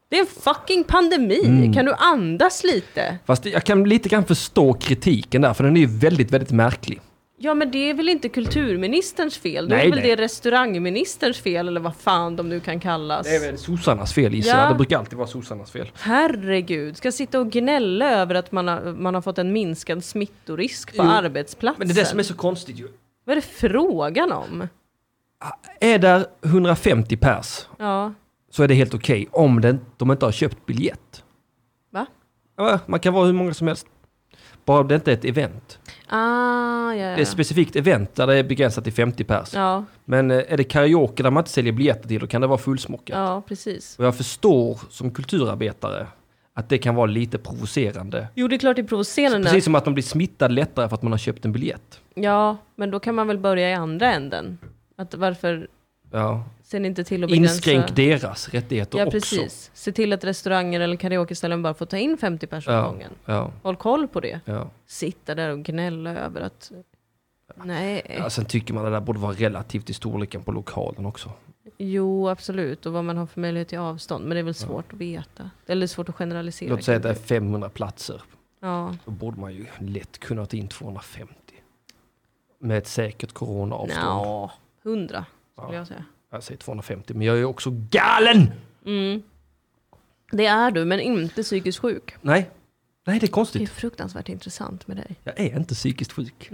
Speaker 2: Det är en fucking pandemi.
Speaker 1: Mm.
Speaker 2: Kan du andas lite?
Speaker 1: Fast jag kan lite grann förstå kritiken där, för den är ju väldigt, väldigt märklig.
Speaker 2: Ja men det är väl inte kulturministerns fel? Då är
Speaker 1: Nej,
Speaker 2: väl
Speaker 1: nej.
Speaker 2: det restaurangministerns fel eller vad fan de nu kan kallas.
Speaker 1: Det är väl sossarnas fel gissar
Speaker 2: Ja.
Speaker 1: jag. Det brukar alltid vara sossarnas fel.
Speaker 2: Herregud, ska sitta och gnälla över att man har, man har fått en minskad smittorisk på
Speaker 1: Jo,
Speaker 2: arbetsplatsen?
Speaker 1: Mm. Men det är det som är så konstigt ju.
Speaker 2: Vad är det frågan om?
Speaker 1: Är där 150 pers
Speaker 2: Ja,
Speaker 1: så är det helt okej om det, de inte har köpt biljett.
Speaker 2: va?
Speaker 1: Ja, Man kan vara hur många som helst. Bara det inte är ett event.
Speaker 2: Ah, ja, ja.
Speaker 1: Det är ett specifikt event där det är begränsat till 50 pers.
Speaker 2: ja,
Speaker 1: Men eh, är det karaoke där man inte säljer biljetter till då kan det vara fullsmockat.
Speaker 2: ja, precis.
Speaker 1: Och jag förstår som kulturarbetare att det kan vara lite provocerande.
Speaker 2: Jo, det är klart det är provocerande.
Speaker 1: Precis som att man blir smittad lättare för att man har köpt en biljett.
Speaker 2: Ja, men då kan man väl börja i andra änden. Att varför
Speaker 1: Ja.
Speaker 2: ser ni inte till att begränsa...
Speaker 1: Inskränk deras rättigheter
Speaker 2: Ja,
Speaker 1: också.
Speaker 2: precis. Se till att restauranger eller karaokeställen bara får ta in 50 personer
Speaker 1: Ja,
Speaker 2: gången.
Speaker 1: ja,
Speaker 2: Håll koll på det.
Speaker 1: ja.
Speaker 2: Sitta där och gnälla över att... Nej.
Speaker 1: Ja, sen tycker man det där borde vara relativt i storleken på lokalen också.
Speaker 2: Jo, absolut. Och vad man har för möjlighet till avstånd. Men det är väl svårt att veta. Eller svårt att generalisera.
Speaker 1: Låt säga att det är
Speaker 2: kanske.
Speaker 1: 500 platser.
Speaker 2: Ja.
Speaker 1: Då borde man ju lätt kunna ta in 250. Med ett säkert coronaavstånd.
Speaker 2: Nja, 100 skulle
Speaker 1: Ja.
Speaker 2: jag säga.
Speaker 1: Jag säger 250, men jag är också galen!
Speaker 2: Mm. Det är du, men inte psykiskt sjuk.
Speaker 1: Nej, nej det är
Speaker 2: Det är
Speaker 1: konstigt.
Speaker 2: fruktansvärt intressant med dig.
Speaker 1: Jag är inte psykiskt sjuk.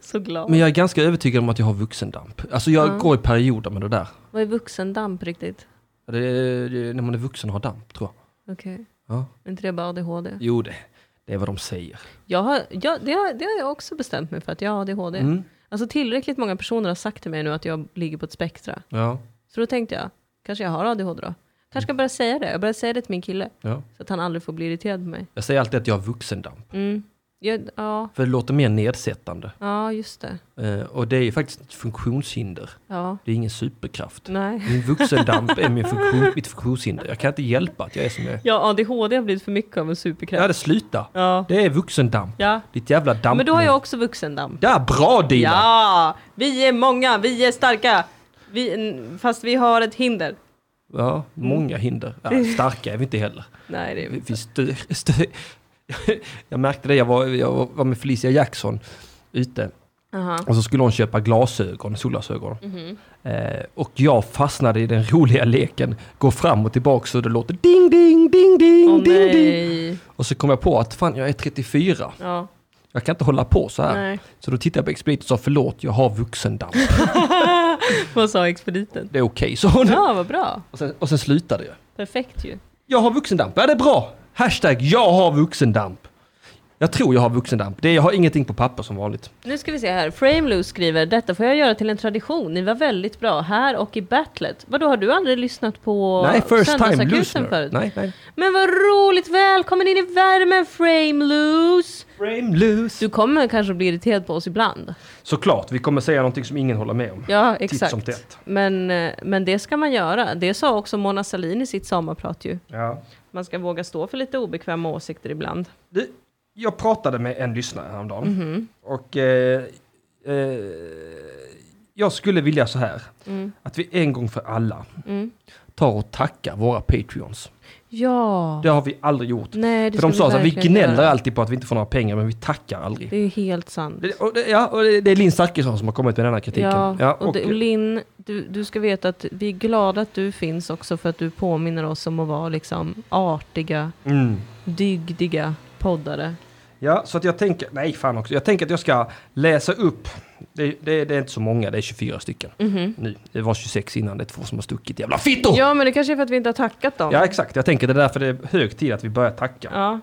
Speaker 2: Så glad.
Speaker 1: Men jag är ganska övertygad om att jag har vuxendamp. Alltså jag
Speaker 2: Ja.
Speaker 1: går i perioder med det där.
Speaker 2: Vad är vuxendamp riktigt?
Speaker 1: Det är, det är när man är vuxen och har damp, tror jag.
Speaker 2: Okej.
Speaker 1: Ja.
Speaker 2: Är inte det bara ADHD?
Speaker 1: Jo, det, det är vad de säger.
Speaker 2: Jag har, jag, det, har, det har jag också bestämt mig för att jag har ADHD.
Speaker 1: Mm.
Speaker 2: Alltså tillräckligt många personer har sagt till mig nu att jag ligger på ett spektra.
Speaker 1: Ja,
Speaker 2: Så då tänkte jag, kanske jag har ADHD då? Kanske ska jag börja säga det. Jag började säga det till min kille.
Speaker 1: ja.
Speaker 2: Så att han aldrig får bli irriterad på mig.
Speaker 1: Jag säger alltid att jag har vuxendamp.
Speaker 2: Mm. Jag, ja,
Speaker 1: För det låter mer nedsättande.
Speaker 2: ja, just det.
Speaker 1: Eh, och det är ju faktiskt ett funktionshinder.
Speaker 2: Ja,
Speaker 1: Det är ingen superkraft.
Speaker 2: nej.
Speaker 1: Min vuxendamp är min funktion, mitt funktionshinder. Jag kan inte hjälpa att jag är som jag är.
Speaker 2: Ja, ADHD har blivit för mycket av en
Speaker 1: Ja,
Speaker 2: superkraft.
Speaker 1: det sluta.
Speaker 2: Ja.
Speaker 1: Det är vuxendamp.
Speaker 2: ja.
Speaker 1: Ditt jävla damp.
Speaker 2: Men då har jag också vuxendamp.
Speaker 1: Ja, bra Dina!
Speaker 2: Ja, vi är många, vi är starka. Vi, fast vi har ett hinder.
Speaker 1: Ja, många hinder. Ja, starka är vi inte heller.
Speaker 2: Nej, det är
Speaker 1: Vi styr, styr. [LAUGHS] Jag märkte det, jag var, jag var med Felicia Jackson ute
Speaker 2: Aha.
Speaker 1: och så skulle hon köpa glasögon, solglasögon.
Speaker 2: Mhm.
Speaker 1: Eh, och jag fastnade i den [LAUGHS] roliga leken, gå fram och tillbaka så det låter ding, ding, ding, ding,
Speaker 2: Åh
Speaker 1: ding, ding.
Speaker 2: nej.
Speaker 1: Och så kom jag på att fan, jag är 34.
Speaker 2: Ja.
Speaker 1: Jag kan inte hålla på så här.
Speaker 2: Nej.
Speaker 1: Så då tittade jag på Expedit och sa förlåt, jag har vuxendamp.
Speaker 2: Vad sa expediten?
Speaker 1: Det är okej, sa hon.
Speaker 2: [LAUGHS] Ja, vad bra.
Speaker 1: Och, sen, och sen slutade jag.
Speaker 2: Perfekt ju.
Speaker 1: Jag har vuxendamp. Ja, det är bra. Hashtag jag har vuxendamp. Jag tror jag har vuxendamp. Det, jag har ingenting på papper som vanligt.
Speaker 2: Nu ska vi se här. Frameloose skriver detta får jag göra till en tradition. Ni var väldigt bra här och i battlet. Vadå, har du aldrig lyssnat på
Speaker 1: nej, first time
Speaker 2: Söndagsakuten
Speaker 1: listener.
Speaker 2: förut?
Speaker 1: Nej, nej.
Speaker 2: Men vad roligt! Välkommen in i värmen Frameloose!
Speaker 1: Frame loose.
Speaker 2: Du kommer kanske bli irriterad på oss ibland.
Speaker 1: Såklart, vi kommer säga någonting som ingen håller med om.
Speaker 2: Ja,
Speaker 1: Titt som
Speaker 2: exakt.
Speaker 1: tätt.
Speaker 2: Men, eh, men det ska man göra. Det sa också Mona Sahlin i sitt sommarprat ju.
Speaker 1: Ja.
Speaker 2: Man ska våga stå för lite obekväma åsikter ibland.
Speaker 1: Du, jag pratade med en lyssnare häromdagen.
Speaker 2: Mhm.
Speaker 1: Och eh, eh, jag skulle vilja så här. Att vi en gång för alla
Speaker 2: Mm.
Speaker 1: tar och tackar våra patreons.
Speaker 2: Ja!
Speaker 1: Det har vi aldrig gjort.
Speaker 2: Nej, det
Speaker 1: För de
Speaker 2: ska
Speaker 1: sa att vi
Speaker 2: verkligen
Speaker 1: gnäller
Speaker 2: göra.
Speaker 1: alltid på att vi inte får några pengar, men vi tackar aldrig.
Speaker 2: Det är helt sant.
Speaker 1: Det, och det, ja, och det, det är Linn Zachrisson som har kommit med den här kritiken.
Speaker 2: Ja, och,
Speaker 1: och-
Speaker 2: det, och Linn, du, du ska veta att vi är glada att du finns också för att du påminner oss om att vara liksom artiga,
Speaker 1: mm.
Speaker 2: dygdiga poddare.
Speaker 1: ja, så att jag tänker, nej fan också, jag tänker att jag ska läsa upp, det, det, det är inte så många, det är 24 stycken nu. Det var 26 innan, det är två som har stuckit, jävla fittor! Ja.
Speaker 2: Ja, men det kanske är för att vi inte har tackat dem.
Speaker 1: exakt, jag tänker det är därför det är hög tid att vi börjar tacka. Ja.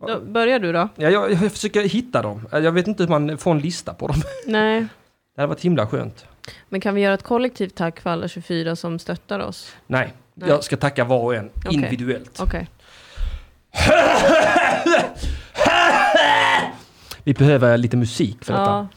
Speaker 2: Ja. Då börjar du då.
Speaker 1: jag, jag försöker hitta dem, jag vet inte hur man får en lista på dem.
Speaker 2: Nej.
Speaker 1: Det hade varit himla skönt.
Speaker 2: Men kan vi göra ett kollektivt tack för alla 24 som stöttar oss?
Speaker 1: Nej,
Speaker 2: Nej.
Speaker 1: jag ska tacka var och en
Speaker 2: Okej.
Speaker 1: individuellt.
Speaker 2: Okej.
Speaker 1: Vi behöver lite musik för detta.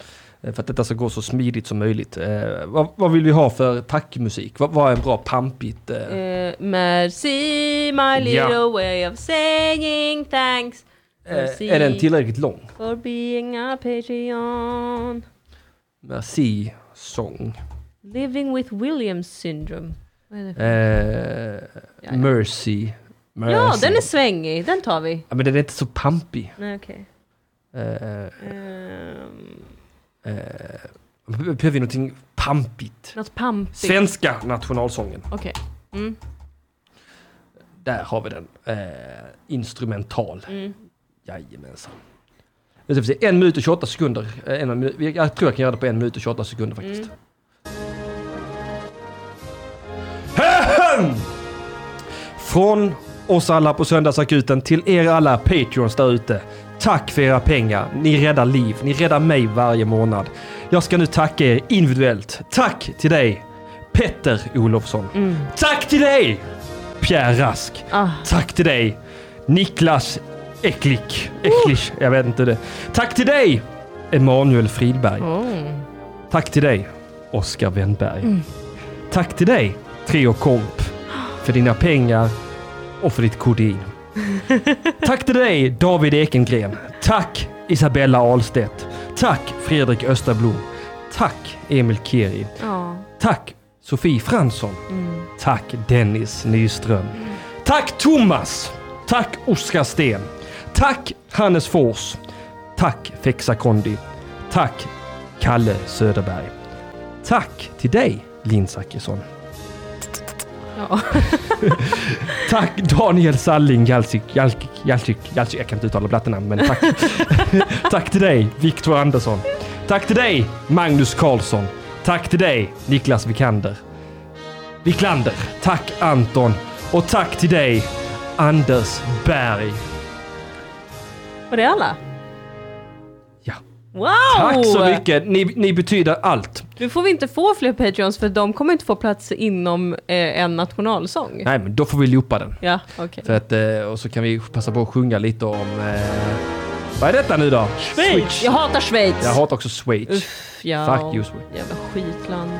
Speaker 2: Ja.
Speaker 1: Eh, För att detta ska gå så smidigt som möjligt. Eh, vad, vad vill vi ha för tackmusik? Vad, vad är bra pampigt? Eh?
Speaker 2: Eh, merci my little
Speaker 1: Ja.
Speaker 2: way of saying thanks
Speaker 1: Eh, är den tillräckligt lång?
Speaker 2: for being a Patreon.
Speaker 1: Merci sång.
Speaker 2: Living with Williams syndrome. Vad är det?
Speaker 1: Eh, Mercy. Mercy.
Speaker 2: Ja, den är svängig. Den tar vi.
Speaker 1: Ja, men den är inte så pampig.
Speaker 2: Nej, okej.
Speaker 1: Eh, eh,
Speaker 2: Ehm,
Speaker 1: behöver vi någonting pampigt?
Speaker 2: något pampigt.
Speaker 1: Svenska nationalsången.
Speaker 2: Okej. Mm.
Speaker 1: Där har vi den. Eh, instrumental.
Speaker 2: Mm.
Speaker 1: Jajamensan. Nu ska vi se, En minut och 28 sekunder. Eh, En, minu- jag tror jag kan göra det på en minut och 28 sekunder faktiskt. Ahem! Från oss alla på Söndagsakuten till er alla Patreons där ute. Tack för era pengar. Ni räddar liv. Ni räddar mig varje månad. Jag ska nu tacka er individuellt. Tack till dig, Petter Olofsson. Tack till dig, Pierre Rask.
Speaker 2: Ah,
Speaker 1: Tack till dig, Niklas Eklick. Eklich, jag vet inte det. Tack till dig, Emanuel Fridberg.
Speaker 2: mm.
Speaker 1: Tack till dig, Oskar Wennberg. Tack till dig, Trio Komp, för dina pengar och för ditt kodin. Tack till dig, David Ekengren. Tack, Isabella Ahlstedt. Tack, Fredrik Österblom. Tack, Emil Keri.
Speaker 2: Ja.
Speaker 1: Tack, Sofie Fransson.
Speaker 2: Mm.
Speaker 1: Tack Dennis Nyström. Tack Thomas. Tack Oskar Sten. Tack Hannes Fors. Tack Fexa Kondi. Tack Kalle Söderberg. Tack till dig Linn Zachrisson.
Speaker 2: Ja.
Speaker 1: [LAUGHS] Tack Daniel Salling Jalsik, Jalsik, Jalsik, Jalsik. Jag kan inte uttala blattenamn, men tack. tack till dig Viktor Andersson. Tack till dig Magnus Karlsson. Tack till dig Niklas Vikander. Wiklander. Tack Anton. Och tack till dig Anders Berg.
Speaker 2: Var det alla?
Speaker 1: Ja.
Speaker 2: Wow!
Speaker 1: Tack så mycket. Ni, ni betyder allt.
Speaker 2: Nu får vi inte få fler Patreons för de kommer inte få plats inom eh, en nationalsång.
Speaker 1: Nej, men då får vi loopa den.
Speaker 2: Ja, okej.
Speaker 1: För att, eh, och så kan vi passa på att sjunga lite om... Eh, vad är detta nu då? Schweiz.
Speaker 2: Jag hatar Schweiz!
Speaker 1: Jag hatar också Schweiz.
Speaker 2: Uff, ja.
Speaker 1: Fuck you, Schweiz.
Speaker 2: Jävla skitland.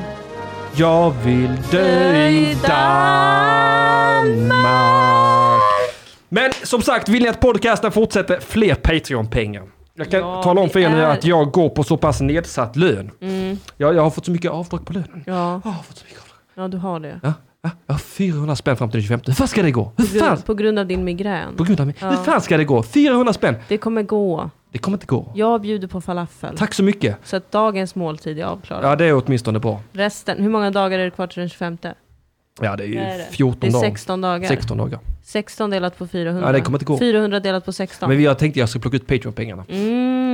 Speaker 1: Jag vill dö i
Speaker 2: i
Speaker 1: Danmark. Men som sagt, vill ni att podcasten fortsätter, fler Patreon-pengar. Jag kan
Speaker 2: Ja,
Speaker 1: tala om för er nu
Speaker 2: det är-
Speaker 1: att jag går på så pass nedsatt lön. Jag, jag har fått så mycket avdrag på lönen.
Speaker 2: Mm. Ja,
Speaker 1: Jag har fått så mycket avdrag.
Speaker 2: ja, du har det.
Speaker 1: Ja. Va? Jag har 400 spänn fram till den 25. Hur fan ska det gå? Hur
Speaker 2: På
Speaker 1: fan?
Speaker 2: grund, på grund av din migrän.
Speaker 1: På grund av mig. Hur fan ska det gå? 400 spänn?
Speaker 2: Det kommer gå.
Speaker 1: Det kommer inte gå.
Speaker 2: Jag bjuder på falafel.
Speaker 1: Tack så mycket.
Speaker 2: Så att dagens måltid är avklarad.
Speaker 1: Ja, det är åtminstone bra.
Speaker 2: Resten, hur många dagar är det kvar till den 25?
Speaker 1: Ja, det är ju
Speaker 2: Det är det.
Speaker 1: 14
Speaker 2: Det är
Speaker 1: dagar.
Speaker 2: 16 dagar.
Speaker 1: 16 dagar.
Speaker 2: 16 delat på 400.
Speaker 1: Ja, det kommer inte gå.
Speaker 2: 400 delat på 16.
Speaker 1: Men jag tänkte jag skulle plocka ut Patreon-pengarna.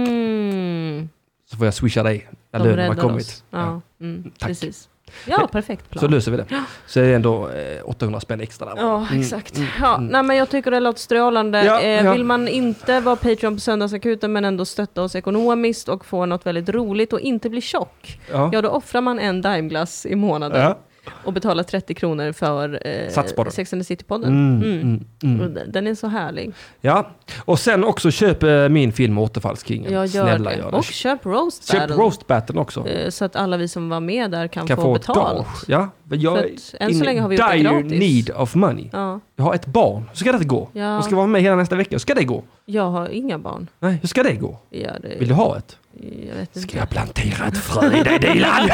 Speaker 2: Mm.
Speaker 1: Så får jag swisha dig när
Speaker 2: De
Speaker 1: lönen har
Speaker 2: räddar
Speaker 1: kommit.
Speaker 2: oss.
Speaker 1: Ja.
Speaker 2: Ja, mm,
Speaker 1: Tack.
Speaker 2: precis. Ja, perfekt plan.
Speaker 1: Så löser vi det. Så är det ändå eh, 800 spänn extra där.
Speaker 2: Ja, exakt. Ja, nej, men jag tycker det låter strålande.
Speaker 1: mm, Ja,
Speaker 2: eh,
Speaker 1: ja.
Speaker 2: Vill man inte vara Patreon på Söndagsakuten men ändå stötta oss ekonomiskt och få något väldigt roligt och inte bli tjock,
Speaker 1: Ja.
Speaker 2: ja då offrar man en Dimeglass i månaden
Speaker 1: Ja.
Speaker 2: och betalar 30 kronor för eh,
Speaker 1: Satspodden.
Speaker 2: Sex and the City-podden.
Speaker 1: Mm,
Speaker 2: Mm.
Speaker 1: mm, mm.
Speaker 2: Och d- Den är så härlig.
Speaker 1: ja, och sen också köp eh, min film Återfallskingen.
Speaker 2: Jag gör
Speaker 1: Snälla
Speaker 2: det.
Speaker 1: gör det.
Speaker 2: Och köp Roast
Speaker 1: köp
Speaker 2: Battle.
Speaker 1: roast batten också.
Speaker 2: eh, Så att alla vi som var med där kan,
Speaker 1: kan
Speaker 2: få,
Speaker 1: få ett
Speaker 2: betalt.
Speaker 1: gage. Ja, men jag
Speaker 2: För
Speaker 1: är
Speaker 2: att än så
Speaker 1: in
Speaker 2: länge har vi gjort det
Speaker 1: dire
Speaker 2: gratis.
Speaker 1: need of money.
Speaker 2: Ja,
Speaker 1: Jag har ett barn. Hur ska det gå?
Speaker 2: Ja.
Speaker 1: Hon ska vara med hela nästa vecka. Hur ska det gå?
Speaker 2: jag har inga barn.
Speaker 1: Nej, hur ska det gå?
Speaker 2: Ja, det,
Speaker 1: Vill du ha ett?
Speaker 2: Jag vet inte.
Speaker 1: Ska jag plantera ett frö i dig
Speaker 2: [LAUGHS]
Speaker 1: Dilan?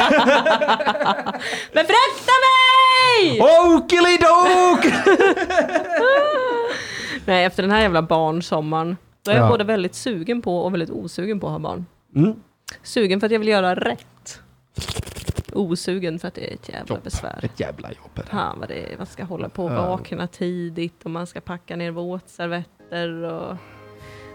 Speaker 2: Men frakta mig!
Speaker 1: Okelidok!
Speaker 2: Nej, efter den här jävla barnsommaren. Då är jag
Speaker 1: Ja.
Speaker 2: både väldigt sugen på och väldigt osugen på att ha barn.
Speaker 1: Mm.
Speaker 2: Sugen för att jag vill göra rätt. Osugen för att det är ett jävla
Speaker 1: Jobb.
Speaker 2: besvär.
Speaker 1: Ett jävla jobb är det.
Speaker 2: Fan vad det är. Man ska hålla på och
Speaker 1: Ja.
Speaker 2: vakna tidigt och man ska packa ner våtservetter och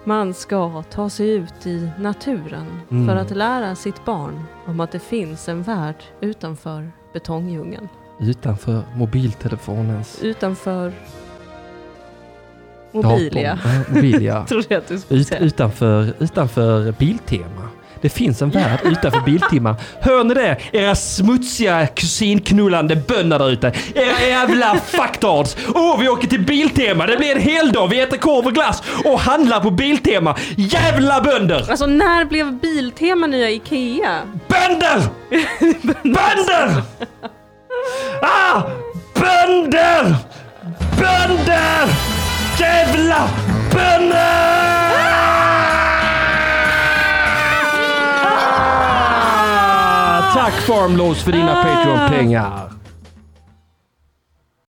Speaker 2: man ska ta sig ut i naturen
Speaker 1: Mm.
Speaker 2: för att lära sitt barn om att det finns en värld utanför betongdjungeln.
Speaker 1: Utanför mobiltelefonens
Speaker 2: Utanför Mobilia.
Speaker 1: datorn. Ja, Mobilia.
Speaker 2: [LAUGHS] Trodde jag att du skulle
Speaker 1: Ut,
Speaker 2: säga.
Speaker 1: utanför, utanför Biltema. Det finns en värld utanför Biltema. Hör ni det? Era smutsiga kusinknullande bönder där ute. Era jävla fucktards. Åh, vi åker till Biltema. Det blir en hel dag. Vi äter korv och glass och handlar på Biltema. Jävla bönder!
Speaker 2: Alltså när blev Biltema nya IKEA?
Speaker 1: Bönder! Bönder! Ah! Bönder! Bönder! Jävla bönder! Ah. Tack Farmlose för dina Patreon-pengar.